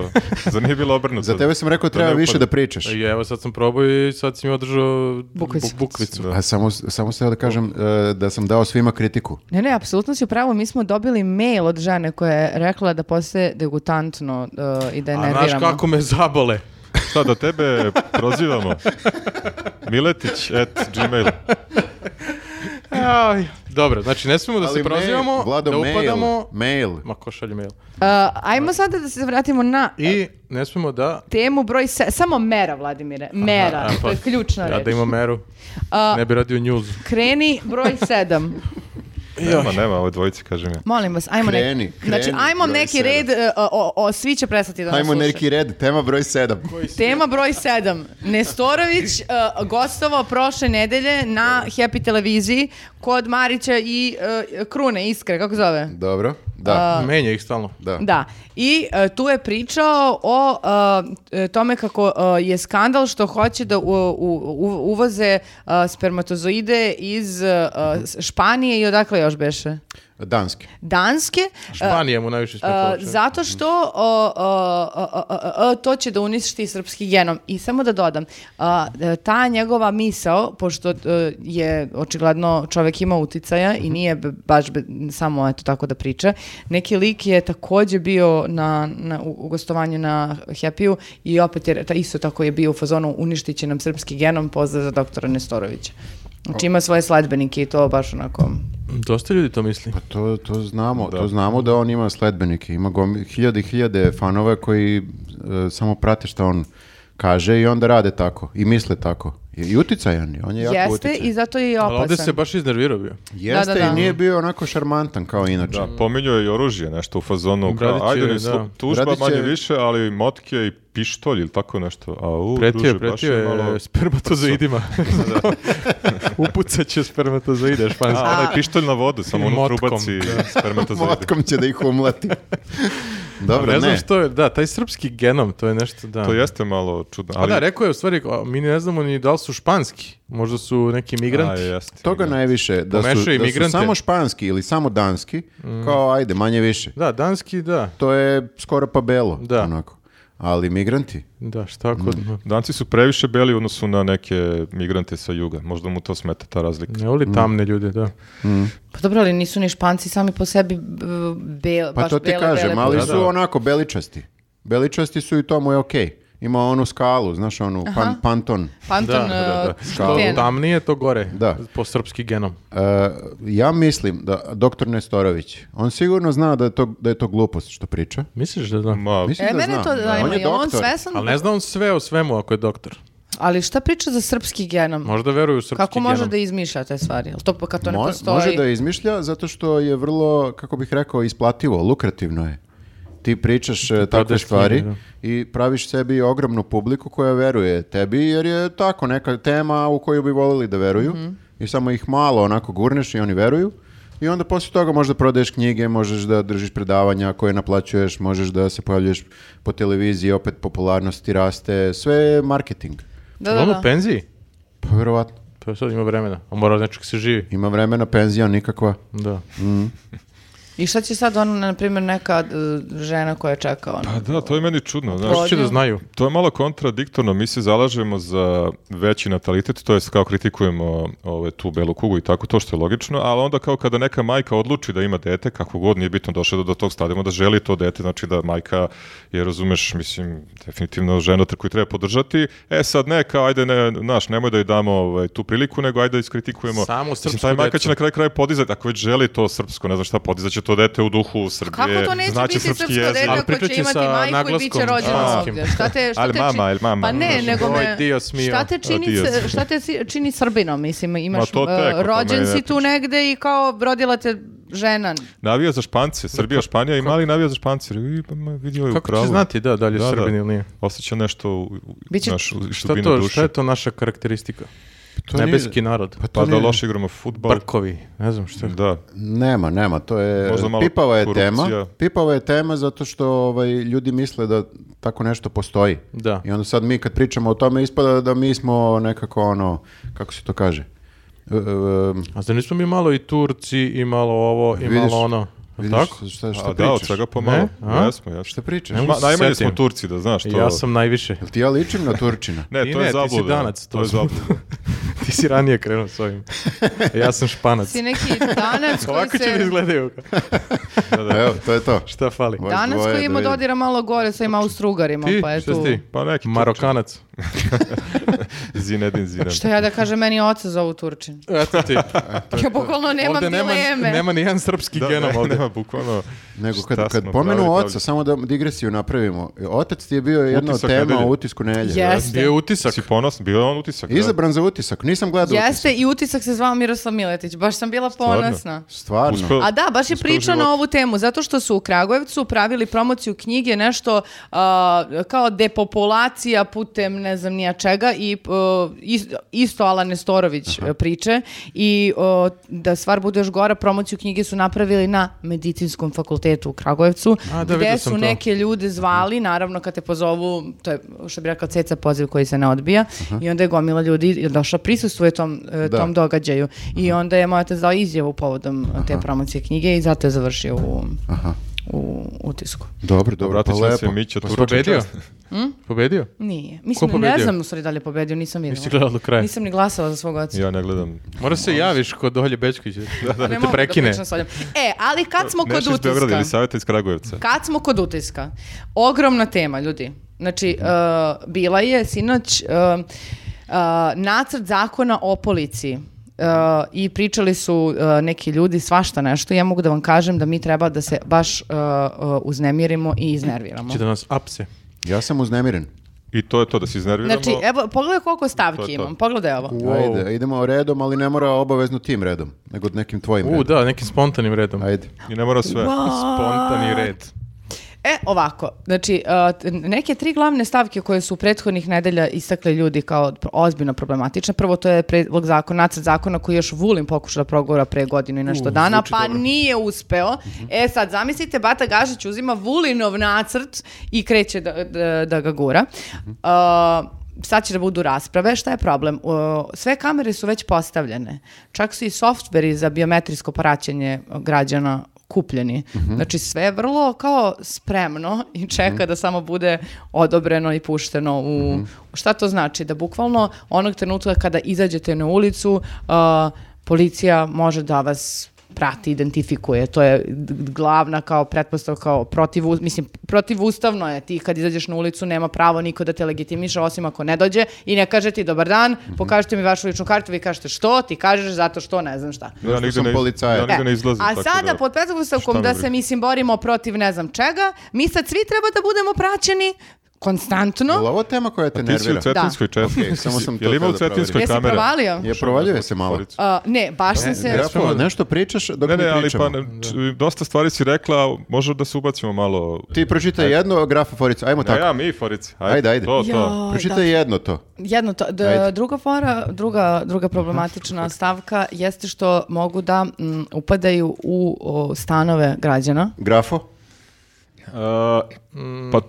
Speaker 1: Za nije bilo obrnuto.
Speaker 3: Za tebe sam rekao da treba
Speaker 1: ne
Speaker 3: više
Speaker 1: upada.
Speaker 3: da pričaš.
Speaker 4: I E, evo sad sam probao i sad si mi održao
Speaker 2: Bukvicu.
Speaker 4: bu- bukvicu.
Speaker 3: A samo, samo sam teo da kažem uh, da sam dao svima kritiku.
Speaker 2: Ne, ne, apsolutno si u pravu. Mi smo dobili mail od žene koja je rekla da postaje degutantno uh, i da je
Speaker 4: A znaš
Speaker 2: nerviramo.
Speaker 4: kako me zabole.
Speaker 1: Šta, da tebe prozivamo? Miletić at gmail.
Speaker 4: Aj, Dobro, znači ne smemo da
Speaker 3: Ali
Speaker 4: se prozivamo,
Speaker 3: mail, Vlado,
Speaker 4: da upadamo.
Speaker 3: Mail, mail.
Speaker 4: Ma ko šalje mail?
Speaker 2: Uh, ajmo sada da se vratimo na
Speaker 4: I ne smemo da...
Speaker 2: temu broj se, samo mera, Vladimire. Mera,
Speaker 4: Aha,
Speaker 2: to je
Speaker 4: pa,
Speaker 2: ključna
Speaker 4: Ja
Speaker 2: reč.
Speaker 4: da imam meru,
Speaker 2: A,
Speaker 4: ne bi radio news.
Speaker 2: Kreni broj sedam.
Speaker 1: Nema, nema ove dvojice, kažem ja.
Speaker 2: Molim vas, ajmo neki-
Speaker 3: Kreni,
Speaker 2: znači,
Speaker 3: kreni,
Speaker 2: ajmo
Speaker 3: broj
Speaker 2: neki
Speaker 3: sedam.
Speaker 2: red, e, o, o, o, svi će prestati da nas
Speaker 3: Ajmo
Speaker 2: slušaju.
Speaker 3: neki red, tema broj 7.
Speaker 2: Tema broj 7. Nestorović e, gostovao prošle nedelje na Happy televiziji kod Marića i e, Krune, Iskre, kako zove?
Speaker 3: Dobro, da,
Speaker 4: Menja ih stalno.
Speaker 3: da.
Speaker 2: Da. I e, tu je pričao o e, tome kako e, je skandal što hoće da u, u- u- uvoze e, spermatozoide iz e, Španije i odakle još beše?
Speaker 3: Danski.
Speaker 2: Danske. E,
Speaker 4: Španija mu najviše
Speaker 2: E,
Speaker 4: smetala.
Speaker 2: zato što o, o, o, o, o, o, to će da uništi srpski genom. I samo da dodam, a, e, ta njegova misao, pošto e, je očigledno čovek ima uticaja i nije b- baš be- samo eto tako da priča, neki lik je takođe bio na, na u, u gostovanju na Happy-u i opet je re- ta, isto tako je bio u fazonu uništit će nam srpski genom, pozdrav za doktora Nestorovića. Znači ima svoje sledbenike i to baš onako...
Speaker 4: Dosta ljudi to misli.
Speaker 3: Pa to, to znamo, to znamo da on ima sledbenike, ima gomi- hiljade i hiljade fanova koji e, samo prate šta on kaže i onda rade tako i misle tako. I, i uticajan je, on je jako
Speaker 2: Jeste
Speaker 3: uticajan.
Speaker 2: i zato je i Pa, opasan.
Speaker 4: Ali ovdje se baš iznervirao bio.
Speaker 3: Jeste
Speaker 2: Da, da, da.
Speaker 3: i nije bio onako šarmantan kao inače.
Speaker 1: Da, pominjao je i oružje, nešto u fazonu. Kao,
Speaker 4: Bradić
Speaker 1: ajde,
Speaker 4: je,
Speaker 1: ni slu-
Speaker 4: Znači- da.
Speaker 1: tužba
Speaker 3: Bradić je-
Speaker 1: manje više, ali motke i pištolj ili tako nešto. A, u,
Speaker 4: Pretio
Speaker 1: druže,
Speaker 4: je,
Speaker 1: baš
Speaker 4: pretio je
Speaker 1: malo-
Speaker 4: spermatozoidima. Upucat će spermatozoide
Speaker 1: A,
Speaker 4: špansko.
Speaker 1: onaj pištolj na vodu, samo ono
Speaker 4: Motkom,
Speaker 1: trubaci spermatozoide.
Speaker 3: Motkom će da ih umlati. Dobro,
Speaker 4: ne
Speaker 3: ne.
Speaker 4: znam što je, da, taj srpski genom, to je nešto, da.
Speaker 1: To jeste malo čudno.
Speaker 4: A
Speaker 1: Ali,
Speaker 4: da, rekao je u stvari, a, mi ne znamo ni da li su španski, možda su neki migranti.
Speaker 1: A, jeste.
Speaker 3: Toga najviše, da su,
Speaker 4: Pomešaju
Speaker 3: da su
Speaker 4: imigrante. Mm.
Speaker 3: samo španski ili samo danski, kao ajde, manje više.
Speaker 4: Da, danski, da.
Speaker 3: To je skoro pa belo,
Speaker 4: Da.
Speaker 3: onako. Ali migranti,
Speaker 4: Da, šta kod...
Speaker 1: Danci su previše beli u odnosu na neke migrante sa juga. Možda mu to smeta ta razlika.
Speaker 4: Ne voli tamne ljude, da.
Speaker 2: Pa dobro, ali nisu ni španci sami po sebi b- bele,
Speaker 3: Pa
Speaker 2: baš
Speaker 3: to ti
Speaker 2: bele,
Speaker 3: kažem,
Speaker 2: bele
Speaker 3: ali
Speaker 4: Da,
Speaker 3: su
Speaker 4: da.
Speaker 3: onako beličasti. Beličasti su i to mu je okej. Ima onu skalu, znaš, onu pan, panton. E,
Speaker 4: Da,
Speaker 2: Panton,
Speaker 4: da, da.
Speaker 2: uh,
Speaker 4: Što
Speaker 2: Kiten.
Speaker 4: tamnije, to gore.
Speaker 3: Da.
Speaker 4: Po srpski genom.
Speaker 3: E, ja mislim da doktor Nestorović, on sigurno zna da je to, da je to glupost što priča.
Speaker 4: Misliš da da?
Speaker 1: Ma,
Speaker 3: Mislim
Speaker 2: E,
Speaker 3: da
Speaker 2: mene
Speaker 3: zna.
Speaker 2: to
Speaker 3: on
Speaker 2: zanima,
Speaker 3: je
Speaker 2: je on
Speaker 3: doktor.
Speaker 2: svesan?
Speaker 4: Ali ne zna on sve o svemu ako je doktor.
Speaker 2: Ali šta priča za srpski genom?
Speaker 4: Možda veruju u srpski
Speaker 2: Kako može
Speaker 4: genom.
Speaker 2: da izmišlja te stvari? Jel to pa kad to ne
Speaker 3: Mo-
Speaker 2: postoji?
Speaker 3: može da izmišlja zato što je vrlo, kako bih rekao, isplativo, lukrativno je. Ti pričaš e, takve
Speaker 4: prodaješ
Speaker 3: stvari
Speaker 4: knjige,
Speaker 3: i praviš sebi ogromnu publiku koja veruje tebi jer je tako neka tema u koju bi voljeli da veruju
Speaker 2: Mhm.
Speaker 3: i samo ih malo onako gurneš i oni veruju i onda poslije toga možda prodaješ knjige, možeš da držiš predavanja koje naplaćuješ, možeš da se pojavljuješ po televiziji, opet popularnost ti raste, sve je marketing.
Speaker 2: Da,
Speaker 4: On
Speaker 2: da,
Speaker 4: u
Speaker 2: da.
Speaker 4: penziji?
Speaker 3: Pa verovatno.
Speaker 4: Pa sad ima vremena. On mora nečeg se živi.
Speaker 3: Ima vremena, penzija nikakva.
Speaker 4: Da.
Speaker 2: I šta će sad ona, na primjer, neka uh, žena koja čeka ono?
Speaker 1: Pa da, to je meni čudno. Znaš,
Speaker 4: Kako će da znaju?
Speaker 1: to je malo kontradiktorno. Mi se zalažemo za veći natalitet, to jest kao kritikujemo ove, tu belu kugu i tako, to što je logično, ali onda kao kada neka majka odluči da ima dete, kako god, nije bitno došla do, do tog stadijuma, da želi to dete, znači da majka je, razumeš, mislim, definitivno žena koju treba podržati. E sad ne, kao ajde, ne, naš, nemoj da joj damo ovaj, tu priliku, nego ajde da iskritikujemo.
Speaker 4: Samo
Speaker 1: Mislim,
Speaker 4: srpsku
Speaker 1: taj majka će
Speaker 4: decu.
Speaker 1: na kraju kraja podizati, ako već želi to srpsko, ne znam šta, podizat će to dete u duhu Srbije.
Speaker 2: Kako to neće
Speaker 1: znaće
Speaker 2: biti srpsko
Speaker 1: znači srpski
Speaker 2: dete
Speaker 1: jezik.
Speaker 4: Ali
Speaker 2: ako
Speaker 4: pričat
Speaker 2: će
Speaker 4: će
Speaker 2: imati
Speaker 4: sa
Speaker 2: majku i bit
Speaker 4: naglaskom
Speaker 2: će rođena
Speaker 4: srpskim.
Speaker 2: ovdje? Šta te, šta
Speaker 1: Ali
Speaker 2: te
Speaker 1: mama,
Speaker 2: čini-
Speaker 1: ali mama,
Speaker 2: Pa ne,
Speaker 1: znaš.
Speaker 2: nego
Speaker 4: Oj,
Speaker 2: me...
Speaker 4: dio smio.
Speaker 2: Šta te čini,
Speaker 1: dio
Speaker 2: s-
Speaker 1: smio.
Speaker 2: šta te si- čini srbinom? Mislim, imaš,
Speaker 1: to
Speaker 2: uh,
Speaker 1: tek, o tome
Speaker 2: rođen
Speaker 1: ne
Speaker 2: si tu
Speaker 1: pričam.
Speaker 2: negde i kao rodila te žena.
Speaker 1: Navija za Špance, Srbija, Španija i mali navija za Špance. I, pa, ma, vidi ovaj u
Speaker 4: Kako
Speaker 1: pravu.
Speaker 4: će znati, da, dalje
Speaker 1: Da,
Speaker 4: da,
Speaker 1: da.
Speaker 4: Srbin ili nije?
Speaker 1: Osjeća nešto u, u,
Speaker 2: Biće-
Speaker 1: naš, u
Speaker 4: Šta,
Speaker 1: dubini
Speaker 4: to,
Speaker 1: duše.
Speaker 4: šta je to naša karakteristika?
Speaker 3: to nije-
Speaker 4: Nebeski narod.
Speaker 3: Pa to
Speaker 1: Pa da
Speaker 3: nije-
Speaker 1: loše igramo futbal.
Speaker 4: Brkovi, ne znam
Speaker 3: Mm.
Speaker 4: šta.
Speaker 1: Da.
Speaker 3: Nema, nema, to je
Speaker 1: Možda malo
Speaker 3: pipava je
Speaker 1: korupcija.
Speaker 3: tema. Pipava je tema zato što ovaj ljudi misle da tako nešto postoji.
Speaker 4: Da.
Speaker 3: I onda sad mi kad pričamo o tome ispada da mi smo nekako ono kako se to kaže. E, e,
Speaker 4: A zar nismo mi malo i Turci i malo ovo i
Speaker 3: Vidiš-
Speaker 4: malo ono? Jel'
Speaker 3: vidiš
Speaker 4: Tako?
Speaker 3: šta šta
Speaker 1: A da, od
Speaker 3: pričaš?
Speaker 1: svega pomalo.
Speaker 4: Ne? A?
Speaker 1: Jesmo, jesmo.
Speaker 3: Šta pričaš?
Speaker 4: Ne mogu
Speaker 1: Ma,
Speaker 4: se
Speaker 1: najmanje
Speaker 4: setim.
Speaker 1: smo Turci, da znaš. To...
Speaker 4: Ja sam najviše.
Speaker 3: Jel ti ja ličim na Turčina?
Speaker 1: Ne,
Speaker 4: Ti
Speaker 1: to je
Speaker 4: ne, ti si
Speaker 1: zabluda.
Speaker 4: Danac, to
Speaker 1: to je
Speaker 4: smo-
Speaker 1: zabluda.
Speaker 4: Ti si ranije krenuo s ovim. E, Ja sam španac.
Speaker 2: Si neki danac koji
Speaker 4: Ovako će mi
Speaker 2: se...
Speaker 4: izgledaju.
Speaker 3: Evo, to je to.
Speaker 4: Šta fali?
Speaker 3: Vas
Speaker 2: Danas
Speaker 3: dvoje
Speaker 2: koji ima
Speaker 3: da vidim.
Speaker 2: dodira malo gore sa ovim Austrugarima,
Speaker 4: Ti?
Speaker 2: pa je
Speaker 4: Šta
Speaker 2: tu.
Speaker 4: si ti?
Speaker 1: Pa neki
Speaker 4: Marokanac.
Speaker 1: Zinedin Zidan.
Speaker 2: Šta ja da kažem, meni oca zovu Turčin.
Speaker 4: Eto ti.
Speaker 2: Ja bukvalno nemam
Speaker 4: Ovde nema,
Speaker 2: dileme.
Speaker 4: nema ni jedan srpski
Speaker 1: Da,
Speaker 4: genom
Speaker 1: ne,
Speaker 4: ovde.
Speaker 1: Nema, bukvalno.
Speaker 3: Nego
Speaker 1: Šta
Speaker 3: kad, kad
Speaker 1: smo
Speaker 3: pomenu
Speaker 1: pravili,
Speaker 3: oca, samo da digresiju napravimo. Otac ti je bio jedna
Speaker 1: Utisak
Speaker 3: od tema
Speaker 1: nedelje.
Speaker 3: u utisku nedelje.
Speaker 2: Jeste.
Speaker 4: Bio je utisak.
Speaker 1: Si ponosan, bio je on utisak. da.
Speaker 3: Izabran za utisak, nisam gledao utisak.
Speaker 2: Jeste, i utisak se zvao Miroslav Miletić. Baš sam bila ponosna.
Speaker 3: Stvarno.
Speaker 1: Uspeo-
Speaker 2: A da, baš je
Speaker 1: uspeo u
Speaker 2: pričao na
Speaker 1: životu.
Speaker 2: ovu temu, zato što su u Kragujevcu pravili promociju knjige, nešto a, kao depopulacija putem ne znam nija čega i a, is- isto Alan Nestorović a, priče i a, da stvar bude još gora, promociju knjige su napravili na medicinskom fakultetu u Kragujevcu,
Speaker 4: A, da,
Speaker 2: gde
Speaker 4: vidio sam
Speaker 2: su
Speaker 4: to.
Speaker 2: neke ljude zvali, naravno kad te pozovu, to je što bi rekao ceca poziv koji se ne odbija i onda je gomila ljudi došla prisustvuje tom, e,
Speaker 3: Da.
Speaker 2: tom događaju. I onda je moj otac dao izjavu povodom te promocije knjige i zato je završio u, u utisku.
Speaker 3: Dobro, dobro,
Speaker 1: Vratit
Speaker 3: pa
Speaker 1: ćemo se
Speaker 3: lepo.
Speaker 1: Mića Turčin.
Speaker 4: Pobedio?
Speaker 2: Hm?
Speaker 4: Pobedio?
Speaker 2: Nije. Mislim,
Speaker 4: Ko
Speaker 2: ne
Speaker 4: pobedio?
Speaker 2: znam u stvari da li je pobedio, nisam
Speaker 4: Nisi
Speaker 2: vidjela.
Speaker 4: gledao do kraja.
Speaker 2: Nisam ni glasala za svog oca.
Speaker 1: Ja ne gledam.
Speaker 4: Mora se javiš kod Olje Bečkovića da, da,
Speaker 2: ne
Speaker 4: te
Speaker 2: mogu
Speaker 4: prekine.
Speaker 2: da pričam s Oljom. E, ali kad smo kod
Speaker 1: Neša iz Beograda
Speaker 2: utiska...
Speaker 1: ili savjeta iz Kragujevca.
Speaker 2: Kad smo kod utiska, ogromna tema, ljudi. Znači,
Speaker 1: Mhm.
Speaker 2: uh, bila je sinoć uh, uh, nacrt zakona o policiji. Uh, I pričali su uh, neki ljudi svašta nešto. Ja mogu da vam kažem da mi treba da se baš uh, uh, uznemirimo i iznerviramo.
Speaker 1: Znači,
Speaker 4: Će da nas apse.
Speaker 3: Ja sam uznemiren.
Speaker 1: I to je to da se iznerviramo.
Speaker 2: Znači, evo, pogledaj koliko stavki
Speaker 1: To je to.
Speaker 2: imam. Pogledaj ovo.
Speaker 4: Wow.
Speaker 3: Ajde, idemo redom, ali ne mora obavezno tim redom, nego nekim tvojim
Speaker 4: U,
Speaker 3: redom.
Speaker 4: da, nekim spontanim redom.
Speaker 3: Ajde.
Speaker 1: I ne mora sve.
Speaker 4: Spontani red.
Speaker 2: E, ovako, znači, uh, t- neke tri glavne stavke koje su u prethodnih nedelja istakle ljudi kao pr- ozbiljno problematične. Prvo, to je predlog zakona, nacrt zakona koji je još Vulin pokušao da progura pre godinu i nešto dana, pa nije uspeo. E, sad, zamislite, Bata Gažić uzima Vulinov nacrt i kreće da, da, da ga gura. Uh, sad će da budu rasprave, šta je problem? O, Sve kamere su već postavljene. Čak su i softveri za biometrijsko praćenje građana kupljeni. Znači sve je vrlo kao spremno i čeka da samo bude odobreno i pušteno u... Šta to znači? Da bukvalno onog trenutka kada izađete na ulicu, a, policija može da vas prati, identifikuje. To je d- d- glavna kao pretpostavka, kao protiv, mislim, protivustavno je ti kad izađeš na ulicu, nema pravo niko da te legitimiše, osim ako ne dođe i ne kaže ti dobar dan, pokažite mi vašu ličnu kartu, vi kažete što, ti kažeš zato što ne znam šta.
Speaker 1: Ja nigde
Speaker 3: sam
Speaker 1: ne,
Speaker 3: policajac.
Speaker 1: ja nigde
Speaker 2: E,
Speaker 1: ne izlazim.
Speaker 2: a
Speaker 1: tako
Speaker 2: sada
Speaker 1: da-
Speaker 2: pod
Speaker 1: Šta
Speaker 2: pretpostavkom
Speaker 1: me
Speaker 2: da
Speaker 1: briga.
Speaker 2: se mislim borimo protiv ne znam čega, mi sad svi treba da budemo praćeni konstantno.
Speaker 3: Je li ovo tema koja te
Speaker 1: Ti si
Speaker 3: nervira?
Speaker 1: u Cetinskoj četnici.
Speaker 3: Okej, samo sam to
Speaker 1: Jel ima
Speaker 3: htio
Speaker 1: u
Speaker 3: da
Speaker 1: Cetinskoj
Speaker 2: Jesi
Speaker 1: kamera?
Speaker 2: provalio?
Speaker 3: Je provaljuje se malo.
Speaker 1: Policu.
Speaker 2: A, ne, baš sam se...
Speaker 3: Grafo,
Speaker 4: smemo da-
Speaker 3: nešto pričaš dok
Speaker 1: Ne, ne,
Speaker 3: mi
Speaker 1: ali
Speaker 3: pričamo.
Speaker 1: pa ne, č- dosta stvari si rekla, može da se ubacimo malo.
Speaker 3: Ti pročitaj jedno, a Grafa Forica, ajmo
Speaker 1: A
Speaker 3: tako.
Speaker 1: ja, mi, Forici. Ajde,
Speaker 3: Ajde, ajde.
Speaker 1: To, to.
Speaker 2: Jao,
Speaker 3: pročitaj
Speaker 2: da.
Speaker 3: jedno to.
Speaker 2: Jedno to, d-
Speaker 3: Ajde.
Speaker 2: druga fora, druga, druga problematična stavka jeste što mogu da mm, upadaju u o, stanove građana.
Speaker 3: Grafo?
Speaker 1: A,
Speaker 4: Uh, mm.
Speaker 1: pa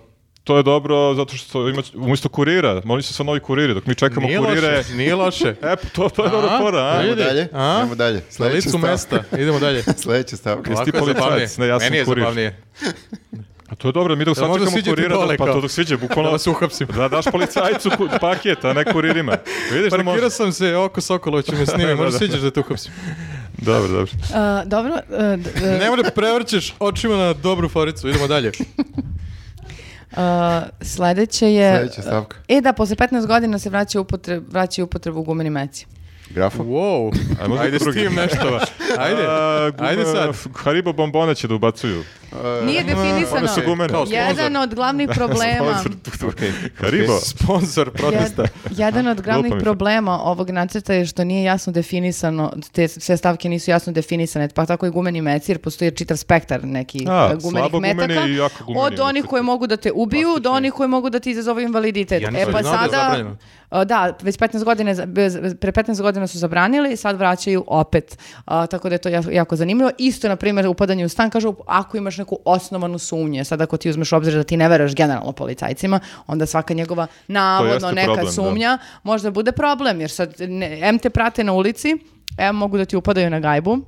Speaker 1: to je dobro zato što ima, umjesto kurira, oni su sad novi kuriri, dok mi čekamo
Speaker 4: Nije
Speaker 1: kurire.
Speaker 4: loše, nije loše.
Speaker 1: E, to, to je dobra fora, a?
Speaker 4: Ajde.
Speaker 3: Idemo dalje,
Speaker 4: a?
Speaker 3: idemo dalje.
Speaker 4: Na
Speaker 3: Sljedeća
Speaker 4: licu
Speaker 3: stavka.
Speaker 4: mesta. Idemo dalje.
Speaker 3: Sljedeća stavka.
Speaker 1: Jesi ti
Speaker 4: Ovako je
Speaker 1: policajac?
Speaker 4: zabavnije.
Speaker 1: Ne, ja sam
Speaker 4: Meni je
Speaker 1: kurir.
Speaker 4: zabavnije.
Speaker 1: A to je dobro, mi dok sad
Speaker 4: možda
Speaker 1: čekamo
Speaker 4: siđete
Speaker 1: kurira,
Speaker 4: dole
Speaker 1: da, pa
Speaker 4: kao?
Speaker 1: to dok siđe,
Speaker 4: Da
Speaker 1: bukvalno
Speaker 4: vas uhapsim.
Speaker 1: Da daš policajcu ku- paket, a ne kuririma. Vidiš da može.
Speaker 4: Parkirao sam se oko Sokolova, ću me snimiti. Možda siđeš da te uhapsim.
Speaker 1: Dobro, dobro.
Speaker 2: A, dobro, e, d- e,
Speaker 4: Ne da prevrćeš očima na dobru foricu. Idemo dalje.
Speaker 2: a, sledeće je...
Speaker 3: Sljedeća stavka.
Speaker 2: E da, posle 15 godina se vraća upotreb, vraća upotreb u gumeni meci.
Speaker 3: Grafo?
Speaker 4: Wow.
Speaker 1: A možda
Speaker 4: Ajde s
Speaker 1: drugi.
Speaker 4: tim nešto. Ajde.
Speaker 1: A, gu-
Speaker 4: Ajde sad.
Speaker 1: Haribo bombone će da ubacuju.
Speaker 2: Nije definisano.
Speaker 1: One su gumene.
Speaker 4: Kao
Speaker 2: Jedan od glavnih problema...
Speaker 1: Okay. Haribo.
Speaker 4: Sponsor protesta.
Speaker 2: Jed- jedan od glavnih
Speaker 1: Glupa mi je.
Speaker 2: problema ovog nacrta je što nije jasno definisano, te sve stavke nisu jasno definisane, pa tako i gumeni meci, jer postoji čitav spektar nekih
Speaker 1: A,
Speaker 2: e, gumenih
Speaker 1: slabo gumeni
Speaker 2: metaka,
Speaker 1: i jako gumeni
Speaker 2: od onih
Speaker 1: metaki.
Speaker 2: koje mogu da te ubiju, do onih koje mogu da ti izazovu invaliditet.
Speaker 4: Ja
Speaker 2: e
Speaker 4: nisam
Speaker 2: pa
Speaker 4: znao da je
Speaker 2: sada,
Speaker 4: zabranjeno.
Speaker 2: e, da, već 15 godine, za- bez- pre 15 godina su zabranili, sad vraćaju opet. A, tako da je to jako, jako zanimljivo. Isto, na primjer, upadanje u stan, kažu, ako imaš neku osnovanu sumnje, sad ako ti uzmeš u obzir da ti ne veruješ generalno policajcima, onda svaka njegova na navodno
Speaker 1: jeste
Speaker 2: neka
Speaker 1: problem, da.
Speaker 2: sumnja, možda bude problem, jer sad ne, em te prate na ulici, em mogu da ti upadaju na gajbu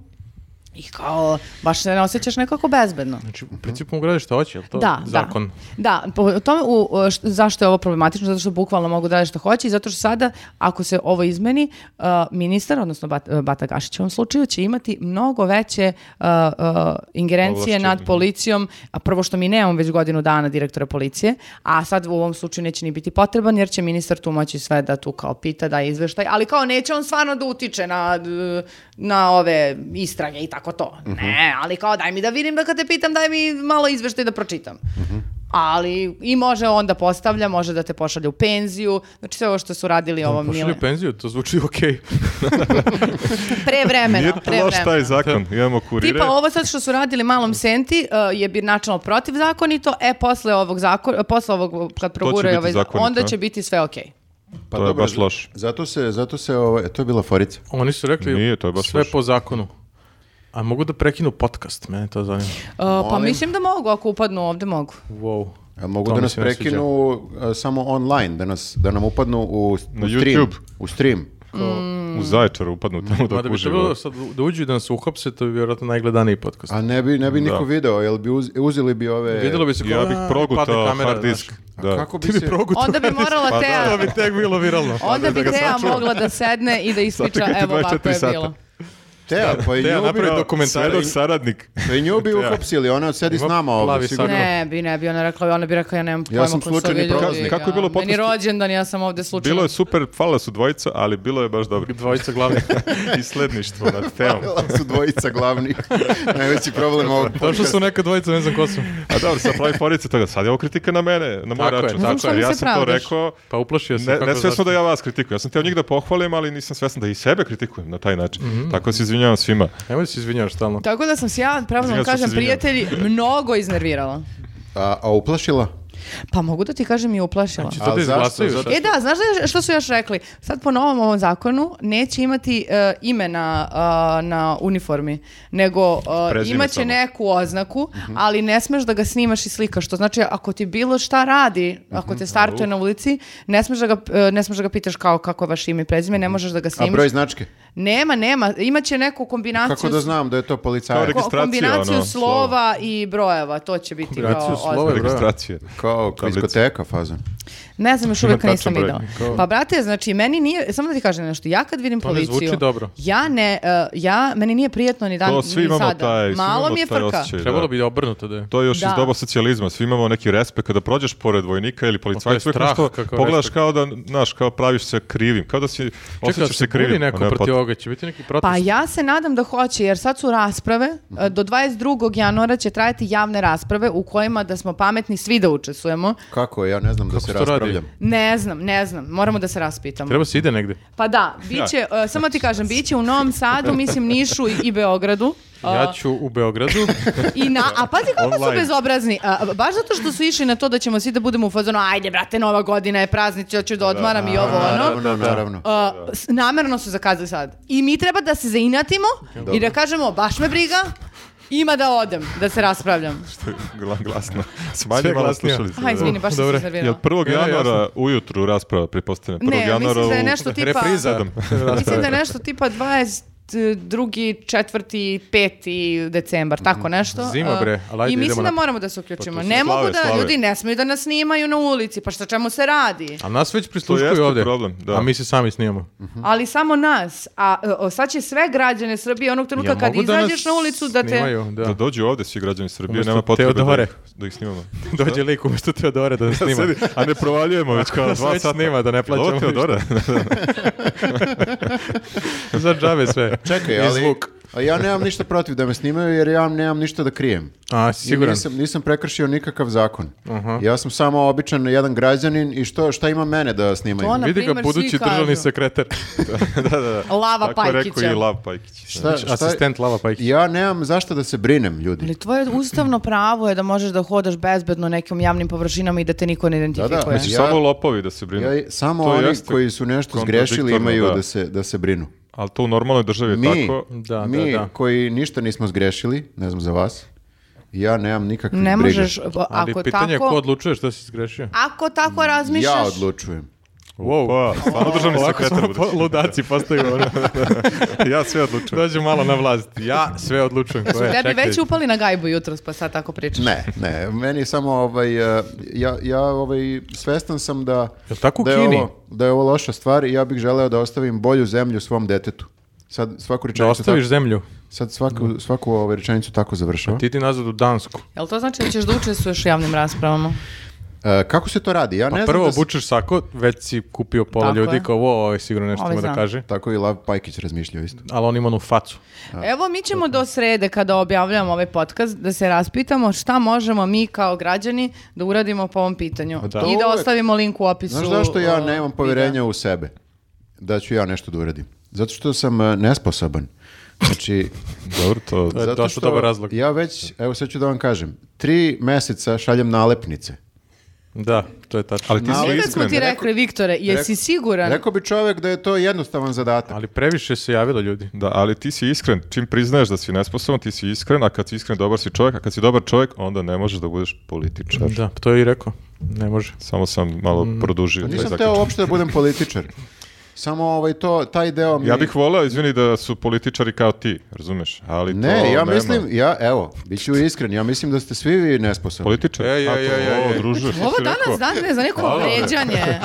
Speaker 2: i kao, baš se ne osjećaš nekako bezbedno.
Speaker 4: Znači, u principu mu gradiš šta hoće, je li to
Speaker 2: Da,
Speaker 4: zakon?
Speaker 2: da. Da, po tome u, o, š- zašto je ovo problematično, zato što bukvalno mogu da rade što hoće i zato što sada, ako se ovo izmeni, uh, ministar, odnosno Bat, e, Bata Gašić u ovom slučaju, će imati mnogo veće uh, uh, ingerencije
Speaker 1: Ovlašćenje.
Speaker 2: nad policijom, a prvo što mi nemamo već godinu dana direktora policije, a sad u ovom slučaju neće ni biti potreban, jer će ministar tu moći sve da tu kao pita, da izveštaj, ali kao neće on stvarno da utiče na, d- na ove istrage i tako to. Ne, ali kao daj mi da vidim da kad te pitam, daj mi malo izveštaj da pročitam. Ali i može onda postavlja, može da te pošalje u penziju, znači sve ovo što su radili ovom
Speaker 4: Pošli
Speaker 2: Mile.
Speaker 4: u penziju, to zvuči okej.
Speaker 2: Pre vremena,
Speaker 1: Nije
Speaker 2: pre
Speaker 1: loš taj
Speaker 2: vremena.
Speaker 1: zakon. Imamo kurire.
Speaker 2: Tipa ovo sad što su radili malom Senti uh, je bi načalno protivzakonito, e posle ovog zakona, posle ovog kad proguraju
Speaker 1: biti
Speaker 2: ovaj zakon,
Speaker 1: zakonito,
Speaker 2: onda
Speaker 1: a?
Speaker 2: će biti sve okej.
Speaker 3: Pa
Speaker 1: To je
Speaker 3: dobro,
Speaker 1: baš loš.
Speaker 3: Zato se, zato se, ovaj, to je bila forica.
Speaker 4: Oni su rekli
Speaker 1: Nije, to je baš
Speaker 4: sve
Speaker 1: loše.
Speaker 4: po zakonu. A mogu da prekinu podcast, mene to zanima.
Speaker 2: Uh, pa
Speaker 3: Molim.
Speaker 2: mislim da mogu, ako upadnu ovde mogu.
Speaker 4: Wow.
Speaker 3: A mogu
Speaker 4: To
Speaker 3: da
Speaker 4: mi
Speaker 3: nas
Speaker 4: se ne sviđa.
Speaker 3: prekinu a, samo online, da, nas, da nam upadnu u, u
Speaker 1: Na
Speaker 3: stream.
Speaker 1: YouTube.
Speaker 3: U stream.
Speaker 1: U zaječaru upadnu tamo
Speaker 4: Ma da
Speaker 1: da
Speaker 4: bi to
Speaker 1: kuži.
Speaker 4: bilo sad da uđu i da nas uhapse, to bi vjerojatno najgledaniji podcast.
Speaker 3: A ne bi, ne bi niko
Speaker 1: Da.
Speaker 3: video, jel bi uz, uzeli bi ove...
Speaker 4: Videlo bi se kao
Speaker 1: e, Ja bih
Speaker 4: "A, padne
Speaker 1: progutao
Speaker 4: kamera",
Speaker 1: hard disk.
Speaker 4: znaš.
Speaker 1: Da.
Speaker 3: Kako
Speaker 4: Ti
Speaker 3: bi
Speaker 4: bi
Speaker 3: se...
Speaker 4: progutao.
Speaker 2: Onda bi morala
Speaker 1: Pa da.
Speaker 4: To
Speaker 2: Teja,
Speaker 4: bi tek bilo viralno.
Speaker 2: onda bi
Speaker 1: da ga
Speaker 2: Teja
Speaker 1: sačuva.
Speaker 2: mogla da sedne i da ispriča,
Speaker 1: Sačekajte
Speaker 2: evo ovako
Speaker 1: 24
Speaker 2: je
Speaker 1: sata.
Speaker 2: bilo.
Speaker 3: Teja, pa i
Speaker 4: Teja,
Speaker 3: nju bi,
Speaker 4: napravi dokumentarac.
Speaker 1: Svedok saradnik.
Speaker 3: pa i nju bi uhapsili, ona sedi s
Speaker 4: Ima
Speaker 3: nama
Speaker 4: plavi
Speaker 3: ovdje. sigurno.
Speaker 4: Tako.
Speaker 2: Ne, bi ne bi ona rekla, ona bi rekla ja nemam pojma
Speaker 3: sam
Speaker 2: ko su ovi
Speaker 3: slučajni
Speaker 2: ljudi,
Speaker 3: prolaznik.
Speaker 1: Kako je bilo
Speaker 2: ja, Meni
Speaker 1: podcast-
Speaker 2: rođendan, ja sam ovde slučajno.
Speaker 1: Bilo je super, fala su dvojica, ali bilo je baš dobro.
Speaker 4: Dvojica glavnih.
Speaker 1: I sledništvo nad temom.
Speaker 3: su dvojica glavnih. Najveći problem ovog
Speaker 4: To što su neka dvojica, ne znam ko su.
Speaker 1: A dobro, sad pravi forice toga. Sad je ovo kritika na mene, na moj
Speaker 4: Tako je,
Speaker 1: račun.
Speaker 4: tako
Speaker 1: Tako
Speaker 2: je.
Speaker 1: je, ja
Speaker 2: Samo se
Speaker 1: sam to
Speaker 2: pravdaš.
Speaker 1: rekao.
Speaker 4: Pa uplašio se.
Speaker 1: Ne,
Speaker 4: kako
Speaker 1: ne svesno
Speaker 4: zašto.
Speaker 1: da ja vas kritikujem. Ja sam htio njih da pohvalim, ali nisam svesno da i sebe kritikujem na taj način.
Speaker 4: Mhm.
Speaker 1: Tako da se izvinjavam svima.
Speaker 4: Nemoj da se izvinjavaš stalno.
Speaker 2: Tako da sam se ja, pravno vam
Speaker 1: Izvinjavam se,
Speaker 2: kažem,
Speaker 1: izvinjavam.
Speaker 2: prijatelji, mnogo iznervirala.
Speaker 3: A, a uplašila?
Speaker 2: Pa mogu da ti kažem i uplašila.
Speaker 4: Što
Speaker 3: Ali
Speaker 4: te
Speaker 3: zašto?
Speaker 4: izglasaju?
Speaker 3: Zato-
Speaker 4: šta?
Speaker 2: E da, znaš da, što su još rekli? Sad po novom ovom zakonu neće imati e, ime na, e, na uniformi, nego e,
Speaker 1: Prezime
Speaker 2: imaće
Speaker 1: samo.
Speaker 2: neku oznaku,
Speaker 3: Mhm.
Speaker 2: ali ne smeš da ga snimaš i slikaš. Što znači, ako ti bilo šta radi, ako
Speaker 3: Mhm.
Speaker 2: te startuje na ulici, ne smeš da ga, e, ne smeš da ga pitaš kao kako je vaše ime i prezime, ne možeš da ga
Speaker 3: Mhm. A
Speaker 2: snimaš.
Speaker 3: broj značke?
Speaker 2: Nema, nema. Imaće neku kombinaciju...
Speaker 3: Kako da
Speaker 2: s-
Speaker 3: znam da je to policajac?
Speaker 1: Kao
Speaker 2: ko- kombinaciju
Speaker 1: Registraciju, ono,
Speaker 2: slova i brojeva, to će biti kao
Speaker 4: Kombinaciju slova i
Speaker 2: oznaka.
Speaker 4: brojeva.
Speaker 1: Registracije.
Speaker 3: Kao
Speaker 1: Tablica.
Speaker 3: diskoteka fazan.
Speaker 2: Ne znam, još uvijek
Speaker 1: Ima
Speaker 2: nisam
Speaker 1: tačan
Speaker 2: videla.
Speaker 1: broj.
Speaker 2: Pa brate, znači, meni nije, samo da ti kažem nešto, ja kad vidim
Speaker 4: To ne
Speaker 2: policiju,
Speaker 4: zvuči dobro.
Speaker 2: ja ne, uh, ja, meni nije prijetno ni dan,
Speaker 1: To svi
Speaker 2: ni
Speaker 1: imamo
Speaker 2: sada.
Speaker 1: taj, svi
Speaker 2: Malo
Speaker 1: imamo
Speaker 2: mi je
Speaker 1: taj
Speaker 2: frka.
Speaker 1: osjećaj, da.
Speaker 4: Trebalo bi obrnuto da je.
Speaker 1: To je još
Speaker 2: Da.
Speaker 1: iz doba socijalizma. Svi imamo neki respekt kada prođeš pored vojnika ili
Speaker 4: Pa
Speaker 1: policajca,
Speaker 4: to je
Speaker 1: uvijek
Speaker 4: strah,
Speaker 1: nešto
Speaker 4: kakav
Speaker 1: pogledaš
Speaker 4: respekt.
Speaker 1: kao da, znaš, kao praviš se krivim, kao da si
Speaker 4: Čekaj, da
Speaker 1: osjećaš
Speaker 4: se
Speaker 1: se krivim.
Speaker 4: buni
Speaker 1: a
Speaker 4: neko
Speaker 1: ne
Speaker 4: protiv
Speaker 1: pot-
Speaker 4: ovoga, će biti neki protest.
Speaker 2: Pa ja se nadam da hoće, jer sad su rasprave,
Speaker 1: Mhm.
Speaker 2: uh, do 22. januara će trajati javne rasprave u kojima da smo pametni svi da učestvujemo.
Speaker 3: Kako je? Ja ne znam da se
Speaker 4: se to radi?
Speaker 3: raspravljam.
Speaker 2: Ne znam, ne znam, moramo da se raspitamo.
Speaker 4: Treba se ide negde.
Speaker 2: Pa da, bit će, uh, samo ti kažem, bit će u Novom Sadu, mislim Nišu i, i Beogradu. Uh,
Speaker 4: Ja ću u Beogradu.
Speaker 2: I na, a pazi kako su
Speaker 1: Online.
Speaker 2: bezobrazni. A, baš zato što su išli na to da ćemo svi da budemo u fazonu, ajde brate, nova godina je praznić, ja ću da odmaram i ovo ono.
Speaker 3: Naravno, naravno.
Speaker 2: A, s- namerno su zakazali sad. I mi treba da se zainatimo i da kažemo, baš me briga, ima da odem, da se raspravljam.
Speaker 1: Gla- glasno.
Speaker 4: Sve
Speaker 1: Smanji malo
Speaker 4: glasnije.
Speaker 1: slušalice,
Speaker 2: Aha,
Speaker 1: da.
Speaker 2: izvini, pa, baš sam se
Speaker 4: Dobre.
Speaker 1: Jel
Speaker 2: iznervirala.
Speaker 1: 1.
Speaker 4: Ja,
Speaker 1: januara
Speaker 4: jasno.
Speaker 1: ujutru rasprava, pretpostavljam? 1.
Speaker 2: Ne,
Speaker 1: januara
Speaker 2: mislim da je
Speaker 1: u-
Speaker 2: nešto tipa...
Speaker 4: Repriza.
Speaker 2: Mislim da je nešto tipa 22. 4. 5. decembar, tako nešto.
Speaker 4: Zima,
Speaker 2: A,
Speaker 4: bre, ali ajde,
Speaker 2: I mislim
Speaker 4: idemo
Speaker 2: da
Speaker 4: na-
Speaker 2: moramo da se uključimo.
Speaker 1: Pa to su
Speaker 2: ne mogu
Speaker 1: slave,
Speaker 2: da,
Speaker 1: slave.
Speaker 2: ljudi ne smiju da nas snimaju na ulici, pa šta čemu se radi?
Speaker 4: A nas već
Speaker 1: To jeste
Speaker 4: prisluškuju ovde.
Speaker 1: problem, da.
Speaker 4: A mi se sami snimamo.
Speaker 2: Mhm. Ali samo nas. A e, o, sad će sve građane Srbije onog trenutka kad
Speaker 4: mogu da nas
Speaker 2: izađeš na ulicu da te...
Speaker 4: Snimaju, da.
Speaker 1: Da dođu ovde svi građani Srbije,
Speaker 4: Umesto
Speaker 1: nema potrebe da
Speaker 4: Teodore.
Speaker 1: ih, da ih snimamo.
Speaker 4: Dođe lik umjesto Teodore da nas
Speaker 1: Da
Speaker 4: snima.
Speaker 1: sedi, a ne provaljujemo već kao
Speaker 4: Nas
Speaker 1: dva
Speaker 4: već
Speaker 1: sata.
Speaker 4: snima, da ne plaćamo
Speaker 1: Jel ovo Teodora?
Speaker 4: Za džabe sve.
Speaker 3: Čekaj,
Speaker 4: I
Speaker 3: ali
Speaker 4: zvuk.
Speaker 3: A ja nemam ništa protiv da me snimaju jer ja nemam ništa da krijem.
Speaker 4: A,
Speaker 3: I
Speaker 4: siguran.
Speaker 3: Nisam, nisam prekršio nikakav zakon. Ja sam samo običan jedan građanin i što, šta ima mene da snimaju?
Speaker 2: To na
Speaker 4: Vidi ga
Speaker 2: primer, svi
Speaker 4: budući
Speaker 2: kažu.
Speaker 4: državni sekretar.
Speaker 1: da, da, da.
Speaker 2: Lava
Speaker 1: Tako je rekao
Speaker 2: Pajkića.
Speaker 1: i Lav Pajkić.
Speaker 3: Šta- šta-
Speaker 4: Znači, Asistent Lava Pajkić.
Speaker 3: Ja nemam zašto da se brinem, ljudi.
Speaker 2: Ali tvoje ustavno pravo je da možeš da hodaš bezbedno nekim javnim površinama i da te niko ne identifikuje.
Speaker 3: Da, da.
Speaker 1: Znači,
Speaker 3: Ja-
Speaker 1: samo lopovi da se brinu.
Speaker 3: Ja, samo
Speaker 1: To
Speaker 3: oni
Speaker 1: jeste
Speaker 3: koji su nešto zgrešili
Speaker 1: kontradiktorno,
Speaker 3: imaju
Speaker 1: da.
Speaker 3: da se, da se brinu.
Speaker 1: Ali to u normalnoj državi je
Speaker 3: Mi,
Speaker 1: tako.
Speaker 4: Da,
Speaker 3: mi
Speaker 4: da, da.
Speaker 3: koji ništa nismo zgrešili, ne znam za vas, ja nemam nikakvih
Speaker 2: Ne
Speaker 3: briga.
Speaker 2: možeš, pa
Speaker 4: Ali
Speaker 2: ako
Speaker 4: pitanje je ko
Speaker 2: tako,
Speaker 4: odlučuje što si zgrešio?
Speaker 2: ako tako razmišljaš,
Speaker 3: Ja odlučujem.
Speaker 4: Wow.
Speaker 1: Pa, stvarno državni
Speaker 4: Ovako
Speaker 1: sekretar.
Speaker 4: smo
Speaker 1: budući.
Speaker 4: po- ludaci postaju. ono.
Speaker 1: ja sve odlučujem.
Speaker 4: Dođu malo na vlast. Ja sve odlučujem. Ko je,
Speaker 2: tebi
Speaker 4: čekaj.
Speaker 2: već upali na gajbu jutros, pa sad tako pričaš.
Speaker 3: Ne, ne, meni je samo ovaj, eh, ja, ja ovaj, svestan sam da,
Speaker 4: Jel tako u
Speaker 3: da, je
Speaker 4: Kini?
Speaker 3: ovo, da je ovo loša stvar i ja bih želeo da ostavim bolju zemlju svom detetu. Sad svaku
Speaker 4: Da
Speaker 3: rečenicu,
Speaker 4: Znači, ostaviš zemlju.
Speaker 3: tako, sad svaku, svaku ovaj rečenicu tako
Speaker 1: Hm?
Speaker 3: završava.
Speaker 4: Ti ti nazad u Dansku.
Speaker 2: Jel to znači da ćeš da učestvuješ u javnim raspravama?
Speaker 3: Eh, kako se to radi? Ja ne znam
Speaker 4: Pa Prvo
Speaker 3: da se-
Speaker 4: obučeš sako, već si kupio pola
Speaker 2: Tako
Speaker 4: ljudi
Speaker 2: je.
Speaker 4: kao ovo, ovo je sigurno nešto
Speaker 2: Ovo
Speaker 4: ima da
Speaker 2: zna.
Speaker 4: kaže.
Speaker 3: Tako i Lav Pajkić razmišljao isto.
Speaker 4: Ali on ima onu facu.
Speaker 2: Evo mi ćemo do srede kada objavljamo ovaj podcast da se raspitamo šta možemo mi kao građani da uradimo po ovom pitanju.
Speaker 3: to
Speaker 2: I da
Speaker 3: uvek-
Speaker 2: ostavimo link u opisu. ovaj,
Speaker 3: Znaš zašto ja
Speaker 2: o,
Speaker 3: nemam poverenja u sebe? Da ću ja nešto da uradim. Zato što sam eh, nesposoban. Znači,
Speaker 1: Dobro, to...
Speaker 4: To je
Speaker 3: zato
Speaker 4: dosta
Speaker 3: što
Speaker 4: dobar razlog.
Speaker 3: ja već, evo sad ću da vam kažem, tri meseca šaljem nalepnice.
Speaker 4: Da, to je tačno.
Speaker 1: Ali ti si
Speaker 2: videa. Nikad smo
Speaker 1: iskren.
Speaker 2: ti rekli, Viktore, jesi siguran?
Speaker 3: Rekao bi čovjek da je to jednostavan zadatak.
Speaker 4: Ali previše se javilo ljudi.
Speaker 1: Da, ali ti si iskren. Čim priznaješ da si nesposoban, ti si iskren, a kad si iskren, dobar si čovjek, a kad si dobar čovjek, onda ne možeš da budeš političar.
Speaker 4: Da, to je i rekao. Ne može.
Speaker 1: Samo sam malo produžio. taj
Speaker 3: Pa Nisam
Speaker 1: zaključak.
Speaker 3: teo uopšte da budem političar. Samo ovaj to, taj deo mi...
Speaker 1: Ja bih voleo, izvini, da su političari kao ti, razumeš? Ali to
Speaker 3: Ne, ja
Speaker 1: nema.
Speaker 3: mislim, ja, evo, bit ću iskren, ja mislim da ste svi vi nesposobni.
Speaker 1: Političari?
Speaker 4: E, je,
Speaker 1: A, to-
Speaker 4: je, je,
Speaker 1: o,
Speaker 4: je.
Speaker 1: druže, što
Speaker 2: Ovo
Speaker 1: si rekao?
Speaker 2: danas dan je za neko vređanje.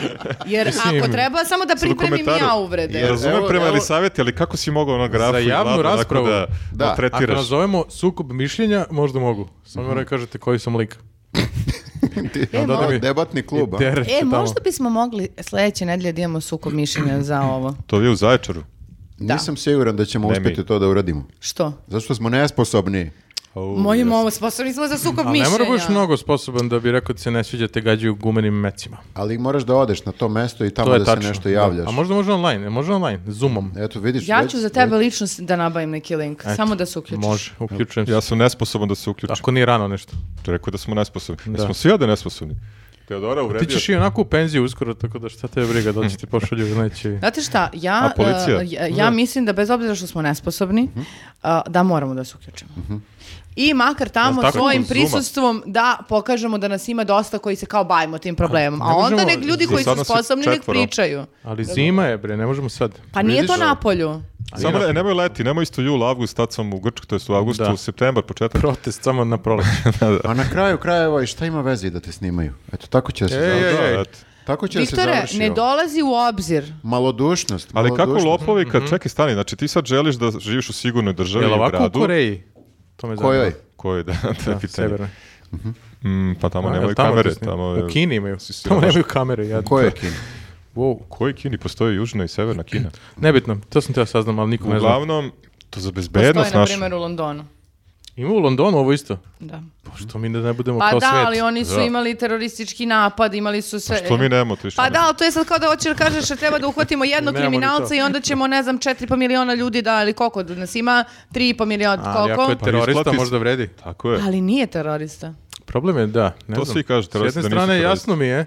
Speaker 2: Jer
Speaker 4: Mislim,
Speaker 2: ako treba, samo da
Speaker 1: Sad u
Speaker 2: pripremim
Speaker 1: komentaru.
Speaker 2: ja uvrede.
Speaker 1: Ja razumem
Speaker 3: Evo,
Speaker 1: prema
Speaker 3: evo-
Speaker 1: Elisaveti, ali kako si mogao na grafu
Speaker 4: Za
Speaker 1: i
Speaker 4: javnu
Speaker 1: glavno onako
Speaker 4: raspravu.
Speaker 1: da,
Speaker 3: Da.
Speaker 1: da
Speaker 4: Ako
Speaker 1: tretiraš?
Speaker 4: nazovemo sukob mišljenja, možda mogu.
Speaker 1: Mhm.
Speaker 4: Samo moram da kažete koji sam lik.
Speaker 3: Da,
Speaker 4: Dodaj
Speaker 3: da,
Speaker 4: mi-
Speaker 3: ono, debatni klub.
Speaker 4: I
Speaker 3: a?
Speaker 4: teret
Speaker 2: E,
Speaker 4: tamo.
Speaker 2: možda bismo mogli sledeće nedelje da imamo sukob mišljenja za ovo.
Speaker 1: To je u Zaječaru.
Speaker 3: Nisam siguran da ćemo
Speaker 1: Ne, mi.
Speaker 3: uspjeti to da uradimo.
Speaker 2: Što?
Speaker 3: Zato što smo nesposobni.
Speaker 2: Moji ovo sposobni smo za sukob
Speaker 4: Ali ne
Speaker 2: mišljenja.
Speaker 4: mora budeš mnogo sposoban da bi rekao da se ne sviđa te gađaju gumenim mecima.
Speaker 3: Ali moraš da odeš na to mesto i tamo
Speaker 4: To je
Speaker 3: da
Speaker 4: tačno.
Speaker 3: se nešto javljaš.
Speaker 4: Da. A možda može online, e, može online, zoomom.
Speaker 3: Eto, vidiš.
Speaker 2: Ja
Speaker 3: već-
Speaker 2: ću za tebe lično s- da nabavim neki link, samo da se uključiš.
Speaker 4: Može, uključujem se.
Speaker 1: Ja sam nesposoban da se uključim.
Speaker 4: Ako nije rano nešto.
Speaker 1: Rekao da smo nesposobni. Da.
Speaker 4: Da.
Speaker 1: smo svi ovde nesposobni. Teodora
Speaker 4: Ti
Speaker 1: uvredio.
Speaker 4: ćeš i onako u penziju uskoro, tako da šta te briga, da li će ti pošalju ili neće.
Speaker 2: Znate šta, ja,
Speaker 1: A policija?
Speaker 2: e, ja, ja mislim da bez obzira što smo nesposobni, e, da moramo da se uključimo. I makar
Speaker 4: Jel
Speaker 2: tamo
Speaker 4: tako?
Speaker 2: svojim
Speaker 4: Zooma.
Speaker 2: prisustvom da pokažemo da nas ima dosta koji se kao bavimo tim problemom. A
Speaker 4: Ne
Speaker 2: onda
Speaker 4: možemo-
Speaker 2: nek ljudi
Speaker 1: za
Speaker 2: koji
Speaker 1: sad
Speaker 2: su
Speaker 1: nas je
Speaker 2: sposobni nek
Speaker 1: četvoro.
Speaker 2: pričaju.
Speaker 4: Ali zima je, bre, ne možemo sad.
Speaker 2: Pa nije to
Speaker 3: Vidiš?
Speaker 2: na polju.
Speaker 1: Samo ne, nemoj leti, nemoj isto jul, avgust, tad sam u Grčku, to jest u avgustu,
Speaker 4: Da.
Speaker 1: u septembar, početak.
Speaker 4: Protest samo na proleće.
Speaker 3: A na kraju krajeva i šta ima veze i da te snimaju? Eto, tako će da se
Speaker 4: Ej,
Speaker 3: završi.
Speaker 4: ej, ej.
Speaker 1: eto.
Speaker 3: Tako će da se Pa
Speaker 2: Viktore,
Speaker 3: završi.
Speaker 2: ne
Speaker 3: ovo.
Speaker 2: dolazi u obzir.
Speaker 3: Malodušnost.
Speaker 1: Ali kako
Speaker 3: malodušnost.
Speaker 1: lopovi, kad čekaj, stani, znači ti sad želiš da živiš u sigurnoj državi
Speaker 4: Mhm. Jel
Speaker 1: i
Speaker 4: ovako u
Speaker 1: gradu.
Speaker 4: Koreji? To me zanima.
Speaker 3: Kojoj?
Speaker 1: Koji, da, to je
Speaker 4: Da,
Speaker 1: pitanje.
Speaker 4: severnoj.
Speaker 1: Mm, pa tamo
Speaker 4: A, jel
Speaker 1: nemaju
Speaker 4: tamo
Speaker 1: kamere.
Speaker 4: to snimaju?
Speaker 1: Tamo je-
Speaker 4: U Kini imaju.
Speaker 1: si
Speaker 4: Tamo
Speaker 1: siromašan.
Speaker 4: nemaju kamere. Ja,
Speaker 3: Ko je Kina?
Speaker 4: Wow.
Speaker 1: Koji Kini? Postoji južna i severna Kina.
Speaker 4: Nebitno, to sam teo saznam, ali nikom ne znam.
Speaker 1: Uglavnom, to za
Speaker 2: Postoji,
Speaker 1: bezbednost
Speaker 2: na
Speaker 1: naša.
Speaker 2: primjer, u Londonu.
Speaker 4: Ima u Londonu ovo isto.
Speaker 2: Da.
Speaker 4: Pa što mi da ne budemo
Speaker 2: Pa
Speaker 4: kao
Speaker 2: da,
Speaker 4: svet?
Speaker 2: ali oni su
Speaker 1: Da.
Speaker 2: imali teroristički napad, imali su sve...
Speaker 1: Što mi nemamo to više?
Speaker 2: Pa da, ali to je sad kao da hoćeš da kažeš da treba da uhvatimo jednog
Speaker 4: Nemamo ni to.
Speaker 2: kriminalca i onda ćemo, ne znam, 4,5 miliona ljudi da, ili koliko nas ima, 3,5 miliona,
Speaker 4: Ali ako je
Speaker 2: koliko?
Speaker 4: terorista,
Speaker 1: isplati se.
Speaker 4: možda vredi.
Speaker 1: Tako je.
Speaker 2: Ali nije terorista.
Speaker 4: Problem je da, ne
Speaker 1: To
Speaker 4: znam.
Speaker 1: svi kažu,
Speaker 4: S
Speaker 1: teroristi
Speaker 4: jedne
Speaker 1: da nisu
Speaker 4: strane
Speaker 1: teroristi.
Speaker 4: jasno mi je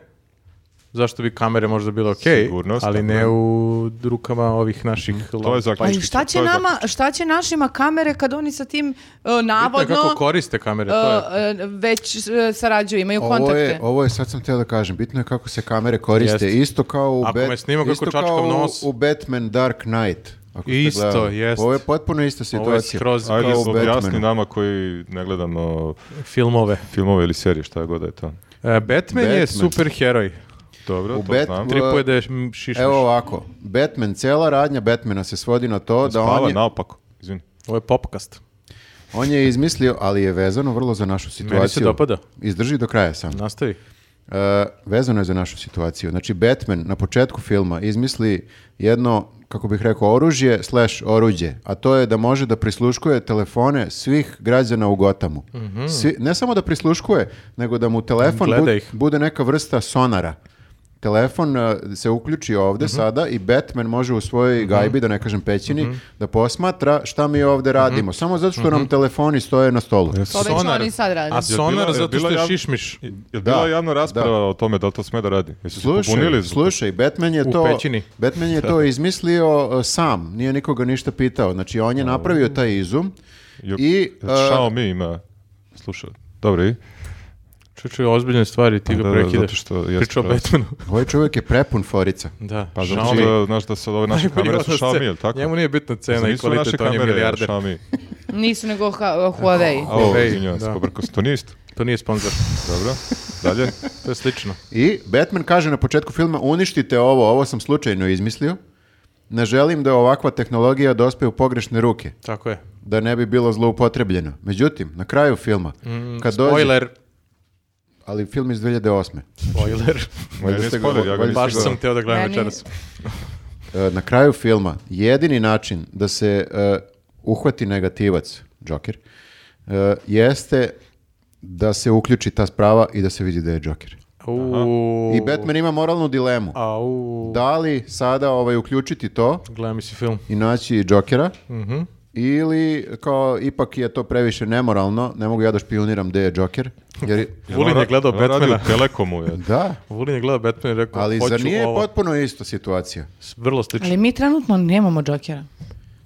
Speaker 4: zašto bi kamere možda bile okej,
Speaker 1: Sigurnost,
Speaker 4: ali
Speaker 1: tako
Speaker 4: ne
Speaker 1: je. Mm,
Speaker 4: u rukama ovih naših
Speaker 1: To je
Speaker 4: lava.
Speaker 2: Pa i
Speaker 1: zaključki.
Speaker 2: šta će
Speaker 1: To je
Speaker 2: nama, šta će našima kamere kad oni sa tim e,
Speaker 4: Bitno je
Speaker 2: navodno
Speaker 4: kako koriste kamere, to je.
Speaker 2: e, e, već e, sarađuju, imaju
Speaker 3: Ovo je,
Speaker 2: kontakte?
Speaker 3: ovo je, sad sam teo da kažem, bitno je kako se kamere koriste.
Speaker 4: Jeste.
Speaker 3: Isto kao u,
Speaker 4: Ako
Speaker 3: Bat-
Speaker 4: me snima kako
Speaker 3: isto
Speaker 4: čačkam
Speaker 3: kao u-
Speaker 4: nos.
Speaker 3: u Batman Dark Knight. Ako ste
Speaker 4: Isto,
Speaker 3: gledali.
Speaker 4: jest.
Speaker 3: Ovo je potpuno
Speaker 4: Ovo
Speaker 3: ista
Speaker 4: je
Speaker 3: situacija.
Speaker 4: skroz
Speaker 1: Ajde,
Speaker 3: kao u
Speaker 1: objasni
Speaker 3: Batmanu.
Speaker 1: nama koji ne gledamo
Speaker 2: Uh,
Speaker 4: filmove.
Speaker 1: filmove ili serije, šta god da je to.
Speaker 4: E, Batman, je
Speaker 3: Batman.
Speaker 4: super heroj.
Speaker 1: Dobro, to
Speaker 3: Bat-
Speaker 1: znam.
Speaker 3: u-
Speaker 4: Tripuje da je m, šišmiš.
Speaker 3: Evo ovako, Batman, cijela radnja Batmana se svodi na to da
Speaker 1: Spava
Speaker 3: on je,
Speaker 1: naopako, izvini.
Speaker 4: Ovo je popkast.
Speaker 3: on je izmislio, ali je vezano vrlo za našu situaciju.
Speaker 4: dopada.
Speaker 3: Izdrži do kraja sam.
Speaker 4: Nastavi.
Speaker 3: E, vezano je za našu situaciju. Znači, Batman na početku filma izmisli jedno, kako bih rekao, oružje slash oruđe, a to je da može da prisluškuje telefone svih građana u Gotamu. Svi, ne samo da prisluškuje, nego da mu telefon
Speaker 4: Mhm. Gleda
Speaker 3: bud-
Speaker 4: ih.
Speaker 3: bude neka vrsta sonara. Telefon e, se uključi ovde
Speaker 4: Mhm.
Speaker 3: sada i Batman može u svojoj gajbi, da ne kažem pećini,
Speaker 4: Mhm.
Speaker 3: da posmatra šta mi ovde radimo. Samo zato što nam telefoni stoje na stolu.
Speaker 2: To već oni sad rade.
Speaker 4: A
Speaker 1: Jel bila-
Speaker 4: sonar
Speaker 1: jel
Speaker 4: zato
Speaker 1: bila
Speaker 4: što je
Speaker 1: jav-
Speaker 4: šišmiš.
Speaker 1: Je li bila
Speaker 3: Da,
Speaker 1: javna rasprava o tome da li to sme da radi? Jesu se
Speaker 3: Slušaj,
Speaker 1: pobunili? zbog-
Speaker 3: slušaj, Batman je
Speaker 4: U
Speaker 3: to
Speaker 4: pećini.
Speaker 3: Batman je to izmislio uh, sam, nije nikoga ništa pitao. Znači on je napravio taj izum
Speaker 1: Jel-
Speaker 3: i
Speaker 1: jel
Speaker 3: uh,
Speaker 1: Xiaomi ima slušao. Dobro, i?
Speaker 4: Čuče, ozbiljne stvari, ti
Speaker 1: Da,
Speaker 4: ga
Speaker 1: da,
Speaker 4: prekidaš.
Speaker 1: zato što jeste
Speaker 4: Pričao o
Speaker 1: pravi.
Speaker 4: Batmanu.
Speaker 3: ovaj čovjek je prepun forica.
Speaker 4: da,
Speaker 1: Pa zato
Speaker 4: Xiaomi.
Speaker 1: što, znaš da sad ove naše kamere su
Speaker 4: Prirodno se-
Speaker 1: Xiaomi, je li tako?
Speaker 4: Njemu nije bitna cena i
Speaker 1: Nisu naše
Speaker 4: kvalitet, on je
Speaker 1: kamere
Speaker 4: milijarder.
Speaker 1: Xiaomi.
Speaker 2: Nisu nego ha- Huawei.
Speaker 1: A ovo,
Speaker 4: Huawei,
Speaker 1: izvinjavam se,
Speaker 4: da.
Speaker 1: pobrkao sam. To nije isto.
Speaker 4: To nije sponsor.
Speaker 1: Dobro, dalje.
Speaker 4: To je slično.
Speaker 3: I Batman kaže na početku filma uništite ovo, ovo sam slučajno izmislio. Ne želim da ovakva tehnologija dospe u pogrešne ruke,
Speaker 4: Tako je.
Speaker 3: da ne bi bilo zloupotrebljeno. Međutim, na kraju filma, kad dođe-
Speaker 4: Mm, Spoiler.
Speaker 3: ali film iz 2008.
Speaker 4: Spoiler.
Speaker 1: Meni
Speaker 3: Valjda
Speaker 1: je
Speaker 3: ste ga-
Speaker 1: spoiler, ja ga
Speaker 3: valjda
Speaker 1: nisam
Speaker 4: Baš
Speaker 3: ste ga-
Speaker 4: sam teo da gledam
Speaker 2: Meni-
Speaker 4: večeras.
Speaker 3: E, na kraju filma jedini način da se e, uhvati negativac, Joker, e, jeste da se uključi ta sprava i da se vidi da je Joker.
Speaker 4: Uuu.
Speaker 3: I Batman ima moralnu dilemu.
Speaker 4: Au.
Speaker 3: Da li sada ovaj, uključiti to
Speaker 4: Gledaj mi si film.
Speaker 3: i naći Jokera,
Speaker 4: Mhm.
Speaker 3: ili kao ipak je to previše nemoralno, ne mogu ja da špioniram gde je Joker. Jer,
Speaker 1: Jel on
Speaker 4: Vulin je
Speaker 1: ra-
Speaker 4: gledao
Speaker 1: jel on radi
Speaker 4: Batmana.
Speaker 1: u Telekomu, je.
Speaker 3: da,
Speaker 4: Vulin je gledao Batman i rekao,
Speaker 3: ali
Speaker 4: hoću
Speaker 3: zar nije
Speaker 4: ovo.
Speaker 3: potpuno isto situacija?
Speaker 4: Vrlo slično.
Speaker 2: Ali mi trenutno nemamo Jokera.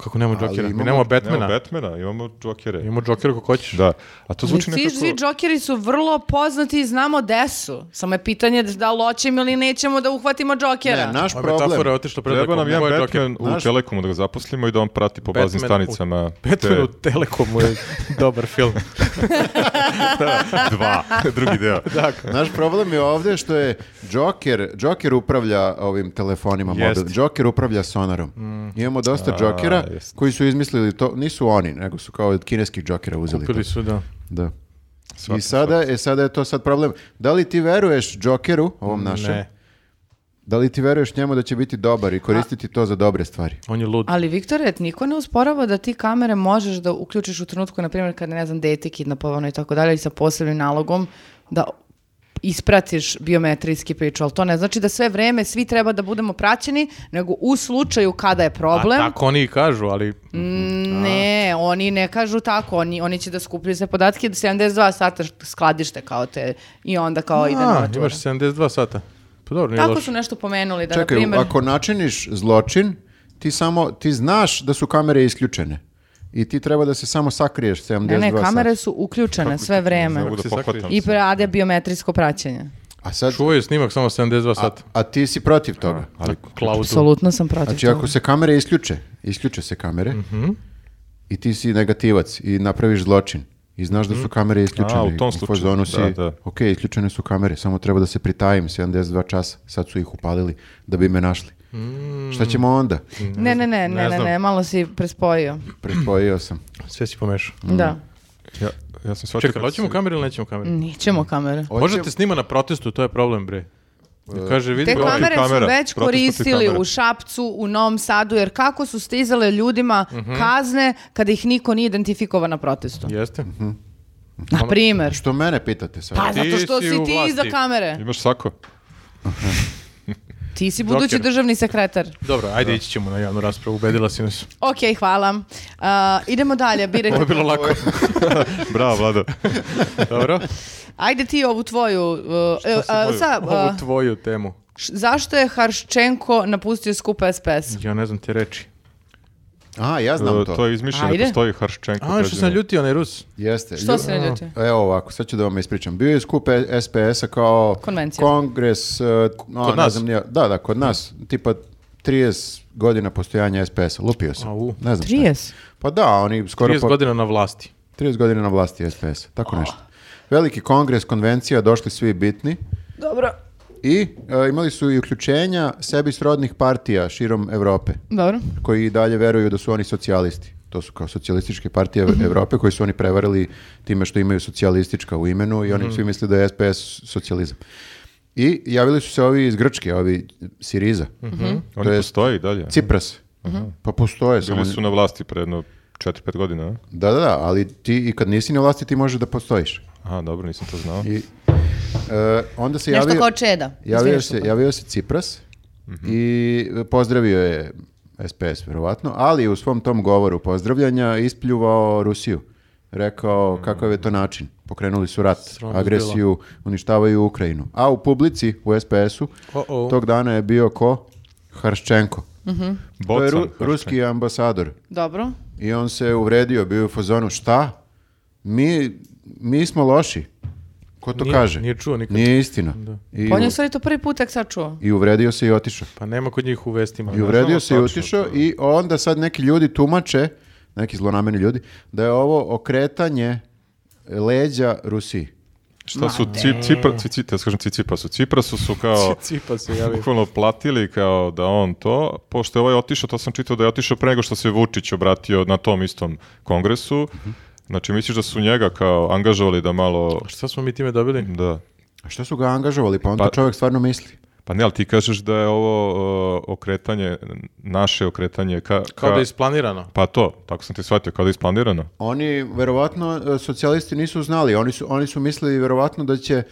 Speaker 4: Kako nema Jokera? Mi
Speaker 3: imamo-
Speaker 4: nemamo Batmana.
Speaker 1: Nemamo Batmana, imamo Jokere.
Speaker 4: Imamo Jokera kako hoćeš.
Speaker 1: Da, a to
Speaker 2: Ali
Speaker 1: zvuči
Speaker 2: svi, svi
Speaker 1: nekako...
Speaker 2: Jokeri su vrlo poznati i znamo gde su. Samo je pitanje da li hoćemo ili nećemo da uhvatimo Jokera.
Speaker 3: Ne, naš
Speaker 4: Ova metafora je
Speaker 3: problem,
Speaker 4: otišla predaleko.
Speaker 1: Treba nam
Speaker 4: Ko
Speaker 1: jedan
Speaker 4: je Joker?
Speaker 1: Batman u
Speaker 3: Znaš-
Speaker 1: Telekomu da ga zaposlimo i da on prati po baznim
Speaker 4: Batman u-
Speaker 1: stanicama.
Speaker 4: Batman u Telekomu je dobar film.
Speaker 1: te dva, drugi deo.
Speaker 3: Naš problem je ovdje što je Joker, Joker upravlja ovim telefonima
Speaker 4: Jest. Mm.
Speaker 3: mobilnim. Joker upravlja sonarom. Imamo dosta Jokera
Speaker 1: jest.
Speaker 3: koji su izmislili to, nisu oni, nego su kao od kineskih Jokera uzeli.
Speaker 4: Kupili
Speaker 3: to.
Speaker 4: su, da.
Speaker 3: Da.
Speaker 1: Svatim,
Speaker 3: I sada, e, sada je to sad problem. Da li ti veruješ Jokeru, ovom našem?
Speaker 4: Ne,
Speaker 3: Da li ti veruješ njemu da će biti dobar i koristiti to za dobre stvari?
Speaker 4: on je lud.
Speaker 2: Ali Viktore, niko ne usporava da ti kamere možeš da uključiš u trenutku, na primjer kad je, ne znam, dete kidnapovano i tako dalje i sa posebnim nalogom da ispratiš biometrijski priču, ali to ne znači da sve vreme svi treba da budemo praćeni, nego u slučaju kada je problem,
Speaker 4: A tako oni i kažu, ali
Speaker 2: ne, oni ne kažu tako, oni, oni će da skupljaju sve podatke do 72 sata š- skladište kao te i onda kao Pa ide
Speaker 4: A,
Speaker 2: na
Speaker 4: imaš 72 sata. Pa dobro, nije
Speaker 2: Tako
Speaker 4: loše.
Speaker 2: su nešto pomenuli da,
Speaker 3: Čekaj,
Speaker 2: na primjer,
Speaker 3: ako načiniš zločin, ti samo, ti znaš da su kamere isključene. I ti treba da se samo sakriješ 72
Speaker 2: ne, ne,
Speaker 3: sata.
Speaker 2: kamere su uključene sve vreme
Speaker 1: Mogu da
Speaker 4: se
Speaker 1: pohvatam.
Speaker 4: sakrije.
Speaker 2: i rade biometrijsko praćenje.
Speaker 3: A sad,
Speaker 4: Čuvaju snimak samo 72 sata.
Speaker 3: a ti si protiv toga?
Speaker 1: Ali,
Speaker 4: Klaudu.
Speaker 2: Apsolutno sam protiv
Speaker 3: Znači
Speaker 2: toga.
Speaker 3: ako se kamere isključe, isključe se kamere
Speaker 1: Mhm.
Speaker 3: i ti si negativac i napraviš zločin i znaš da su kamere isključene.
Speaker 1: Mhm. A, u tom
Speaker 3: i
Speaker 1: slučaju,
Speaker 3: fazonu si,
Speaker 1: da, da.
Speaker 3: Ok, isključene su kamere, samo treba da se pritajim 72 časa, sad su ih upalili da bi me našli.
Speaker 1: Mm.
Speaker 3: Šta ćemo onda?
Speaker 2: Ne, ne, ne,
Speaker 4: ne
Speaker 2: ne, ne,
Speaker 4: znam.
Speaker 2: ne, malo si prespojio.
Speaker 3: Mm. Prespojio sam.
Speaker 4: Sve si pomešao.
Speaker 2: Da.
Speaker 1: ja, ja sam shvatio...
Speaker 4: Čekaj,
Speaker 1: kako
Speaker 4: hoćemo
Speaker 1: si-
Speaker 4: kameru ili nećemo
Speaker 2: Mm.
Speaker 4: kameru?
Speaker 2: Nećemo kamere.
Speaker 3: Hoće-
Speaker 4: Možete snima na protestu, to je problem, bre. Kaže, vidi,
Speaker 2: Te
Speaker 4: ovaj-
Speaker 2: kamere
Speaker 1: kamera,
Speaker 2: su već
Speaker 1: protiv protiv
Speaker 2: koristili
Speaker 1: kamera.
Speaker 2: u Šapcu, u Novom Sadu, jer kako su stizale ljudima
Speaker 4: Mhm.
Speaker 2: kazne kada ih niko nije identifikovao na protestu?
Speaker 4: Jeste.
Speaker 2: Na primjer.
Speaker 3: Što mene pitate sad?
Speaker 2: Pa
Speaker 4: Ti
Speaker 2: zato što
Speaker 4: si
Speaker 2: si,
Speaker 4: u
Speaker 2: ti
Speaker 4: vlasti.
Speaker 2: iza kamere.
Speaker 1: Imaš sako?
Speaker 2: Ti si budući
Speaker 4: Joker.
Speaker 2: državni sekretar.
Speaker 4: Dobro, ajde ići ćemo na javnu raspravu, ubedila si nas.
Speaker 2: Ok, hvala. A, idemo dalje, birajte.
Speaker 4: Ovo je bilo lako.
Speaker 1: Bravo, Vlada.
Speaker 4: Dobro,
Speaker 2: Ajde ti ovu tvoju... uh, e, a,
Speaker 1: moju?
Speaker 2: sa,
Speaker 4: ovu
Speaker 2: uh,
Speaker 4: tvoju temu.
Speaker 2: š- zašto je Harščenko napustio skupa SPS?
Speaker 4: Ja ne znam te reči.
Speaker 3: A, ja znam
Speaker 1: E,
Speaker 3: to.
Speaker 1: to je izmišljeno,
Speaker 2: Ajde.
Speaker 1: postoji Harščenko.
Speaker 4: A, što
Speaker 1: prezime.
Speaker 4: sam ljutio, onaj Rus.
Speaker 3: Jeste.
Speaker 2: Što
Speaker 3: Lju-
Speaker 2: se ne ljutio?
Speaker 3: Evo ovako, sad ću da vam ispričam. Bio je skup E- SPS-a kao
Speaker 2: Konvencija.
Speaker 3: kongres, e, no, ne
Speaker 4: nas?
Speaker 3: znam nije- da, da, kod nas, tipa 30 godina postojanja SPS-a, lupio sam.
Speaker 4: Au.
Speaker 3: Ne znam šta je.
Speaker 2: 30.
Speaker 3: Pa da, oni skoro
Speaker 4: 30
Speaker 3: po-
Speaker 4: godina na vlasti.
Speaker 3: 30 godina na vlasti SPS, tako nešto. Veliki kongres, konvencija, došli svi bitni
Speaker 2: Dobro.
Speaker 3: i e, imali su i uključenja sebi srodnih partija širom Evrope
Speaker 2: Dobro.
Speaker 3: koji i dalje veruju da su oni socijalisti. To su kao socijalističke partije
Speaker 1: Mhm.
Speaker 3: Evrope koji su oni
Speaker 1: Mhm.
Speaker 3: prevarili time što imaju socijalistička u imenu i oni svi misle da je SPS socijalizam. I javili su se ovi iz Grčke, ovi Siriza,
Speaker 5: Mhm.
Speaker 1: Oni
Speaker 3: je-
Speaker 1: postoje i dalje.
Speaker 3: Cipras. Pa postoje samo.
Speaker 1: Mhm. Bili su na vlasti pre jedno 4-5 godina, a?
Speaker 3: Da, da, da, ali ti i kad nisi na vlasti ti možeš da postojiš.
Speaker 1: Aha, dobro, nisam to znao.
Speaker 3: I, e, onda se
Speaker 5: Nešto
Speaker 3: javio,
Speaker 5: kao Čeda.
Speaker 3: javio,
Speaker 5: Izviniš,
Speaker 3: se,
Speaker 4: pa.
Speaker 5: Luka.
Speaker 3: javio se Cipras
Speaker 4: Mhm.
Speaker 3: i pozdravio je SPS verovatno, ali u svom tom govoru pozdravljanja ispljuvao Rusiju. Rekao
Speaker 4: Mhm.
Speaker 3: kakav je to način. Pokrenuli su rat,
Speaker 4: Sramno
Speaker 3: agresiju, uništavaju Ukrajinu. A u publici, u SPS-u,
Speaker 4: O-o.
Speaker 3: tog dana je bio ko? Harščenko. To
Speaker 1: Bocan,
Speaker 3: je ru-
Speaker 1: Hršćan.
Speaker 3: ruski ambasador.
Speaker 2: Dobro.
Speaker 3: I on se uvredio, bio je u fazonu, šta? Mi, mi smo loši. Ko to
Speaker 4: Nije-
Speaker 3: kaže?
Speaker 4: nije čuo nikad.
Speaker 3: Nije istina. I,
Speaker 2: Pa on je
Speaker 3: u-
Speaker 2: u stvari to prvi put tek sad čuo.
Speaker 3: I uvredio se i otišao.
Speaker 4: Pa nema kod njih u vestima.
Speaker 3: I uvredio
Speaker 1: znamo
Speaker 3: se i
Speaker 1: tačno
Speaker 3: otišao
Speaker 1: to.
Speaker 3: i onda sad neki ljudi tumače, neki zlonameni ljudi, da je ovo okretanje leđa Rusiji.
Speaker 1: Šta su ci, Cipra, ci, ci, te kažem Cicipasu, Ciprasu su kao
Speaker 4: Cipa se javio.
Speaker 1: bukvalno platili kao da on to, pošto je ovaj otišao, to sam čitao da je otišao pre nego što se Vučić obratio na tom istom kongresu, znači misliš da su njega kao angažovali da malo,
Speaker 4: Šta smo mi time dobili?
Speaker 1: da,
Speaker 3: A što su ga angažovali? Pa on to čovjek stvarno misli.
Speaker 1: pa ne, ali ti kažeš da je ovo uh, okretanje, naše okretanje ka,
Speaker 4: Kao
Speaker 1: ka-
Speaker 4: da je isplanirano.
Speaker 1: pa to, tako sam ti shvatio, kao da je isplanirano.
Speaker 3: Oni, verovatno, e, socijalisti nisu znali. Oni su, oni su mislili, verovatno, da će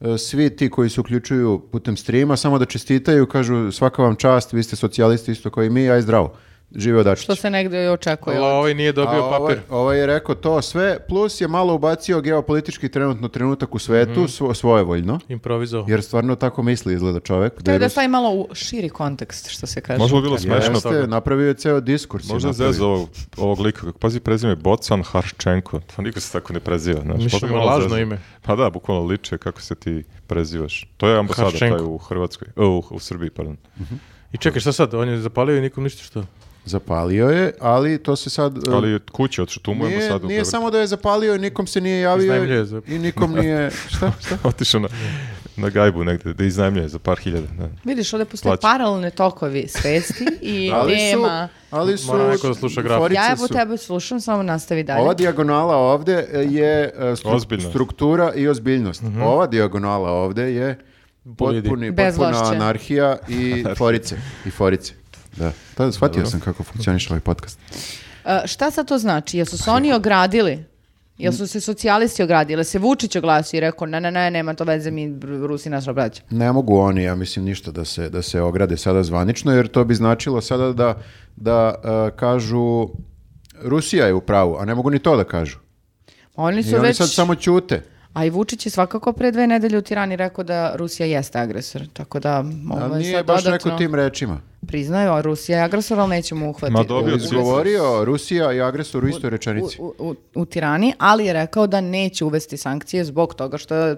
Speaker 3: e, svi ti koji se uključuju putem streama samo da čestitaju, kažu svaka vam čast, vi ste socijalisti isto kao i mi, aj zdravo. Žive odačić.
Speaker 2: Što se negdje i očekuje.
Speaker 4: Ala, ovaj nije dobio
Speaker 3: Pa A
Speaker 4: papir.
Speaker 3: Ovaj, ovaj je rekao to sve, plus je malo ubacio geopolitički trenutno trenutak u svetu, svo, svojevoljno,
Speaker 4: Improvizao.
Speaker 3: jer stvarno tako misli izgleda čovjek.
Speaker 2: To je da
Speaker 3: Rus-
Speaker 2: stavi malo u širi kontekst, što se kaže.
Speaker 1: Možda bi bilo smešno.
Speaker 3: Jeste, napravio je ceo diskurs. je
Speaker 1: Možda
Speaker 3: napravio.
Speaker 1: zezo ovog, ovog lika, kako pazi prezime, Bocan Harščenko, to niko se tako ne preziva. Znaš,
Speaker 4: Mislim,
Speaker 1: možda bi malo
Speaker 4: lažno
Speaker 1: zezao.
Speaker 4: ime.
Speaker 1: Pa da, bukvalno liče kako se ti prezivaš. To je ambasada
Speaker 4: Harščenko.
Speaker 1: taj u Hrvatskoj, o, u, u Srbiji, pardon.
Speaker 4: I čekaj, šta sad? On je zapalio i nikom ništa što?
Speaker 3: Zapalio je, ali to se sad... e,
Speaker 1: Ali je kući otišao, tu mu je
Speaker 3: Nije,
Speaker 1: ambasada. u
Speaker 3: nije
Speaker 1: Beogradu.
Speaker 3: samo da je zapalio i nikom se nije javio
Speaker 4: Iznajmljuje za-
Speaker 3: i nikom nije... Šta? Šta?
Speaker 1: Otišao na, na gajbu negde, da iznajmljuje za par hiljada. Da.
Speaker 2: Vidiš, ovdje postoje
Speaker 1: Plaća.
Speaker 2: paralelne tokovi svesti i
Speaker 3: Ali su,
Speaker 2: tema.
Speaker 3: ali su...
Speaker 4: Mora neko da sluša graf.
Speaker 3: forice
Speaker 2: Ja evo
Speaker 3: su-
Speaker 2: tebe slušam, samo nastavi dalje.
Speaker 3: Ova dijagonala ovde e, je e, stru-
Speaker 1: Ozbiljno.
Speaker 3: struktura i ozbiljnost. Ova dijagonala ovde je potpuni, potpuna
Speaker 2: Bezvlašće.
Speaker 3: anarhija i forice. I forice. Da. Tada shvatio sam kako funkcioniš ovaj podcast.
Speaker 2: E, šta sad to znači? Jesu se oni ogradili? Jel su se socijalisti ogradili? Jel se Vučić oglasio i rekao, ne, ne, ne, nema to veze, mi Rusi naša braća.
Speaker 3: Ne mogu oni, ja mislim, ništa da se, da se ograde sada zvanično, jer to bi značilo sada da, da e, kažu Rusija je u pravu, a ne mogu ni to da kažu.
Speaker 2: Oni su
Speaker 3: I oni
Speaker 2: već...
Speaker 3: sad samo ćute.
Speaker 2: A i Vučić je svakako pre dve nedelje u Tirani rekao da Rusija jeste agresor. Tako da
Speaker 3: A
Speaker 2: ovo je
Speaker 3: nije
Speaker 2: ovaj, sad
Speaker 3: baš
Speaker 2: dodatno...
Speaker 3: rekao tim rečima.
Speaker 2: Priznaju, a Rusija je agresor, ali nećemo uhvatiti.
Speaker 1: Ma dobro,
Speaker 3: Je
Speaker 1: Dobio
Speaker 3: li
Speaker 1: cijet.
Speaker 3: izgovorio Rusija i agresor u istoj
Speaker 2: u,
Speaker 3: rečenici.
Speaker 2: u, u, u Tirani, ali je rekao da neće uvesti sankcije zbog toga što je...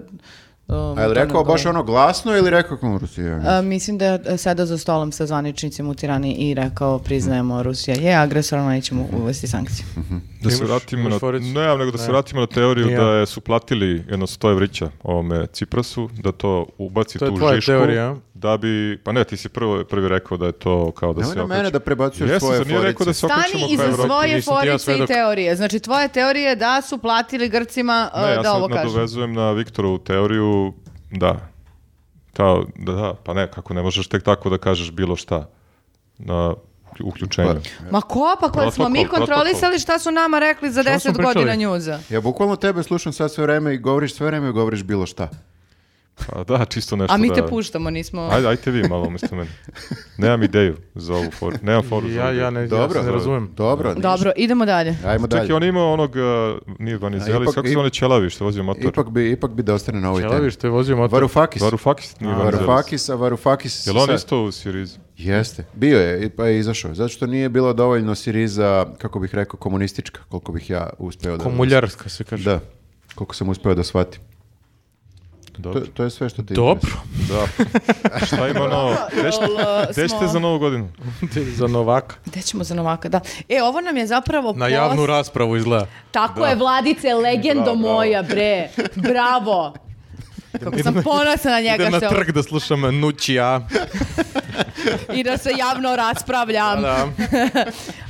Speaker 2: um,
Speaker 3: A je li
Speaker 2: to ne
Speaker 3: rekao baš
Speaker 2: odgovara.
Speaker 3: ono glasno ili rekao kao Rusija?
Speaker 2: A, mislim da je e, sada za stolom sa zvaničnicima u Tirani i rekao priznajemo Rusija je agresor, ali nećemo uvesti sankcije.
Speaker 1: Da se
Speaker 4: Imaš-
Speaker 1: vratimo
Speaker 4: imaš
Speaker 1: na,
Speaker 4: foricu?
Speaker 1: ne, nego da se
Speaker 4: Ne.
Speaker 1: vratimo na teoriju
Speaker 4: Ni ja.
Speaker 1: da je, su platili jedno 100 evrića ovome Ciprasu, da to ubaci
Speaker 4: To je
Speaker 1: tu
Speaker 4: tvoja
Speaker 1: žišku.
Speaker 4: teorija, a?
Speaker 1: Da bi, pa ne, ti si prvo, prvi rekao da je to kao da
Speaker 3: Nemoj
Speaker 1: se
Speaker 3: na mene da prebacuješ
Speaker 1: Jesam,
Speaker 3: svoje
Speaker 1: zar nije rekao da
Speaker 3: forice.
Speaker 1: se okrećemo
Speaker 2: Stani
Speaker 1: ka
Speaker 2: iza
Speaker 1: Evropi?
Speaker 2: svoje
Speaker 4: nisam ti ja
Speaker 2: forice i
Speaker 4: svedok.
Speaker 2: teorije. Znači, tvoja teorija je da su platili Grcima e,
Speaker 1: Ne, ja
Speaker 2: da
Speaker 1: se
Speaker 2: ovo kažu.
Speaker 1: nadovezujem na Viktorovu teoriju, da. Ta, da, da, pa ne, kako ne možeš tek tako da kažeš bilo šta na uključenju.
Speaker 2: Ma ko, pa koji smo
Speaker 1: Protokol,
Speaker 2: mi
Speaker 1: protokol.
Speaker 2: kontrolisali šta su nama rekli za
Speaker 4: Šta smo
Speaker 2: 10
Speaker 4: pričali?
Speaker 2: godina njuza?
Speaker 3: Ja bukvalno tebe slušam sad sve vreme i govoriš sve vreme i govoriš bilo šta.
Speaker 1: Pa da, čisto nešto
Speaker 2: A mi
Speaker 1: da...
Speaker 2: te puštamo, nismo...
Speaker 1: Ajde, ajte vi malo umjesto mene. Nemam ideju za ovu foru. Nemam foru za
Speaker 4: Ja,
Speaker 1: ovu
Speaker 4: ja
Speaker 1: ideju.
Speaker 4: ne,
Speaker 3: Dobro.
Speaker 4: ja se ne razumijem.
Speaker 3: Dobro, ništa.
Speaker 2: Dobro, idemo dalje.
Speaker 3: Ajmo dalje.
Speaker 1: Čekaj, on ima onog, uh, nije
Speaker 3: A,
Speaker 1: Vanizeli,
Speaker 3: ipak-
Speaker 1: kako se
Speaker 3: i-
Speaker 1: one ćelavi što vozio motor?
Speaker 3: Ipak bi, ipak bi da ostane na ovoj
Speaker 4: Čelavi
Speaker 3: temi.
Speaker 4: što je vozio motor.
Speaker 3: Varufakis.
Speaker 1: Varufakis nije Vanizelis.
Speaker 3: Varufakis, a Varufakis...
Speaker 1: Jel on
Speaker 3: sad-
Speaker 1: isto u Sirizi?
Speaker 3: Jeste. Bio je, i- pa je izašao. Zato što nije bilo dovoljno Siriza, kako bih rekao, komunistička, koliko bih ja uspeo da...
Speaker 4: Komuljarska se kaže.
Speaker 3: Da, koliko sam uspeo da shvatim. To,
Speaker 1: Dobro.
Speaker 3: to je sve što ti
Speaker 4: Dobro.
Speaker 1: Da. Šta ima novo? Gde ćete-
Speaker 2: Jel, e,
Speaker 1: Gde
Speaker 2: smo-
Speaker 1: ćete za novu godinu?
Speaker 4: Za Novaka.
Speaker 2: Gde ćemo za Novaka, da. E, ovo nam je zapravo
Speaker 4: Na
Speaker 2: post-
Speaker 4: javnu raspravu izgleda.
Speaker 5: Tako je, Vladice, legendo
Speaker 1: Bravo, bravo.
Speaker 5: moja, bre. Bravo.
Speaker 2: Kako sam ponosna na njega
Speaker 4: Idem na
Speaker 2: što je-
Speaker 4: trg da slušam Nućija.
Speaker 2: i da se javno raspravljam.
Speaker 4: Da.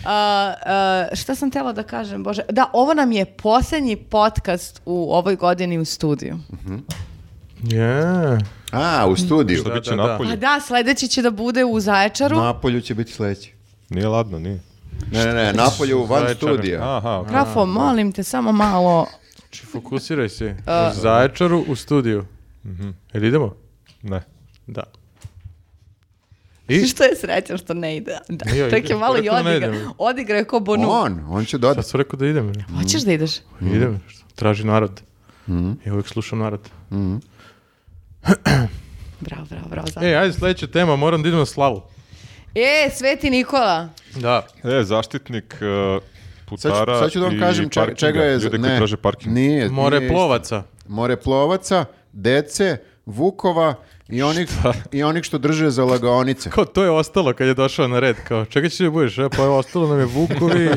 Speaker 2: A, a, šta sam tela da kažem, Bože? Da, ovo nam je posljednji podcast u ovoj godini u studiju.
Speaker 4: Je.
Speaker 3: A, u studiju.
Speaker 1: Što
Speaker 4: Da,
Speaker 1: biće
Speaker 4: da, da.
Speaker 1: napolje?
Speaker 2: A Pa da, sledeći će da bude u Zaječaru.
Speaker 3: Napolju će biti sledeći.
Speaker 1: Nije ladno, nije.
Speaker 3: Ne, ne, ne, napolju van
Speaker 4: Zaječar.
Speaker 3: studija.
Speaker 1: Aha, okej.
Speaker 2: Grafo, molim te, samo malo.
Speaker 4: Znači, fokusiraj se. U Zaječaru u studiju. Mhm. Jel idemo?
Speaker 1: ne.
Speaker 4: Da.
Speaker 2: I?
Speaker 4: I?
Speaker 2: Što je srećan što ne ide? Da.
Speaker 4: Ja
Speaker 2: Čak je
Speaker 4: idem.
Speaker 2: malo i
Speaker 4: Rekao da ne
Speaker 2: odigra.
Speaker 4: idem.
Speaker 2: Odigra je ko bonu.
Speaker 3: On, on će dodati.
Speaker 4: Sad sam rekao da idem. ne?
Speaker 2: Hoćeš da ideš?
Speaker 3: Mhm.
Speaker 4: Idem. što? Traži narod. Ja uvijek slušam narod.
Speaker 2: Bravo, bravo, bravo. Zlatko.
Speaker 4: E, ajde sljedeća tema, moram da idem na slavu.
Speaker 2: E, Sveti Nikola.
Speaker 4: Da.
Speaker 1: E, zaštitnik uh,
Speaker 3: Sad, ću-
Speaker 1: putara
Speaker 3: sad ću da vam
Speaker 1: i
Speaker 3: kažem če-
Speaker 1: parkinga,
Speaker 3: čega je...
Speaker 1: Ljudi koji traže parking.
Speaker 3: Nije,
Speaker 4: More
Speaker 3: nije isto.
Speaker 4: plovaca.
Speaker 3: Moreplovaca, dece, vukova i onih, i onih što drže za lagaonice.
Speaker 4: Kao to je ostalo kad je došao na red. Kao, čekaj će da budeš, e, pa je ostalo nam je Vukovi,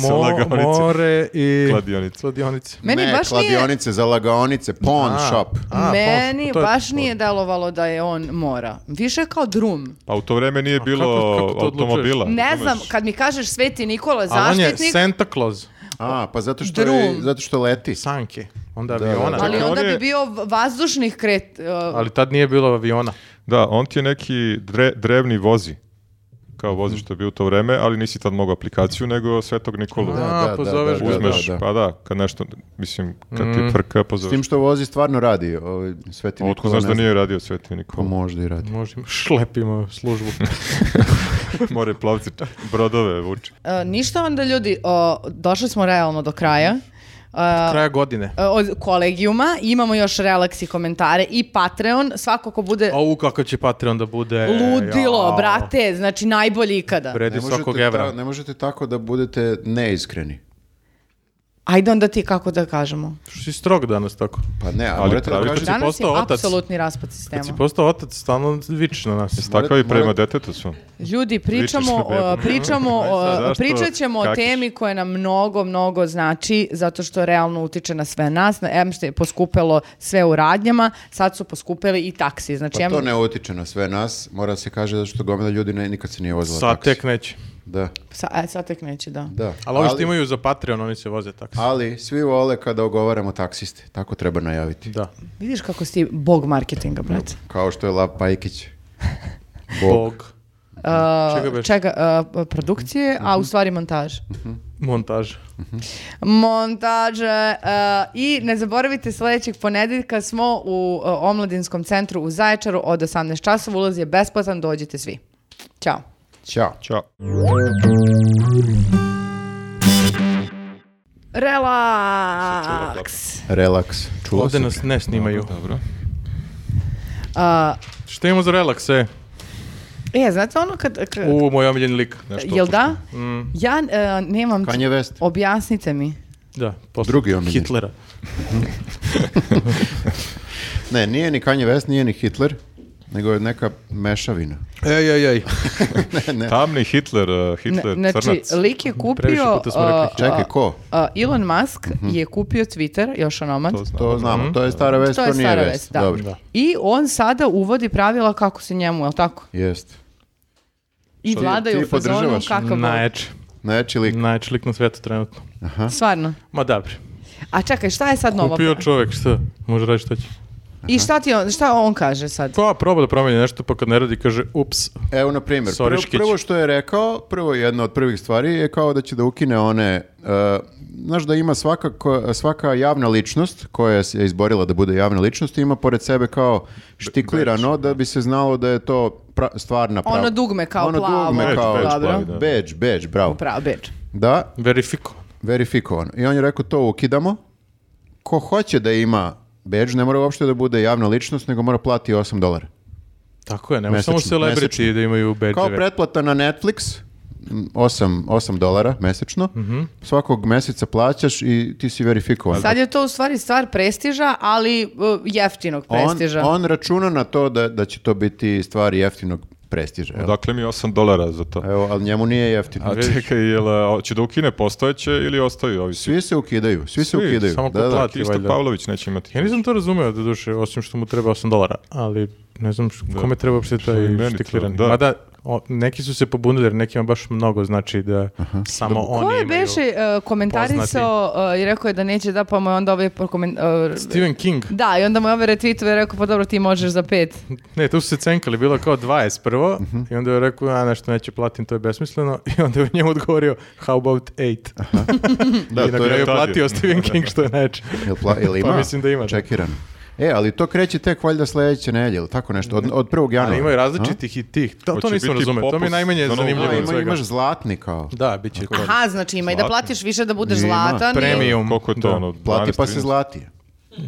Speaker 1: Sa
Speaker 4: mo,
Speaker 1: lagaonice.
Speaker 4: more i...
Speaker 1: Kladionice.
Speaker 4: Kladionice.
Speaker 2: Meni
Speaker 3: ne,
Speaker 2: baš nije...
Speaker 3: kladionice za lagaonice, pawn
Speaker 4: A.
Speaker 3: shop.
Speaker 4: A,
Speaker 2: Meni
Speaker 4: pa, to je-
Speaker 2: baš nije delovalo da je on mora. Više kao drum.
Speaker 1: Pa u to vreme nije bilo
Speaker 4: kako to odlučuješ?
Speaker 1: automobila.
Speaker 2: Ne
Speaker 1: razumeš?
Speaker 2: znam, kad mi kažeš Sveti Nikola
Speaker 4: Pa, Ali on je
Speaker 2: zaštitnik,
Speaker 4: Santa Claus,
Speaker 3: A, pa zato što, je,
Speaker 2: Drum.
Speaker 3: zato što leti.
Speaker 4: sanke, onda aviona.
Speaker 1: da.
Speaker 4: Ali,
Speaker 2: ali
Speaker 1: on
Speaker 2: onda
Speaker 1: je-
Speaker 2: bi bio v- vazdušnih kret... uh,
Speaker 4: tad nije bilo aviona.
Speaker 1: Da, on ti je neki dre- drevni vozi. Kao vozi što je bio u to vreme, ali nisi tad mogao aplikaciju, nego Svetog Nikolu.
Speaker 4: Da, Mm. pozoveš
Speaker 3: da,
Speaker 4: ga,
Speaker 1: pa Uzmeš,
Speaker 3: da, da.
Speaker 1: pa da, kad nešto, mislim, kad ti frka,
Speaker 3: S
Speaker 1: pozoveš.
Speaker 3: tim što vozi stvarno radi. Ovaj, Sveti
Speaker 1: Otko
Speaker 3: Nikola,
Speaker 1: znaš
Speaker 3: ne
Speaker 1: da
Speaker 3: znam.
Speaker 1: nije radio Sveti
Speaker 3: Pa
Speaker 1: Nikola.
Speaker 3: možda i radi.
Speaker 4: Možda im šlepimo službu.
Speaker 1: More plavci, brodove vuče.
Speaker 2: uh, ništa onda ljudi, uh, došli smo realno do kraja. Uh,
Speaker 4: Kraja godine.
Speaker 2: od kolegijuma, imamo još relaks i komentare i Patreon, svako ko bude
Speaker 4: Au, kako će Patreon da bude...
Speaker 2: ludilo,
Speaker 4: jao.
Speaker 2: brate, znači najbolji ikada.
Speaker 4: Vredi
Speaker 3: Ne možete,
Speaker 4: svakog
Speaker 3: ta-
Speaker 4: evra.
Speaker 3: ne možete tako da budete neiskreni.
Speaker 2: Ajde onda ti kako da kažemo.
Speaker 4: Što si strog danas tako?
Speaker 3: Pa ne, a
Speaker 1: Ali
Speaker 3: morate da
Speaker 1: pravi-
Speaker 3: kažete...
Speaker 2: Danas je
Speaker 4: postao otac.
Speaker 2: apsolutni raspad sistema.
Speaker 4: Kad si postao otac, stalno vičiš na nas.
Speaker 1: Tako i prema
Speaker 3: morat-
Speaker 1: detetu smo.
Speaker 2: Ljudi, pričamo,
Speaker 1: Pričaš sa
Speaker 2: o-
Speaker 1: bebom.
Speaker 2: pričamo, o-
Speaker 1: Zašto
Speaker 2: pričat ćemo o
Speaker 1: kakiš?
Speaker 2: temi koja nam mnogo, mnogo znači, zato što realno utiče na sve nas. Na- Em što je poskupelo sve u radnjama, sad su poskupeli i taksi. Znači,
Speaker 3: Pa
Speaker 2: em-
Speaker 3: to ne utiče na sve nas, mora se kaže da što gomila ljudi ne, nikad se nije vozila
Speaker 4: Sad
Speaker 3: taksi.
Speaker 4: tek neće.
Speaker 3: Da,
Speaker 2: sa, e, sad tek neće, da.
Speaker 3: da.
Speaker 4: Ali ovi što imaju za Patreon, oni se voze taksi.
Speaker 3: ali svi vole kada ogovaramo taksiste, tako treba najaviti.
Speaker 4: Da.
Speaker 2: Vidiš kako si bog marketinga, brate.
Speaker 3: Kao što je Lav Pajkić. Bog.
Speaker 4: Bog.
Speaker 2: Uh,
Speaker 4: Čega
Speaker 2: čega,
Speaker 4: beš?
Speaker 2: uh, produkcije, a u stvari montaž.
Speaker 4: Montaž.
Speaker 2: Montaže. uh, I ne zaboravite sledećeg ponedeljka smo u uh, Omladinskom centru u Zaječaru od 18 časova. Ulaz je besplatan, dođite svi. Ćao.
Speaker 3: Ćao.
Speaker 1: Ćao.
Speaker 2: Relaks.
Speaker 3: Relaks. Čulo
Speaker 4: Ovde
Speaker 3: se.
Speaker 4: nas ne snimaju.
Speaker 1: Dobro.
Speaker 2: Uh,
Speaker 4: Šta imamo za relaks, e?
Speaker 2: e, znate ono kad... kad
Speaker 4: U, moj omiljen lik.
Speaker 1: Nešto
Speaker 2: jel da? Ja uh, nemam...
Speaker 3: Kanye West.
Speaker 2: Objasnite mi.
Speaker 4: Da, posle
Speaker 3: Drugi omiljen.
Speaker 4: Hitlera.
Speaker 3: Ne, nije ni Kanye West, nije ni Hitler, nego je neka mešavina.
Speaker 4: Ej, ej, ej.
Speaker 3: ne, ne.
Speaker 1: Tamni Hitler, uh,
Speaker 2: Ne,
Speaker 1: Hitler,
Speaker 2: znači,
Speaker 1: crnac.
Speaker 2: lik je
Speaker 4: Previše
Speaker 2: kupio...
Speaker 4: puta smo rekli.
Speaker 2: uh,
Speaker 3: Čekaj,
Speaker 2: uh,
Speaker 3: ko?
Speaker 2: uh, Elon Musk
Speaker 3: Mhm.
Speaker 2: je kupio Twitter, još onomad.
Speaker 1: To znam.
Speaker 3: To znamo, to je stara vest,
Speaker 2: To
Speaker 3: to,
Speaker 2: je
Speaker 3: nije
Speaker 2: stara
Speaker 3: vest.
Speaker 2: vest, da.
Speaker 3: Dobro.
Speaker 4: Mhm. Da.
Speaker 2: I on sada uvodi pravila kako se njemu, jel tako?
Speaker 3: Jest.
Speaker 2: I
Speaker 3: Što
Speaker 2: vladaju
Speaker 3: ti
Speaker 2: u fazonu
Speaker 3: podržavaš?
Speaker 2: kakav Naj...
Speaker 4: Najjači.
Speaker 3: Najjači lik.
Speaker 4: Najjači lik na svetu trenutno.
Speaker 2: Stvarno.
Speaker 4: Ma dobro.
Speaker 2: A čekaj, šta je sad novo?
Speaker 4: Kupio čovek, šta? Može raditi šta će.
Speaker 2: I šta ti on, šta on kaže sad?
Speaker 4: Pa, proba da promeni nešto, pa kad ne radi, kaže, ups,
Speaker 3: Evo, na primjer, prvo,
Speaker 4: Soriškić.
Speaker 3: prvo što je rekao, prvo jedna od prvih stvari je kao da će da ukine one, uh, znaš da ima svaka, ko- svaka javna ličnost koja se je izborila da bude javna ličnost, ima pored sebe kao štiklirano da bi se znalo da je to pra- stvarna prava.
Speaker 2: Ono dugme kao
Speaker 3: ono
Speaker 2: plavo.
Speaker 3: dugme
Speaker 1: Badge,
Speaker 3: kao,
Speaker 1: badge
Speaker 2: Dobro.
Speaker 1: plavi, da.
Speaker 3: Badge, badge, bravo.
Speaker 2: Pravo, beč.
Speaker 3: Da,
Speaker 4: verifiko.
Speaker 3: verifikovano. I on je rekao to ukidamo. Ko hoće da ima badge, ne mora uopšte da bude javna ličnost, nego mora plati 8 dolara.
Speaker 4: Tako je, ne može samo
Speaker 3: Mesečno,
Speaker 4: celebrity
Speaker 3: mesečno.
Speaker 4: da imaju badge
Speaker 3: Kao pretplata na Netflix, m, 8, 8 dolara mesečno.
Speaker 4: Mhm.
Speaker 3: Svakog meseca plaćaš i ti si verifikovan.
Speaker 2: Sad je to u stvari stvar prestiža, ali uh, jeftinog
Speaker 3: on,
Speaker 2: prestiža.
Speaker 3: on računa na to da, da će to biti stvari jeftinog prestiža. jel?
Speaker 1: Dakle mi 8 dolara za
Speaker 4: E,
Speaker 1: to.
Speaker 3: Evo, ali njemu nije jeftino.
Speaker 1: A čekaj, jel, uh, će da ukine postojeće ili ostaju ovi svi?
Speaker 3: Svi se ukidaju, svi se
Speaker 1: Svi,
Speaker 3: ukidaju.
Speaker 4: samo ko
Speaker 3: da, da.
Speaker 4: plati.
Speaker 1: Isto
Speaker 4: valjda.
Speaker 1: Pavlović neće imati. E,
Speaker 4: Ja nisam to razumeo, doduše, osim što mu treba 8 dolara, ali ne znam š- kome treba uopšte taj
Speaker 1: je meni to,
Speaker 4: štikliran.
Speaker 1: da.
Speaker 4: Mada, o, neki su se pobunili jer nekima baš mnogo znači da samo oni
Speaker 2: Ko je
Speaker 4: imaju.
Speaker 2: beše e, komentarisao e, i rekao je da neće da, pa mu je onda ovaj prokomen- e,
Speaker 4: Stephen King.
Speaker 2: Da, i onda mu je ovaj retweetove i rekao, pa dobro, ti možeš za pet.
Speaker 4: Ne, tu su se cenkali, bilo je kao 20 prvo i onda je rekao, a nešto neće platim, to je besmisleno i onda je njemu odgovorio, how about 8?
Speaker 3: Da,
Speaker 4: I na
Speaker 3: to
Speaker 4: kraju je
Speaker 1: tad
Speaker 3: je
Speaker 1: je.
Speaker 4: platio Stephen King što je najče.
Speaker 3: Jel, pla, jel ima?
Speaker 4: Pa mislim da ima, da.
Speaker 3: Čekiran. E, ali to kreće tek valjda sledeće nedelje, ili tako nešto, od, od 1. januara.
Speaker 4: Ali ima i različitih i tih. To, to
Speaker 1: Hoće
Speaker 4: nisam
Speaker 1: biti
Speaker 4: razumio, to mi je
Speaker 1: popust
Speaker 4: najmanje
Speaker 1: za novu
Speaker 3: A,
Speaker 4: zanimljivo od
Speaker 1: godinu.
Speaker 3: ono, ima,
Speaker 4: svega.
Speaker 3: imaš zlatni kao.
Speaker 4: Da, bit će kod.
Speaker 2: Aha, znači ima i da
Speaker 1: Zlatan.
Speaker 2: platiš više da budeš
Speaker 3: Ima.
Speaker 2: zlatan. i-
Speaker 4: Premium.
Speaker 1: Koliko je to
Speaker 4: Da.
Speaker 1: ono?
Speaker 3: Plati
Speaker 1: 12,
Speaker 3: pa se
Speaker 1: 13?
Speaker 3: zlati.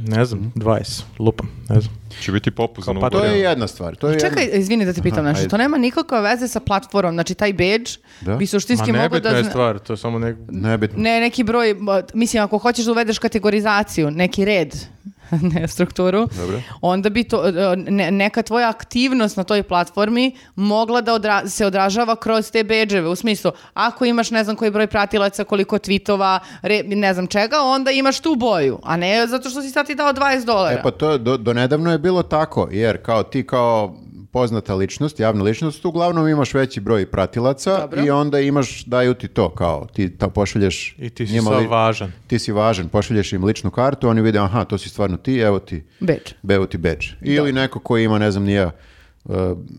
Speaker 4: Ne znam, 20, lupam, ne znam.
Speaker 1: Će biti popust za
Speaker 4: Kao
Speaker 1: novu
Speaker 4: pa
Speaker 3: To je
Speaker 1: godinu.
Speaker 3: jedna stvar. To je
Speaker 2: Čekaj,
Speaker 3: jedna-
Speaker 2: izvini da te pitam nešto.
Speaker 3: ajde.
Speaker 2: To nema nikakve veze sa platformom. Znači, taj badge
Speaker 3: Da.
Speaker 2: bi
Speaker 4: Ma
Speaker 2: suštinski mogao
Speaker 4: nebitna
Speaker 2: da...
Speaker 4: je
Speaker 2: zna-
Speaker 4: stvar, to je samo nek...
Speaker 3: Nebitno.
Speaker 2: Ne, neki broj, ba, mislim, ako hoćeš da uvedeš kategorizaciju, neki red, ne strukturu, onda bi to, e, ne- neka tvoja aktivnost na toj platformi mogla da odra- se odražava kroz te beđeve. U smislu, ako imaš ne znam koji broj pratilaca, koliko tweetova, re- ne znam čega, onda imaš tu boju, a ne zato što si sad ti dao 20 dolara.
Speaker 3: E pa to je- do, do nedavno je bilo tako, jer kao ti kao poznata ličnost, javna ličnost, uglavnom imaš veći broj pratilaca
Speaker 2: Dobro.
Speaker 3: i onda imaš, daju ti to kao, ti ta pošalješ
Speaker 4: I ti si sav važan.
Speaker 3: Ti si važan, pošalješ im ličnu kartu, oni vide, aha, to si stvarno ti, evo ti.
Speaker 2: Badge.
Speaker 3: Evo ti badge. Ili neko koji ima, ne znam, nije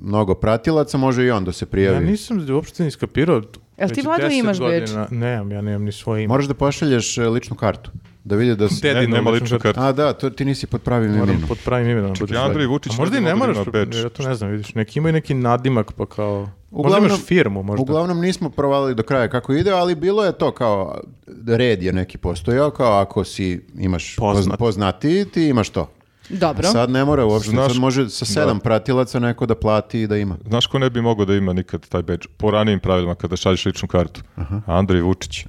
Speaker 3: mnogo pratilaca, može i on da se
Speaker 4: Ja
Speaker 3: prijavi.
Speaker 4: nisam uopšte ni skapirao.
Speaker 2: Jel ti,
Speaker 4: Već
Speaker 2: Vlado,
Speaker 4: 10
Speaker 2: imaš
Speaker 4: godina-
Speaker 2: badge?
Speaker 4: Nemam, ja nemam ni svoje ime.
Speaker 3: Moraš da pošalješ e, ličnu kartu, da vidi da si...
Speaker 4: Te-
Speaker 1: Ne,
Speaker 4: Jedinu
Speaker 1: nema
Speaker 4: ličnu
Speaker 1: ličnu
Speaker 4: kartu.
Speaker 1: kartu.
Speaker 3: A da, to, ti nisi pod pravim
Speaker 4: Moram
Speaker 3: imenom.
Speaker 4: pod pravim imenom.
Speaker 1: Čekaj,
Speaker 4: bude sve.
Speaker 1: Andrej Vučić
Speaker 4: A možda i
Speaker 1: ne bi
Speaker 4: ne
Speaker 1: mogao da
Speaker 4: moraš,
Speaker 1: ima badge.
Speaker 4: ja to ne znam, vidiš, neki imaju neki nadimak pa kao... možda imaš firmu, možda.
Speaker 3: Uglavnom nismo provalili do kraja kako ide, ali bilo je to kao red je neki postojao, kao ako si imaš
Speaker 4: Poznat.
Speaker 3: poznat. poznatiji, ti imaš to.
Speaker 2: Dobro.
Speaker 3: Sad ne mora uopšte,
Speaker 1: Znaš-
Speaker 3: sad može sa sedam pratilaca neko da plati i da ima.
Speaker 1: Znaš ko ne bi mogao da ima nikad taj badge? Po ranijim pravilima kada šalješ ličnu kartu. Andrej Vučić.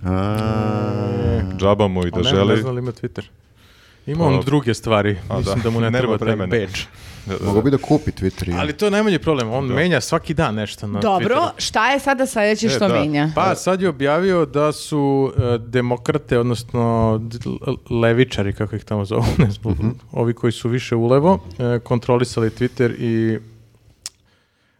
Speaker 1: Džaba mu i da
Speaker 4: Ali E, pa ne, ne
Speaker 1: želi. Pa-
Speaker 4: znam li ima Twitter. Ima on druge stvari,
Speaker 1: A,
Speaker 4: mislim da, mu ne
Speaker 1: Nema
Speaker 4: treba taj
Speaker 1: vremena.
Speaker 4: badge.
Speaker 1: Da, da,
Speaker 3: Mogu
Speaker 1: da.
Speaker 3: bi da kupi Twitter. i-
Speaker 4: Ali to je najmanji problem, on menja svaki dan nešto na
Speaker 2: Dobro,
Speaker 4: Twitteru.
Speaker 2: šta je sada sledeće
Speaker 1: E,
Speaker 2: što
Speaker 1: da.
Speaker 2: menja?
Speaker 4: Pa sad je objavio da su e, demokrate, odnosno d- l- levičari, kako ih tamo zovu, ne znam, ovi koji su više ulevo, e, kontrolisali Twitter i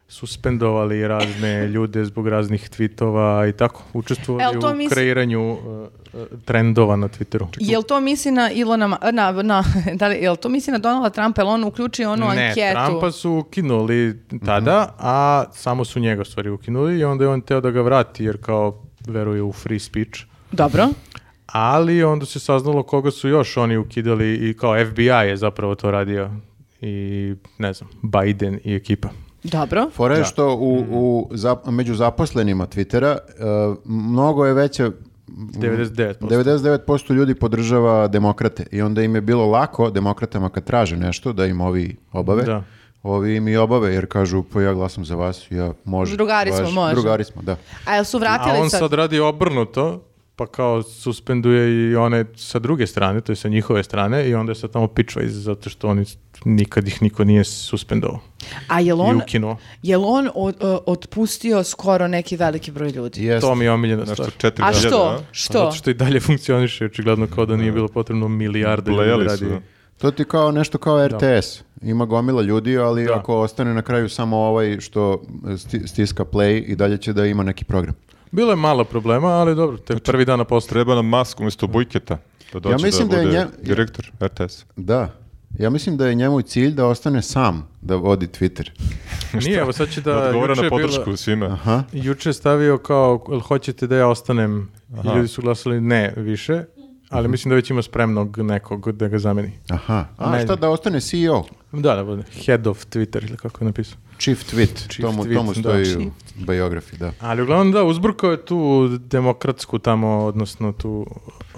Speaker 4: suspendovali razne ljude zbog raznih tvitova i tako, učestvovali
Speaker 2: Jel E, to
Speaker 4: u
Speaker 2: misli-
Speaker 4: kreiranju e, e, trendova na Twitteru.
Speaker 2: Jel to misli na Ilona, Ma- na, na, da li, jel to misli na Donalda Trumpa, jel on uključio onu
Speaker 4: ne,
Speaker 2: anketu?
Speaker 4: Trumpa su ukinuli tada, a samo su njega u stvari ukinuli i onda je on teo da ga vrati jer kao veruje u free speech.
Speaker 2: Dobro.
Speaker 4: Ali onda se saznalo koga su još oni ukidali i kao FBI je zapravo to radio i ne znam, Biden i ekipa.
Speaker 1: Mhm.
Speaker 2: Dobro.
Speaker 3: Fora je što u, u
Speaker 4: Mm.
Speaker 3: zap- među zaposlenima Twittera e, mnogo je veća
Speaker 4: 99%.
Speaker 3: 99% ljudi podržava demokrate i onda im je bilo lako demokratama kad traže nešto da im ovi obave.
Speaker 4: Da.
Speaker 3: Ovi im i obave jer kažu pa ja glasam za vas, ja može.
Speaker 2: Drugari smo, može.
Speaker 3: Drugari smo, da.
Speaker 2: A jel su
Speaker 4: A
Speaker 2: vratili
Speaker 4: on
Speaker 2: sad?
Speaker 4: sad radi obrnuto, pa kao suspenduje i one sa druge strane, to je sa njihove strane i onda je sad tamo pičva iz zato što oni nikad ih niko nije suspendovao
Speaker 2: A jel
Speaker 4: i
Speaker 2: on,
Speaker 4: ukinuo.
Speaker 2: jel on od- o- otpustio skoro neki veliki broj ljudi?
Speaker 3: Jest.
Speaker 4: To mi je omiljena
Speaker 1: Nešto
Speaker 4: stvar.
Speaker 1: 4000,
Speaker 2: A što?
Speaker 1: a?
Speaker 2: Što?
Speaker 4: Zato što i dalje funkcioniše, očigledno kao da nije bilo potrebno milijarde ljudi da
Speaker 1: Blejali
Speaker 4: radi.
Speaker 1: su. da.
Speaker 3: To ti kao nešto kao RTS. Ima gomila ljudi, ali
Speaker 4: Da.
Speaker 3: ako ostane na kraju samo ovaj što sti- stiska play i dalje će da ima neki program.
Speaker 4: Bilo je malo problema, ali dobro, te
Speaker 1: Znači-
Speaker 4: prvi dana postre.
Speaker 1: Treba nam masku umjesto bujketa. Da dođe
Speaker 3: mislim
Speaker 1: da,
Speaker 3: da je
Speaker 1: bude
Speaker 3: nje-
Speaker 1: direktor RTS.
Speaker 3: Da. Ja mislim da je njemu cilj da ostane sam da vodi Twitter.
Speaker 4: Nije, evo sad će da...
Speaker 1: Odgovara
Speaker 4: juče
Speaker 1: na
Speaker 4: je bila-
Speaker 1: podršku svima.
Speaker 3: Aha.
Speaker 4: Juče je stavio kao, jel hoćete da ja ostanem? I ljudi su glasali ne više, ali mislim da već ima spremnog nekog da ga zameni.
Speaker 3: Aha. A
Speaker 4: Ne
Speaker 3: šta
Speaker 4: znam.
Speaker 3: da ostane E CEO?
Speaker 4: Da, da bude. Head of Twitter ili kako je napisao.
Speaker 3: Chief tweet,
Speaker 4: Chief
Speaker 3: to mu,
Speaker 4: tweet,
Speaker 3: to mu
Speaker 4: da.
Speaker 3: stoji
Speaker 4: Chief.
Speaker 3: u biografiji, da.
Speaker 4: Ali uglavnom da, uzbrkao je tu demokratsku tamo, odnosno tu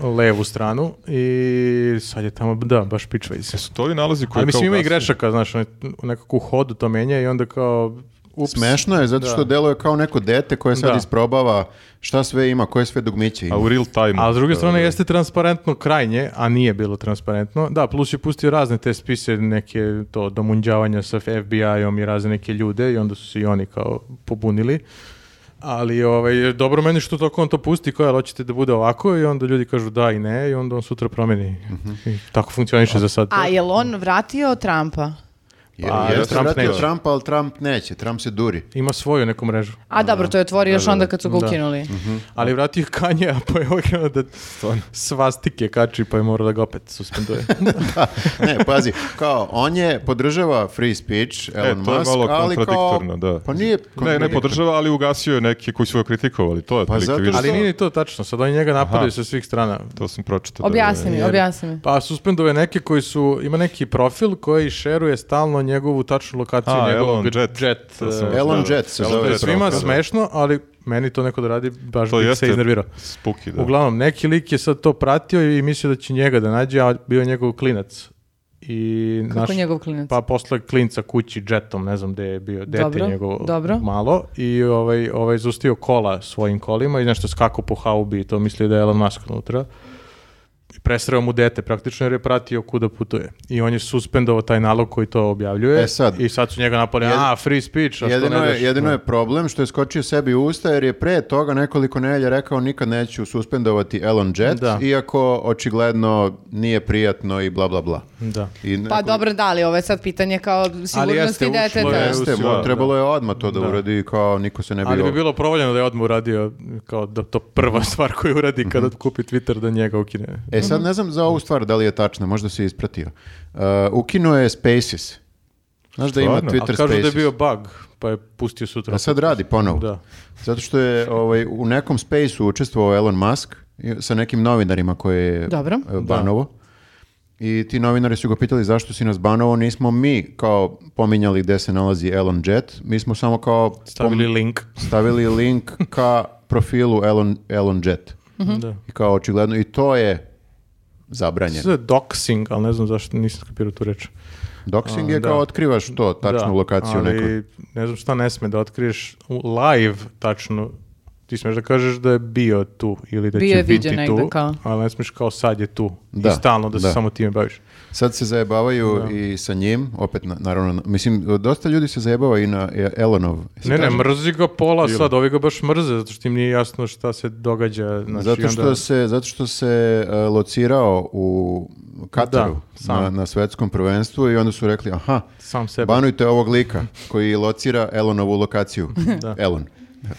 Speaker 4: levu stranu i sad je tamo, da, baš pičva iz.
Speaker 1: Jesu E, to ovi nalazi koji
Speaker 4: Ali mislim
Speaker 1: kao
Speaker 4: ima i
Speaker 1: ugasili?
Speaker 4: grešaka, znaš, one- nekako u hodu to menja i onda kao... Ups,
Speaker 3: Smešno je, zato što deluje kao neko dete koje sad
Speaker 4: Da.
Speaker 3: isprobava šta sve ima, koje sve dugmiće ima.
Speaker 1: A u real time.
Speaker 4: A s druge strane jeste transparentno krajnje, a nije bilo transparentno. Da, plus je pustio razne te spise, neke to domunđavanja sa FBI-om i razne neke ljude i onda su se i oni kao pobunili. Ali ovaj, dobro meni što tako on to pusti, koja hoćete da bude ovako i onda ljudi kažu da i ne i onda on sutra promeni. I tako funkcioniše za sad.
Speaker 2: A jel on vratio Trumpa?
Speaker 3: Je,
Speaker 4: Pa,
Speaker 3: jeste
Speaker 4: Trump
Speaker 3: vratio
Speaker 4: neće.
Speaker 3: Trump, ali Trump neće. Trump se duri.
Speaker 4: Ima svoju neku mrežu.
Speaker 2: A dobro, to je otvorio još onda kad su ga
Speaker 4: Da.
Speaker 2: ukinuli.
Speaker 4: Ali vratio je Kanje, a pa je ovaj krenuo da svastike kači, pa je morao da ga opet suspenduje.
Speaker 3: ne, pazi, kao, on je podržava free speech, Elon
Speaker 1: E, to je
Speaker 3: Musk,
Speaker 1: malo
Speaker 3: ali kao-
Speaker 1: kontradiktorno, da.
Speaker 3: Pa nije...
Speaker 1: Ne, ne podržava, ali ugasio je neke koji su ga kritikovali. To je otprilike,
Speaker 3: Pa zato
Speaker 1: vidiš.
Speaker 3: što-
Speaker 4: Ali nije ni to tačno, sad oni njega napadaju
Speaker 1: Aha.
Speaker 4: sa svih strana.
Speaker 1: To sam pročitao. da-
Speaker 2: Objasni mi,
Speaker 4: Jer-
Speaker 2: objasni mi.
Speaker 4: Pa suspendove neke koji su, ima neki profil koji šeruje stalno njegovu tačnu lokaciju,
Speaker 1: A,
Speaker 4: njegovog
Speaker 1: Elon Jet.
Speaker 4: jet,
Speaker 1: To sam-
Speaker 4: e,
Speaker 3: Elon
Speaker 1: Da, da.
Speaker 3: Jet se
Speaker 1: Elon
Speaker 3: zove.
Speaker 1: Jet.
Speaker 4: Svima
Speaker 1: profil, da.
Speaker 4: smešno, ali meni to neko da radi, baš
Speaker 1: To
Speaker 4: bih
Speaker 1: jeste
Speaker 4: se iznervirao.
Speaker 1: Spuki, da.
Speaker 4: Uglavnom, neki lik je sad to pratio i mislio da će njega da nađe, a bio je njegov klinac. I
Speaker 2: Kako njegov klinac?
Speaker 4: Pa posle klinca kući jetom, ne znam gde je bio dete
Speaker 2: Dobro,
Speaker 4: njegovo
Speaker 2: dobro.
Speaker 4: malo i ovaj, ovaj zustio kola svojim kolima i nešto skakao po haubi i to mislio da je Elon Musk unutra. I Presreo mu dete praktično jer je pratio kuda putuje. I on je suspendovao taj nalog koji to objavljuje.
Speaker 3: E sad.
Speaker 4: I sad su njega napali, a free speech, a što
Speaker 3: Jedino,
Speaker 4: ne
Speaker 3: je,
Speaker 4: daš?"
Speaker 3: jedino je problem što je skočio sebi u usta jer je pre toga nekoliko nedelja rekao nikad neću suspendovati Elon Jet,
Speaker 4: Da.
Speaker 3: iako očigledno nije prijatno i bla bla bla.
Speaker 4: Da.
Speaker 3: I
Speaker 2: Pa
Speaker 3: neko-
Speaker 2: dobro, da li, ovo je sad pitanje kao
Speaker 4: jeste,
Speaker 2: sigurnosti
Speaker 4: ušlo je
Speaker 2: deteta.
Speaker 4: u
Speaker 3: Jeste, mo-
Speaker 4: Da,
Speaker 3: trebalo je odmah to da, uradi kao niko se ne bi...
Speaker 4: Ali bi
Speaker 3: ovo-
Speaker 4: bilo provoljeno da je odmah uradio kao da to prva stvar koju uradi
Speaker 3: Mhm.
Speaker 4: kada kupi Twitter da njega ukine.
Speaker 3: E sad ne znam za ovu stvar da li je tačna, možda se ispratio. Uh, ukinuo je Spaces. Znaš da ima
Speaker 1: Stvarno?
Speaker 3: Twitter
Speaker 4: A
Speaker 3: Spaces.
Speaker 4: kažu da je bio bug, pa je pustio sutra.
Speaker 3: A sad radi ponovo.
Speaker 4: Da.
Speaker 3: Zato što je ovaj, u nekom spaceu učestvovao Elon Musk i- sa nekim novinarima koje je
Speaker 2: Dobro.
Speaker 3: e, banovo. I ti novinari su ga pitali zašto si nas banovo, nismo mi kao pominjali gde se nalazi Elon Jet, mi smo samo kao pom-
Speaker 4: Stavili link.
Speaker 3: stavili link ka profilu Elon, Elon Jet.
Speaker 2: Mhm.
Speaker 4: Da.
Speaker 3: I kao očigledno, i to je zabranjeno.
Speaker 4: Sve doxing, ali ne znam zašto nisam skapirao tu reč.
Speaker 3: Doxing je
Speaker 4: da.
Speaker 3: kao otkrivaš to, tačnu
Speaker 4: Da,
Speaker 3: lokaciju
Speaker 4: ali
Speaker 3: nekog.
Speaker 4: ne znam šta ne sme da otkriješ u- live tačno. Ti smeš da kažeš da je bio tu ili da
Speaker 2: Bio
Speaker 4: će
Speaker 2: je
Speaker 4: biti
Speaker 2: viđen negde
Speaker 4: tu,
Speaker 2: kao.
Speaker 4: ali ne smeš kao sad je tu
Speaker 3: Da,
Speaker 4: i stalno da,
Speaker 3: da.
Speaker 4: se samo time baviš.
Speaker 3: Sad se zajebavaju i sa njim, opet na- naravno, na- mislim, dosta ljudi se zajebava i na e, Elonov. Jesi
Speaker 4: Ne, ne,
Speaker 3: kažem?
Speaker 4: mrzi ga pola sad, ovi ga baš mrze, zato što im nije jasno šta se događa. Znači,
Speaker 3: zato,
Speaker 4: onda-
Speaker 3: što se, zato što se e, locirao u Kataru
Speaker 4: Da, sam.
Speaker 3: na, na svetskom prvenstvu i onda su rekli, aha,
Speaker 4: Sam sebe.
Speaker 3: banujte ovog lika koji locira Elonovu lokaciju. Elon.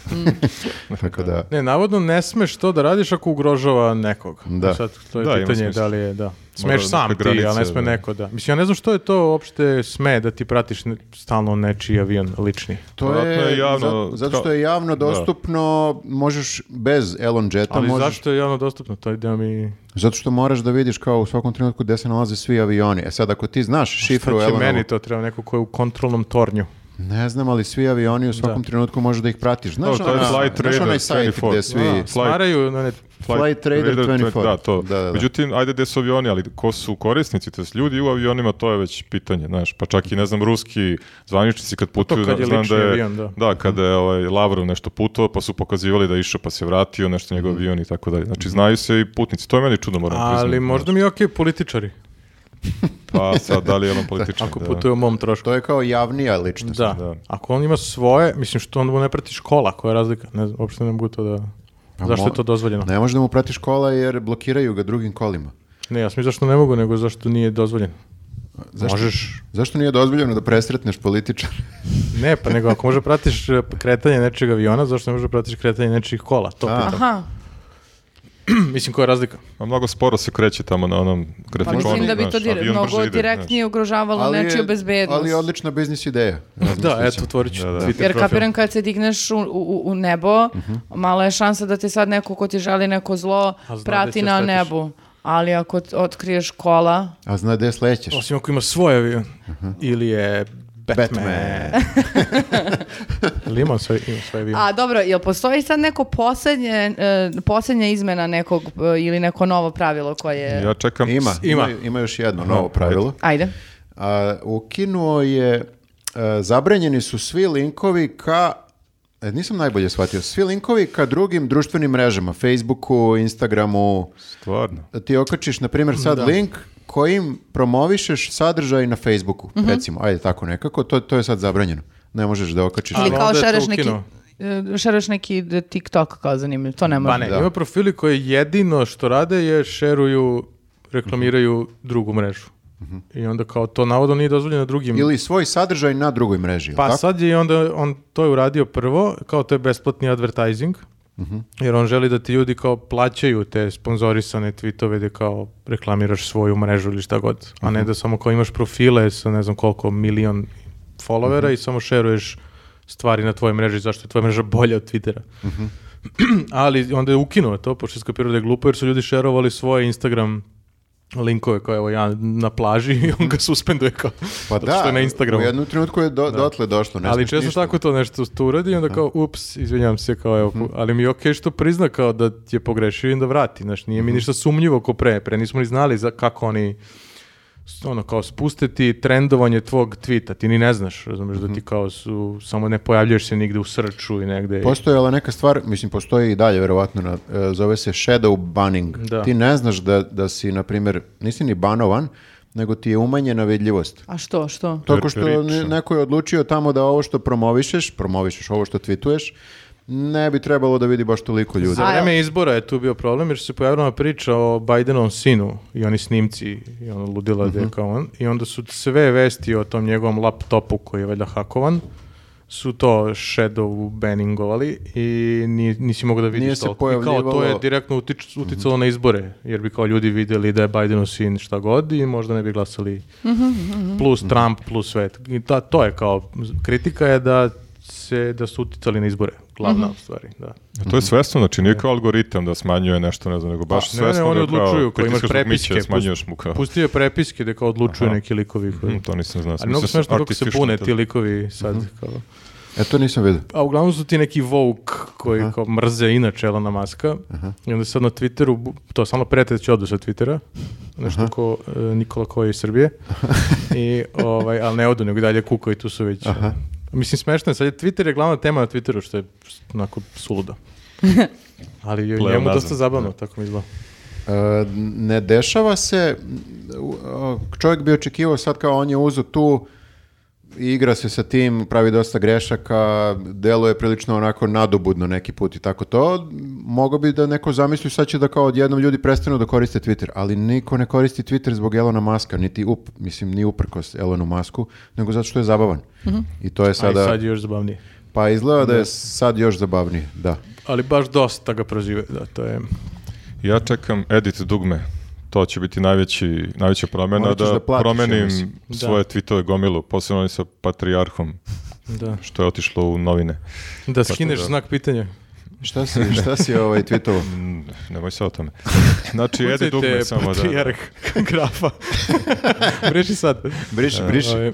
Speaker 3: Tako da,
Speaker 4: Ne, navodno ne smeš to da radiš ako ugrožava nekog. E
Speaker 3: Da.
Speaker 4: Sad, to je
Speaker 1: Da, ima
Speaker 4: pitanje
Speaker 1: smisla.
Speaker 4: da li je, da.
Speaker 1: Mora
Speaker 4: Smeš sam
Speaker 1: neke
Speaker 4: ti, ali
Speaker 1: granice,
Speaker 4: ne sme
Speaker 1: da.
Speaker 4: neko da. Mislim, ja ne znam što je to uopšte sme da ti pratiš ne- stalno nečiji avion lični.
Speaker 3: to je,
Speaker 1: Vjerojatno je javno-
Speaker 3: za- zato što je javno
Speaker 1: Da.
Speaker 3: dostupno, možeš bez Elon Jeta,
Speaker 4: Ali
Speaker 3: možeš...
Speaker 4: zašto je javno dostupno? To ide mi...
Speaker 3: Zato što moraš da vidiš kao u svakom trenutku gde se nalaze svi avioni. E sad, ako ti znaš
Speaker 4: Šta
Speaker 3: šifru
Speaker 4: će
Speaker 3: Elonovu,
Speaker 4: meni to treba neko ko je u kontrolnom tornju.
Speaker 3: ne znam, ali svi avioni u svakom trenutku možeš da ih pratiš.
Speaker 1: Da,
Speaker 3: Znaš,
Speaker 1: to je
Speaker 3: ona-
Speaker 1: Flight
Speaker 3: znaš
Speaker 1: Radar
Speaker 3: onaj sajt
Speaker 1: 24.
Speaker 3: gde svi...
Speaker 1: Da.
Speaker 4: Smaraju na ne...
Speaker 1: Pa,
Speaker 3: Flight Radar 24.
Speaker 1: Da, to.
Speaker 3: Da, da, da.
Speaker 1: Međutim, ajde gde su avioni, ali ko su korisnici, to jest ljudi u avionima, to je već pitanje, znaš. Pa čak i, ne znam, ruski zvaničnici kad putuju,
Speaker 4: Pa kad
Speaker 1: da-
Speaker 4: je
Speaker 1: znam da
Speaker 4: lični
Speaker 1: je,
Speaker 4: avion, da. Mhm.
Speaker 1: kada je ovaj, Lavrov nešto putovao, pa su pokazivali da je išao, pa se vratio, nešto njegov avion i tako dalje. Znači, znaju se i putnici. To je meni čudno, moram priznati.
Speaker 4: Mhm. Ali možda
Speaker 1: znaš.
Speaker 4: mi je okej političari.
Speaker 1: Pa sad, da li je on političan?
Speaker 4: Ako
Speaker 1: da.
Speaker 4: putuje u mom trošku.
Speaker 3: To je kao javnija ličnost.
Speaker 4: Da.
Speaker 1: da.
Speaker 4: Ako on ima svoje, mislim što onda mu ne prati škola, koja je razlika? Ne znam, uopšte ne mogu to da... Zašto
Speaker 3: Pa mo-
Speaker 4: je to dozvoljeno?
Speaker 3: Ne može da mu pratiš kola jer blokiraju ga drugim kolima.
Speaker 4: Ne, ja sam zašto ne mogu, nego zašto nije dozvoljeno.
Speaker 3: Zašto?
Speaker 4: Možeš.
Speaker 3: Zašto nije dozvoljeno da presretneš političara?
Speaker 4: Ne, pa nego ako može pratiš e, kretanje nečeg aviona, zašto ne može pratiš kretanje nečih kola? To
Speaker 3: A.
Speaker 4: pitam.
Speaker 2: Aha,
Speaker 4: Mislim, koja je razlika?
Speaker 1: A mnogo sporo se kreće tamo na onom
Speaker 2: pa
Speaker 1: grafikonu.
Speaker 2: mislim da bi
Speaker 1: znaš,
Speaker 2: to dire-
Speaker 1: avion brže
Speaker 2: mnogo
Speaker 1: ide, znaš.
Speaker 2: direktnije ugrožavalo
Speaker 3: je-
Speaker 2: nečiju bezbednost.
Speaker 3: ali je odlična biznis ideja.
Speaker 4: Da, eto, otvorit ću
Speaker 1: Da, da.
Speaker 4: Twitter
Speaker 2: Jer
Speaker 4: profil. Mhm.
Speaker 2: kapiram kad se digneš u, u, u nebo, mala je šansa da te sad neko ko ti želi neko zlo
Speaker 4: A zna gde
Speaker 2: prati
Speaker 4: će
Speaker 2: na
Speaker 4: sletiš.
Speaker 2: nebu. Ali ako t- otkriješ kola,
Speaker 3: A zna gde slećeš.
Speaker 4: Osim ako ima svoj avion. Ili je Batman.
Speaker 3: Batman.
Speaker 4: Ili ima svoj, ima svoj avion.
Speaker 2: A dobro, jel postoji sad neko posljednje, e, posljednja izmena nekog e, ili neko novo pravilo koje...
Speaker 1: Ja čekam.
Speaker 3: Ima, ima,
Speaker 4: Ima.
Speaker 3: ima još jedno novo pravilo.
Speaker 2: Ajde.
Speaker 3: A, ukinuo je, e, zabranjeni su svi linkovi ka, e, nisam najbolje shvatio, svi linkovi ka drugim društvenim mrežama, Facebooku, Instagramu,
Speaker 1: Stvarno.
Speaker 3: ti okačiš, na primjer, sad link kojim promovišeš sadržaj na Facebooku, recimo, ajde tako nekako, to, to je sad zabranjeno. Ne možeš da okačiš.
Speaker 4: Ali
Speaker 2: Ili kao
Speaker 4: onda je to
Speaker 2: šereš neki,
Speaker 4: ukinuo.
Speaker 2: e, šereš neki d- TikTok kao zanimljiv, to ne može.
Speaker 4: Pa ne, ima profili koji jedino što rade je šeruju, reklamiraju drugu mrežu. I onda kao to navodno nije dozvoljeno drugim.
Speaker 3: Ili svoj sadržaj na drugoj mreži. jel
Speaker 4: Pa
Speaker 3: tako?
Speaker 4: sad je i onda on to je uradio prvo, kao to je besplatni advertising,
Speaker 3: Mhm.
Speaker 4: jer on želi da ti ljudi kao plaćaju te sponzorisane tweetove gde kao reklamiraš svoju mrežu ili šta god, a
Speaker 3: Mhm.
Speaker 4: ne da samo kao imaš profile sa ne znam koliko milion followera
Speaker 3: Mhm.
Speaker 4: i samo šeruješ stvari na tvojoj mreži, zašto je tvoja mreža bolja od Twittera.
Speaker 3: Mhm.
Speaker 4: Ali onda je ukinuo to, pošto je skapirao da je glupo, jer su ljudi šerovali svoje Instagram linkove kao evo ja na plaži i on ga suspenduje kao
Speaker 3: Pa
Speaker 4: zato što
Speaker 3: da,
Speaker 4: je na Instagramu.
Speaker 3: u jednom trenutku je do, dotle došlo. Ne
Speaker 4: Ali
Speaker 3: smiješ
Speaker 4: često
Speaker 3: ništa.
Speaker 4: tako to nešto tu uradi i onda kao, ups, izvinjam se, kao
Speaker 3: Mhm.
Speaker 4: evo, ali mi je okej što prizna kao da je pogrešio i da vrati, znaš, nije
Speaker 3: Mhm.
Speaker 4: mi ništa sumnjivo ko pre, pre nismo ni znali za kako oni s- ono kao spustiti trendovanje tvog tvita, ti ni ne znaš, razumiješ,
Speaker 3: Mhm.
Speaker 4: da ti kao su, samo ne pojavljaš se nigde u srču i negde.
Speaker 3: Postojala neka stvar, mislim postoji i dalje verovatno, na, e, zove se shadow banning.
Speaker 4: Da.
Speaker 3: Ti ne znaš da, da si, na primjer, nisi ni banovan, nego ti je umanjena vidljivost.
Speaker 2: A što, što?
Speaker 3: Tako što ne-
Speaker 1: Rično.
Speaker 3: neko je odlučio tamo da ovo što promovišeš, promovišeš ovo što tvituješ, ne bi trebalo da vidi baš toliko ljudi.
Speaker 4: Za vreme izbora je tu bio problem jer se pojavila ona priča o Bidenom sinu i oni snimci i ono ludila da
Speaker 3: Mhm.
Speaker 4: je kao on. I onda su sve vesti o tom njegovom laptopu koji je valjda hakovan su to shadow banningovali i ni, nisi mogao da vidiš
Speaker 3: Nije se
Speaker 4: toliko. I kao to je
Speaker 3: pojavljivalo- Mhm.
Speaker 4: direktno utič, uticalo na izbore jer bi kao ljudi vidjeli da je Bidenov sin šta god i možda ne bi glasali
Speaker 3: Mhm,
Speaker 4: plus Trump plus svet. I ta, to je kao kritika je da se da su uticali na izbore glavna
Speaker 3: Mhm.
Speaker 4: stvari da
Speaker 1: To je svesno, znači nije kao algoritam da smanjuje nešto, ne znam, nego baš
Speaker 4: ne, ne,
Speaker 1: svesno
Speaker 4: oni
Speaker 1: da kao
Speaker 4: odlučuju, koji imaš
Speaker 1: pritiskaš dok miće,
Speaker 4: prepiske, pust-
Speaker 1: smanjuješ mu kao.
Speaker 4: pustio je prepiske da kao odlučuju
Speaker 1: Aha.
Speaker 4: neki likovi koji...
Speaker 1: Mm, to nisam znao.
Speaker 4: Ali mnogo
Speaker 1: Mislim,
Speaker 4: smešno kako se
Speaker 1: artificial
Speaker 4: pune ti
Speaker 1: intelligence.
Speaker 4: likovi sad.
Speaker 1: Mhm.
Speaker 4: kao.
Speaker 3: E to nisam vidio.
Speaker 4: A uglavnom su ti neki Vogue koji kao mrze inače Elona Maska. I onda sad na Twitteru, bu- to samo prete će odu sa Twittera. Nešto ko e, Nikola koji je iz Srbije. I, ovaj, ali ne odu, nego i dalje kukaju i tu su već... e, Mislim, smešno je, sad je Twitter je glavna tema na Twitteru, što je onako suludo. Ali je njemu
Speaker 1: Pleonazam.
Speaker 4: dosta zabavno, tako mi izgleda.
Speaker 3: E, ne dešava se, u- o, čovjek bi očekivao sad kao on je uzu tu, igra se sa tim, pravi dosta grešaka, deluje prilično onako nadobudno neki put i tako to. Mogao bi da neko zamisli sad će da kao odjednom ljudi prestanu da koriste Twitter, ali niko ne koristi Twitter zbog Elona Maska, niti up, mislim ni uprkos Elonu Masku, nego zato što je zabavan. I to je
Speaker 4: A i
Speaker 3: sada,
Speaker 4: sad je još zabavnije.
Speaker 3: pa izgleda da je sad još zabavnije, da.
Speaker 4: Ali baš dosta ga prozive, da, to je...
Speaker 1: Ja čekam edit dugme. To će biti najveći, najveća promjena
Speaker 3: Morat ćeš
Speaker 1: da,
Speaker 3: da platiš, ja
Speaker 1: promenim
Speaker 3: mislim.
Speaker 1: svoje tweetove gomilu, posebno oni sa patrijarhom,
Speaker 4: Da,
Speaker 1: što je otišlo u novine.
Speaker 4: da skineš
Speaker 1: da.
Speaker 4: znak pitanja.
Speaker 3: Šta si, šta si ovaj tweetovo?
Speaker 1: Mm, Nemoj sad o tome. Znači, edit dugme
Speaker 4: Kucajte
Speaker 1: samo da...
Speaker 4: patrijarh grafa. Breši sad.
Speaker 3: Briši, briši.
Speaker 4: Ovaj,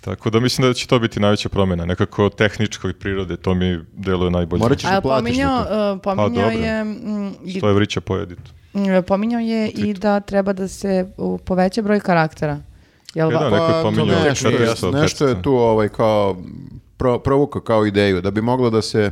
Speaker 1: Tako da mislim da će to biti najveća promjena, nekako tehničkoj prirode, to mi deluje najbolje.
Speaker 3: Morat ćeš
Speaker 2: A
Speaker 3: da
Speaker 2: jel
Speaker 3: platiš
Speaker 2: pominjao,
Speaker 3: na to.
Speaker 2: uh,
Speaker 4: Pa
Speaker 2: pominjao
Speaker 1: dobro.
Speaker 2: je, mm, i-
Speaker 1: Što je vrića po editu.
Speaker 2: mm, pominjao je i da treba da se uh, poveća broj karaktera. Jel,
Speaker 1: E, da,
Speaker 2: va-
Speaker 1: neko je
Speaker 3: Pa,
Speaker 1: pominjao
Speaker 3: to nešto,
Speaker 1: 400,
Speaker 3: nešto je
Speaker 1: 500.
Speaker 3: tu ovaj kao pro, provukao kao ideju da bi moglo da se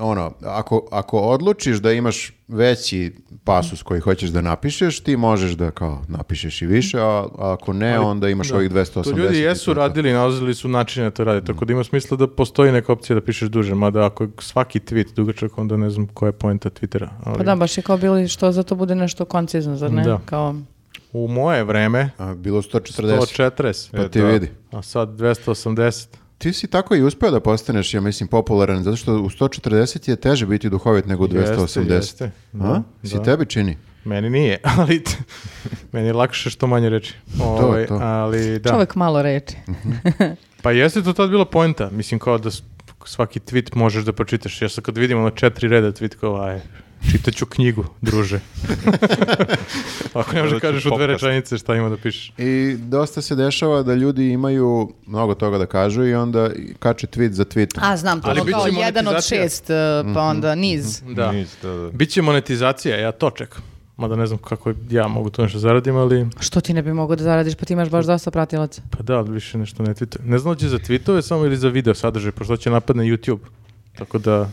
Speaker 3: ono, ako, ako odlučiš da imaš veći pasus koji hoćeš da napišeš, ti možeš da kao napišeš i više, a, a ako ne, onda imaš ovih 280.
Speaker 4: To ljudi jesu
Speaker 3: i to je to.
Speaker 4: radili, nalazili su načine da to rade, tako da ima smisla da postoji neka opcija da pišeš duže, mada ako je svaki tweet dugačak, onda ne znam koja je poenta Twittera. Ali
Speaker 2: Pa da, baš je kao bili što za to bude nešto koncizno, zar ne?
Speaker 4: Da.
Speaker 2: Kao,
Speaker 4: U moje vreme,
Speaker 3: A, bilo 140,
Speaker 4: 140,
Speaker 3: pa ti
Speaker 1: E, da.
Speaker 3: vidi.
Speaker 4: a sad 280.
Speaker 3: Ti si tako i uspeo da postaneš, ja mislim, popularan, zato što u 140 je teže biti duhovit nego u 280.
Speaker 4: jeste.
Speaker 3: A?
Speaker 4: Da,
Speaker 3: si
Speaker 4: da.
Speaker 3: tebi čini?
Speaker 4: Meni nije, ali t- meni je lakše što manje reči. Ovaj,
Speaker 3: to.
Speaker 4: Ali da.
Speaker 2: Čovek malo reči.
Speaker 4: Pa jeste to tad bila poenta. Mislim kao da s- svaki tweet možeš da pročitaš. Ja sad kad vidim ono četiri reda tweet kao aj, čitaću knjigu, druže. Ako ne možeš da
Speaker 1: Gledat
Speaker 4: kažeš
Speaker 1: ću
Speaker 4: u dve
Speaker 1: podcast.
Speaker 4: rečenice šta ima da pišeš.
Speaker 3: I dosta se dešava da ljudi imaju mnogo toga da kažu i onda kače tweet za tweetom.
Speaker 2: A, znam, to
Speaker 4: Ali
Speaker 2: ono
Speaker 4: bit
Speaker 2: kao
Speaker 4: će
Speaker 2: jedan od
Speaker 4: monetizacija.
Speaker 2: šest, e,
Speaker 4: Mhm.
Speaker 2: pa onda niz.
Speaker 4: Da.
Speaker 1: Niz, da, da.
Speaker 4: Biće monetizacija, ja to čekam. Mada ne znam kako ja mogu to nešto zaradim, ali
Speaker 2: Što ti ne bi mogao da zaradiš, pa ti imaš baš dosta pratilaca.
Speaker 4: pa da, ali više nešto ne tweetujem. Ne znam da će za tweetove samo ili za video sadržaj, pošto će napadne YouTube. Tako da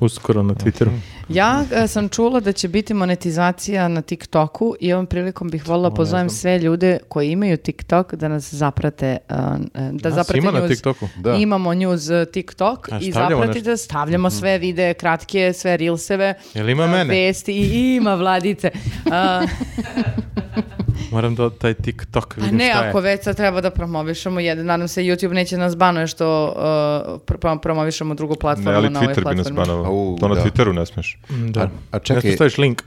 Speaker 4: uskoro na Twitteru.
Speaker 2: Ja e, sam čula da će biti monetizacija na TikToku i ovom prilikom bih volila pozovem sve ljude koji imaju TikTok da nas zaprate, e, e, da
Speaker 4: Nas
Speaker 2: zaprate
Speaker 4: ima na
Speaker 2: news.
Speaker 4: TikToku?
Speaker 3: Da.
Speaker 2: Imamo news e, TikTok
Speaker 4: A,
Speaker 2: i
Speaker 4: stavljamo
Speaker 2: zapratite, stavljamo sve videe, kratke, sve reelseve,
Speaker 4: Jel ima
Speaker 2: e,
Speaker 4: mene?
Speaker 2: vesti i ima vladice. E,
Speaker 4: Moram da taj TikTok
Speaker 2: Pa
Speaker 4: vidim
Speaker 2: ne,
Speaker 4: šta je.
Speaker 2: ako već sad treba da promovišemo jedan, nadam se YouTube neće nas banuje što uh, pr- pr- promovišemo drugu platformu
Speaker 1: Ne, ali
Speaker 2: na ovoj
Speaker 1: Twitter bi
Speaker 2: platformi.
Speaker 1: nas banovao.
Speaker 3: Au,
Speaker 1: To na
Speaker 3: da.
Speaker 1: Twitteru ne smeš.
Speaker 4: Mm, Da.
Speaker 3: A- a čekaj-
Speaker 4: Nešto staviš link.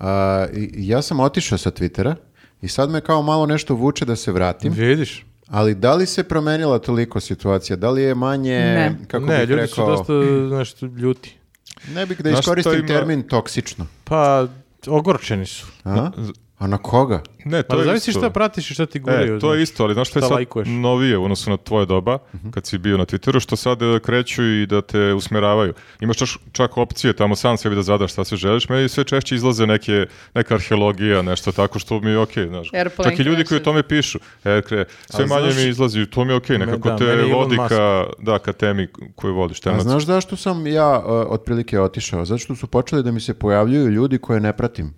Speaker 3: A, i- ja sam otišao sa Twittera i sad me kao malo nešto vuče da se vratim,
Speaker 4: Vidiš?
Speaker 3: ali da li se promenila toliko situacija? Da li je manje,
Speaker 2: Ne.
Speaker 3: kako
Speaker 4: ne,
Speaker 3: bih
Speaker 4: ljudi
Speaker 3: rekao,
Speaker 4: su dosta nešto ljuti.
Speaker 3: ne bih da
Speaker 1: Znaš šta
Speaker 3: iskoristim
Speaker 1: ima-
Speaker 3: termin toksično.
Speaker 4: Pa ogorčeni su.
Speaker 3: A? a na koga?
Speaker 1: Ne, to
Speaker 4: Pa
Speaker 1: je
Speaker 4: zavisi
Speaker 1: isto.
Speaker 4: šta pratiš i šta ti guraju.
Speaker 1: E, to je
Speaker 4: znaš.
Speaker 1: isto, ali znaš što je
Speaker 4: šta
Speaker 1: sad
Speaker 4: lajkuješ. Mhm.
Speaker 1: novije u odnosu na tvoje doba, kad si bio na Twitteru, što sad e, kreću i da te usmeravaju. Imaš čak, čak opcije tamo sam sebi da zadaš šta se želiš, meni sve češće izlaze neke, neka arheologija, nešto tako što mi je okej, znaš.
Speaker 2: Airplane
Speaker 1: čak i ljudi koji o
Speaker 2: crashes.
Speaker 1: tome pišu, Aircre, sve
Speaker 4: A
Speaker 1: manje
Speaker 4: znaš-
Speaker 1: mi izlazi, to mi je okej,
Speaker 4: Me-
Speaker 1: nekako
Speaker 4: da, meni je
Speaker 1: te
Speaker 4: Elon
Speaker 1: vodi
Speaker 4: Musk.
Speaker 1: ka, da, ka temi koju vodiš,
Speaker 3: A
Speaker 1: temac.
Speaker 3: znaš zašto sam ja e, otprilike otišao? Zato što su počeli da mi se pojavljuju ljudi koje ne pratim.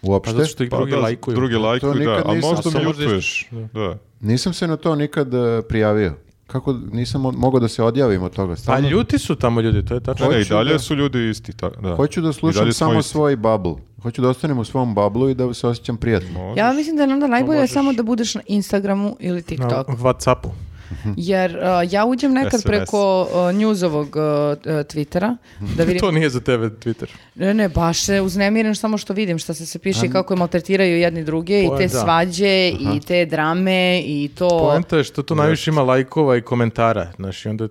Speaker 4: Pa
Speaker 3: Uopšte.
Speaker 4: zato što ih Pa drugi
Speaker 1: Pa da,
Speaker 4: lajkuju.
Speaker 1: Drugi lajkuju, da,
Speaker 3: nikad
Speaker 1: a
Speaker 3: nisam-
Speaker 1: možda
Speaker 4: a
Speaker 1: mi
Speaker 4: možda
Speaker 1: jutuješ. Da.
Speaker 3: Nisam se na to nikad e, prijavio. Kako nisam mo- mogao da se odjavim od toga?
Speaker 4: Pa
Speaker 3: Stalno,
Speaker 4: ljuti su tamo ljudi, to je
Speaker 1: Ne,
Speaker 4: tačno.
Speaker 1: ne, E, i
Speaker 3: Hoću
Speaker 1: dalje
Speaker 3: da-
Speaker 1: su ljudi isti. Ta, da.
Speaker 3: Hoću da
Speaker 1: I
Speaker 3: slušam
Speaker 1: dalje smo
Speaker 3: samo
Speaker 1: isti.
Speaker 3: svoj bubble. Hoću da ostanem u svom bablu i da se osjećam prijatno.
Speaker 2: Ja mislim da je onda najbolje
Speaker 4: možeš.
Speaker 2: samo da budeš na Instagramu ili
Speaker 4: Na Mhm.
Speaker 2: TikToku.
Speaker 4: Whatsappu.
Speaker 2: Jer uh, ja uđem nekad
Speaker 1: SNS.
Speaker 2: preko uh, njuzovog uh, uh, Twittera da vidim...
Speaker 4: Mhm. To nije za tebe Twitter.
Speaker 2: Ne, ne, baš se uznemirim samo što vidim šta se se piše i kako im maltretiraju jedni druge i
Speaker 4: Pa,
Speaker 2: te
Speaker 4: da.
Speaker 2: svađe i te drame i to...
Speaker 4: Poenta je što tu najviše ima lajkova i komentara. Znaš, i onda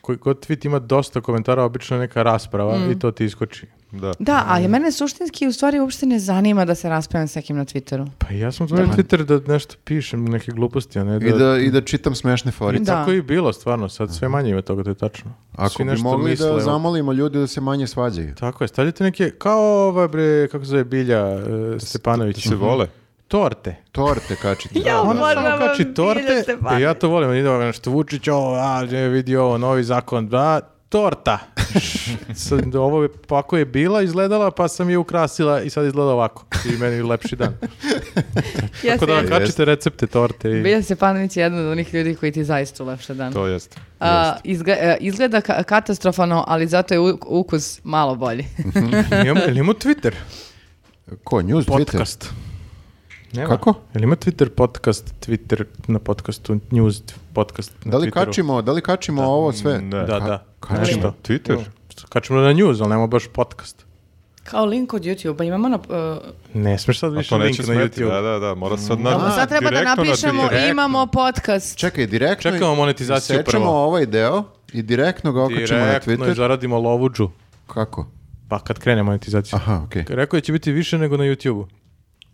Speaker 4: koji god tweet ima dosta komentara, obično je neka rasprava i to ti iskoči.
Speaker 1: Da.
Speaker 2: Da, ali
Speaker 4: Mhm.
Speaker 2: mene suštinski u stvari uopšte ne zanima da se raspravljam s nekim na Twitteru.
Speaker 4: Pa ja sam otvorio Twitter da nešto pišem, neke gluposti, a ne da...
Speaker 3: I da, I da čitam smešne forice.
Speaker 2: Da.
Speaker 4: Tako je i bilo, stvarno, sad sve manje ima toga, to je tačno.
Speaker 3: Ako
Speaker 4: Svi
Speaker 3: bi
Speaker 4: nešto
Speaker 3: mogli
Speaker 4: misle,
Speaker 3: da
Speaker 4: evo.
Speaker 3: zamolimo ljudi da se manje svađaju.
Speaker 4: Tako je, stavljate neke, kao ova bre, kako se zove Bilja e, Stepanović. Mhm.
Speaker 1: Se vole.
Speaker 4: Torte.
Speaker 3: Torte kačite.
Speaker 2: Ja,
Speaker 4: Ona
Speaker 2: Obožavam
Speaker 4: samo kači
Speaker 2: Bilju
Speaker 4: torte,
Speaker 2: Stepanović.
Speaker 4: i ja to volim, ide ovo nešto Vučić, ovo, a, ne vidi ovo, novi zakon, da, torta. sad, ovo je, ovako je bila, izgledala, pa sam je ukrasila i sad izgleda ovako. I meni lepši dan. Tako da kačite recepte torte. I...
Speaker 2: Bilja Stepanović je jedan od onih ljudi koji ti zaista ulepša dan.
Speaker 1: To jeste.
Speaker 2: A, izgle- e, izgleda ka- katastrofano, ali zato je u- ukus malo bolji.
Speaker 4: Imamo, ili imamo Twitter?
Speaker 3: Ko, news, Twitter?
Speaker 4: Podcast. Nema.
Speaker 3: Kako?
Speaker 4: Jel ima Twitter podcast, Twitter na podcastu, news podcast na
Speaker 3: Da li
Speaker 4: Twitteru?
Speaker 3: kačimo, da li kačimo ovo sve?
Speaker 1: Ne.
Speaker 4: Da,
Speaker 3: Ka-
Speaker 4: da.
Speaker 3: kačimo.
Speaker 4: Nešto.
Speaker 1: Twitter?
Speaker 4: Kačimo na news, ali nema baš podcast.
Speaker 2: Kao link od YouTube-a imamo na... e,
Speaker 4: Ne smiješ sad
Speaker 1: A
Speaker 4: više
Speaker 1: to
Speaker 4: link
Speaker 1: neće
Speaker 4: na Mm.
Speaker 1: smeti,
Speaker 4: YouTube.
Speaker 1: da, da, da, mora sad na,
Speaker 2: sad treba da
Speaker 1: direktno na
Speaker 2: napišemo
Speaker 1: Twitter.
Speaker 2: imamo podcast.
Speaker 3: Čekaj, direktno...
Speaker 4: Čekamo monetizaciju
Speaker 3: Sečemo
Speaker 4: prvo.
Speaker 3: ovaj deo i direktno ga okačimo na
Speaker 4: Direktno i
Speaker 3: Twitter.
Speaker 4: zaradimo lovuđu.
Speaker 3: Kako?
Speaker 4: Pa kad krene monetizacija.
Speaker 3: Aha, okej.
Speaker 4: Rekao je će biti više nego na YouTube-u.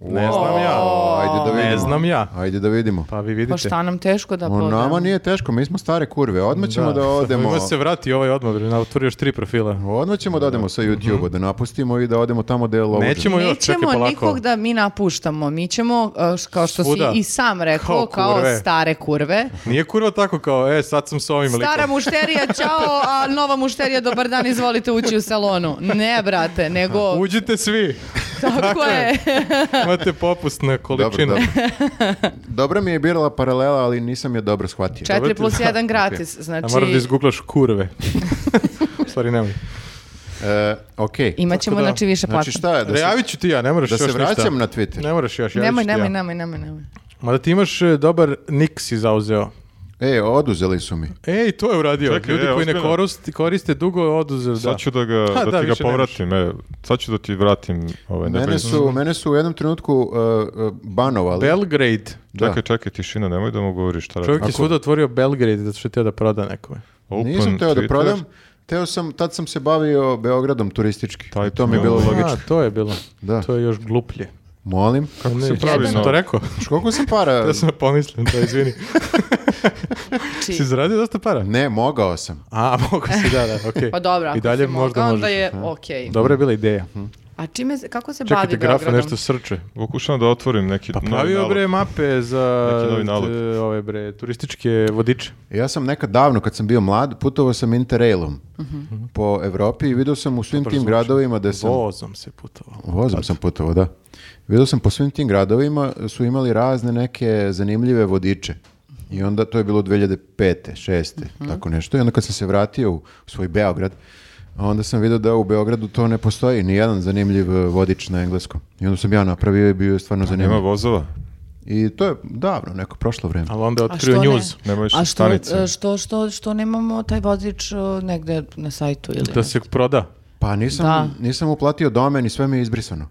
Speaker 4: Ne znam ja.
Speaker 3: O, Ajde da
Speaker 4: Ne
Speaker 3: vidimo.
Speaker 4: znam ja.
Speaker 3: Ajde da vidimo.
Speaker 4: Pa vi
Speaker 2: Pa
Speaker 4: vidite.
Speaker 2: šta nam teško da
Speaker 3: O,
Speaker 2: pogledamo?
Speaker 3: nama nije teško, mi smo stare kurve. Odmah ćemo da, odemo.
Speaker 4: Ima se vrati ovaj odmah, bre, na otvori još tri profila.
Speaker 3: Odmah ćemo da odemo sa YouTube-a, da napustimo i da odemo tamo gde je lovođen.
Speaker 4: Mhm. Nećemo još, čekaj
Speaker 2: Nećemo
Speaker 4: polako.
Speaker 2: nikog da mi napuštamo. Mi ćemo, uh, š- kao što
Speaker 4: Svuda.
Speaker 2: si i sam rekao,
Speaker 4: Kao
Speaker 2: kao,
Speaker 4: kurve.
Speaker 2: stare kurve.
Speaker 4: Nije kurva tako kao, e, sad sam s ovim
Speaker 2: Stara
Speaker 4: likom.
Speaker 2: mušterija, čao, a nova mušterija, dobar dan, izvolite ući u salonu. Ne, brate, nego...
Speaker 4: Uđite svi.
Speaker 2: Tako je.
Speaker 4: Imate popust na
Speaker 3: Dobro,
Speaker 4: količinu.
Speaker 3: dobro. Dobra mi je birala paralela, ali nisam je dobro shvatio.
Speaker 2: 4
Speaker 4: Dobro ti-
Speaker 2: plus
Speaker 4: da,
Speaker 2: 1 gratis. Znači,
Speaker 4: A moraš da izgooglaš kurve. U stvari nemoj.
Speaker 3: E, ok.
Speaker 2: imat ćemo
Speaker 4: Tako da-
Speaker 2: znači više
Speaker 3: Znači
Speaker 2: platform.
Speaker 3: šta je? Da se,
Speaker 4: Javit ću ti ja, ne moraš
Speaker 3: da
Speaker 4: još
Speaker 3: se
Speaker 4: ništa.
Speaker 3: vraćam na Twitter.
Speaker 4: Ne moraš još, javit
Speaker 2: Nemoj,
Speaker 4: ću ti
Speaker 2: nemoj,
Speaker 4: ja.
Speaker 2: nemoj, nemoj, nemoj.
Speaker 4: Mada ti imaš e, dobar nik si zauzeo.
Speaker 3: E, oduzeli su mi.
Speaker 4: Ej, to je uradio.
Speaker 1: Čekaj,
Speaker 4: Ljudi
Speaker 1: e,
Speaker 4: koji ne
Speaker 1: ozbiljno?
Speaker 4: koriste, koriste dugo je oduzeo.
Speaker 1: E, Sad ću da, ga,
Speaker 4: Ha,
Speaker 1: da,
Speaker 4: da,
Speaker 1: ti ga
Speaker 4: više ne
Speaker 1: povratim, e, sad ću da ti vratim
Speaker 4: Pa
Speaker 1: ovaj ne
Speaker 3: Mene
Speaker 1: brini.
Speaker 3: su, mene su u jednom trenutku uh, uh, banovali.
Speaker 4: Belgrade.
Speaker 3: da.
Speaker 1: Čekaj, čekaj, tišina, nemoj da mu govoriš šta
Speaker 4: Čovjek
Speaker 1: radiš.
Speaker 4: je svuda otvorio Belgrade zato što je teo da proda nekome.
Speaker 1: Open
Speaker 3: Nisam teo da
Speaker 1: Twitter.
Speaker 3: prodam. Teo sam, tad sam se bavio Beogradom turistički.
Speaker 1: Taj
Speaker 3: I to mi je
Speaker 1: ti
Speaker 3: bilo
Speaker 1: ono-
Speaker 3: logično.
Speaker 4: A, to je bilo.
Speaker 3: Da.
Speaker 4: To je još gluplje.
Speaker 3: Molim.
Speaker 1: Kako se
Speaker 4: Ne,
Speaker 1: pravi
Speaker 4: sam
Speaker 1: nov?
Speaker 4: to rekao?
Speaker 3: Znaš Koliko sam para?
Speaker 4: Da sam pomislim, to izvini.
Speaker 2: Čiji?
Speaker 4: si zaradio dosta para?
Speaker 3: Ne, mogao sam.
Speaker 4: A, mogu si, da, da, okej.
Speaker 2: Pa dobro, ako
Speaker 4: I dalje
Speaker 2: si
Speaker 4: možda
Speaker 2: mogao,
Speaker 4: možeš.
Speaker 2: onda je okej.
Speaker 4: Dobra je bila ideja. Hm.
Speaker 2: A čime, se- kako se
Speaker 4: Čekajte,
Speaker 2: bavi
Speaker 4: grafa
Speaker 2: Beogradom?
Speaker 4: nešto srče.
Speaker 1: Pokušavam da otvorim neki
Speaker 4: Pa
Speaker 1: novi
Speaker 4: pravio
Speaker 1: nalog.
Speaker 4: bre mape za
Speaker 1: Neki novi nalog.
Speaker 4: e, ove bre turističke vodiče.
Speaker 3: Ja sam nekad davno, kad sam bio mlad, putovao sam Interrailom po Evropi i vidio sam u svim tim gradovima da sam...
Speaker 4: Vozom se putovao.
Speaker 3: Vozom sam putovao, da. Vidio sam po svim tim gradovima su imali razne neke zanimljive vodiče. I onda to je bilo 2005. 6. tako nešto. I onda kad sam se vratio u svoj Beograd, onda sam vidio da u Beogradu to e, ne postoji, ni jedan zanimljiv eh, vodič na engleskom. I onda sam ja napravio i bio je stvarno
Speaker 1: Nema
Speaker 3: zanimljiv.
Speaker 1: vozova.
Speaker 3: I to je davno, neko prošlo vreme.
Speaker 4: Ali onda je
Speaker 2: A
Speaker 4: otkrio
Speaker 2: što ne?
Speaker 4: news.
Speaker 1: Nema više
Speaker 2: A što,
Speaker 1: stanice.
Speaker 2: e, što, što, što nemamo taj vozič e, negde na sajtu ili...
Speaker 4: Da se proda.
Speaker 3: Pa nisam,
Speaker 2: Da.
Speaker 3: nisam uplatio domen i sve mi je izbrisano.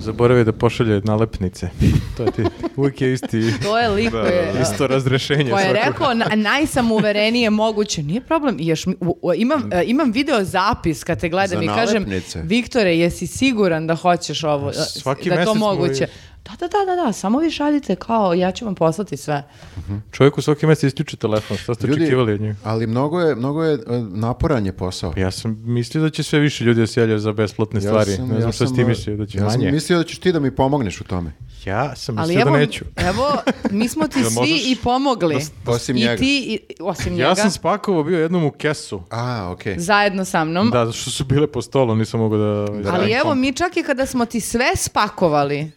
Speaker 4: Zaboravio je da pošalje nalepnice. to je ti. Uvijek je isti,
Speaker 2: To je lik koji je...
Speaker 4: isto razrešenje.
Speaker 2: Ko je
Speaker 4: svakog.
Speaker 2: rekao na, najsamuverenije moguće, nije problem, još mi- u- u-
Speaker 4: Mm.
Speaker 2: imam, e, imam video zapis kad te gledam
Speaker 3: Za
Speaker 2: i kažem,
Speaker 3: nalepnice.
Speaker 2: Viktore, jesi siguran da hoćeš ovo, da-
Speaker 4: Pa Svaki
Speaker 2: da je to
Speaker 4: mesec mu
Speaker 2: moguće?
Speaker 4: je-
Speaker 2: Da, da, da, da, da, samo vi šaljite kao, ja ću vam poslati sve.
Speaker 4: Čovjeku svaki mjesec isključi telefon. Šta ste očekivali od njega?
Speaker 3: ali mnogo je, mnogo je e, naporan je posao.
Speaker 4: Pa Ja sam mislio da će sve više ljudi da se javljaju za besplatne stvari. ne znam šta
Speaker 3: sam,
Speaker 4: si ti
Speaker 3: e,
Speaker 4: mislio, da će
Speaker 3: ja
Speaker 4: manje.
Speaker 3: sam mislio da ćeš ti da mi pomogneš u tome.
Speaker 4: Ja sam
Speaker 2: Ali
Speaker 4: mislio
Speaker 2: evo,
Speaker 4: da neću.
Speaker 2: evo, mi smo ti
Speaker 1: Jel
Speaker 2: svi
Speaker 1: možeš
Speaker 2: i pomogli.
Speaker 3: da- osim
Speaker 2: I
Speaker 3: njega.
Speaker 2: ti, i, osim njega,
Speaker 4: Ja sam spakovao bio jednom u kesu.
Speaker 3: A, okej.
Speaker 2: zajedno sa mnom.
Speaker 4: Da, zato što su bile po stolu, nisam mogao da...
Speaker 2: Ali
Speaker 4: da,
Speaker 2: evo, mi čak i kada smo ti sve spakovali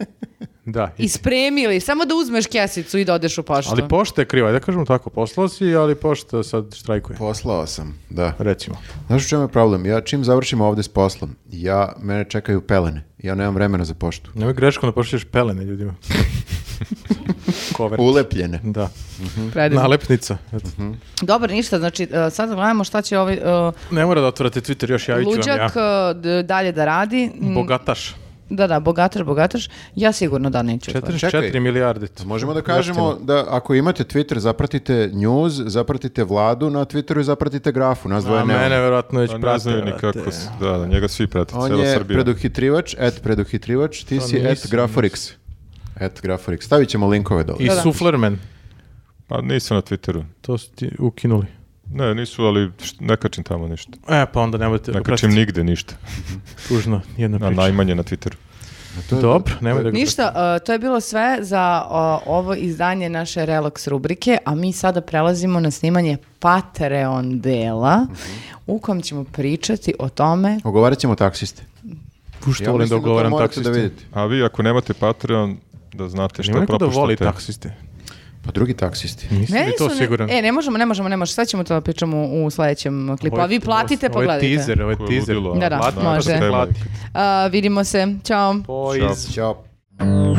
Speaker 4: Da, i-
Speaker 2: i spremili, samo da uzmeš kesicu i da odeš u poštu.
Speaker 4: ali pošta je kriva. Da kažemo tako, poslao si, ali pošta sad štrajkuje.
Speaker 3: Poslao sam, da.
Speaker 4: Recimo.
Speaker 3: Znaš u čemu je problem? Ja čim završim ovdje s poslom, ja, mene čekaju pelene. Ja nemam vremena za poštu.
Speaker 4: Nemoj greškom da pošlješ pelene ljudima. Cover.
Speaker 3: Ulepljene.
Speaker 4: Da.
Speaker 2: Predivno.
Speaker 4: Nalepnica. Eto.
Speaker 2: Dobro, ništa, znači e, sad gledamo šta će ovaj e,
Speaker 4: Ne mora da otvarate Twitter, još javit ću vam ja.
Speaker 2: luđak e, d- dalje da radi. Mm,
Speaker 4: Bogataš.
Speaker 2: Da, da, bogataš, bogataš. Ja sigurno da neću. otvoriti.
Speaker 4: 44 milijarde.
Speaker 3: Pa Možemo da kažemo da ako imate Twitter, zapratite news, zapratite vladu na Twitteru i zapratite grafu. Nas
Speaker 4: A
Speaker 3: dvoje nemamo.
Speaker 4: mene verovatno već
Speaker 1: A Pa ne
Speaker 4: prate,
Speaker 1: znaju ni
Speaker 4: brate.
Speaker 1: kako se- da, da, njega svi prate,
Speaker 3: On
Speaker 1: cela
Speaker 3: je
Speaker 1: Srbija.
Speaker 3: preduhitrivač, et preduhitrivač, ti si et
Speaker 4: nisam,
Speaker 3: graforix. Et graforix. Stavit ćemo linkove dole.
Speaker 4: I
Speaker 2: Da, da.
Speaker 4: Suflerman.
Speaker 1: Pa nisam na Twitteru.
Speaker 4: To su ti ukinuli.
Speaker 1: Ne, nisu, ali št- ne kačim tamo ništa.
Speaker 4: E, pa onda nemojte...
Speaker 1: Ne
Speaker 4: oprostite.
Speaker 1: kačim nigde ništa.
Speaker 4: Tužno, jedna
Speaker 1: Na,
Speaker 4: priča.
Speaker 1: najmanje na Twitteru.
Speaker 4: Dobro, nemoj da ga...
Speaker 2: Ništa, e, to je bilo sve za o, ovo izdanje naše Relax rubrike, a mi sada prelazimo na snimanje Patreon dela,
Speaker 4: Mhm.
Speaker 2: u kom ćemo pričati o tome
Speaker 3: Ogovarat ćemo taksiste.
Speaker 4: Pušta volim da
Speaker 3: Ja, mislim to
Speaker 4: ugovaram
Speaker 3: morate
Speaker 4: taksiste.
Speaker 3: da vidite.
Speaker 1: A vi ako nemate Patreon, da znate
Speaker 4: Ima
Speaker 1: šta
Speaker 4: neko da
Speaker 1: propuštate.
Speaker 4: voli taksiste.
Speaker 3: Pa drugi taksisti.
Speaker 4: Nisam li
Speaker 2: nisu
Speaker 4: to
Speaker 2: ne-
Speaker 4: siguran.
Speaker 2: E, ne možemo, ne možemo, ne možemo. Sve ćemo to da pričamo u sledećem klipu.
Speaker 4: Ovo je-
Speaker 2: A vi platite,
Speaker 4: ovo je-
Speaker 2: pogledajte.
Speaker 4: Ovo
Speaker 2: E,
Speaker 4: je teaser, ovo je
Speaker 1: Koje
Speaker 4: teaser.
Speaker 1: ludilo,
Speaker 2: Da, da,
Speaker 1: a,
Speaker 2: može.
Speaker 1: treba.
Speaker 4: Plati.
Speaker 2: A, vidimo se. Ćao.
Speaker 4: Boys.
Speaker 3: Ćao.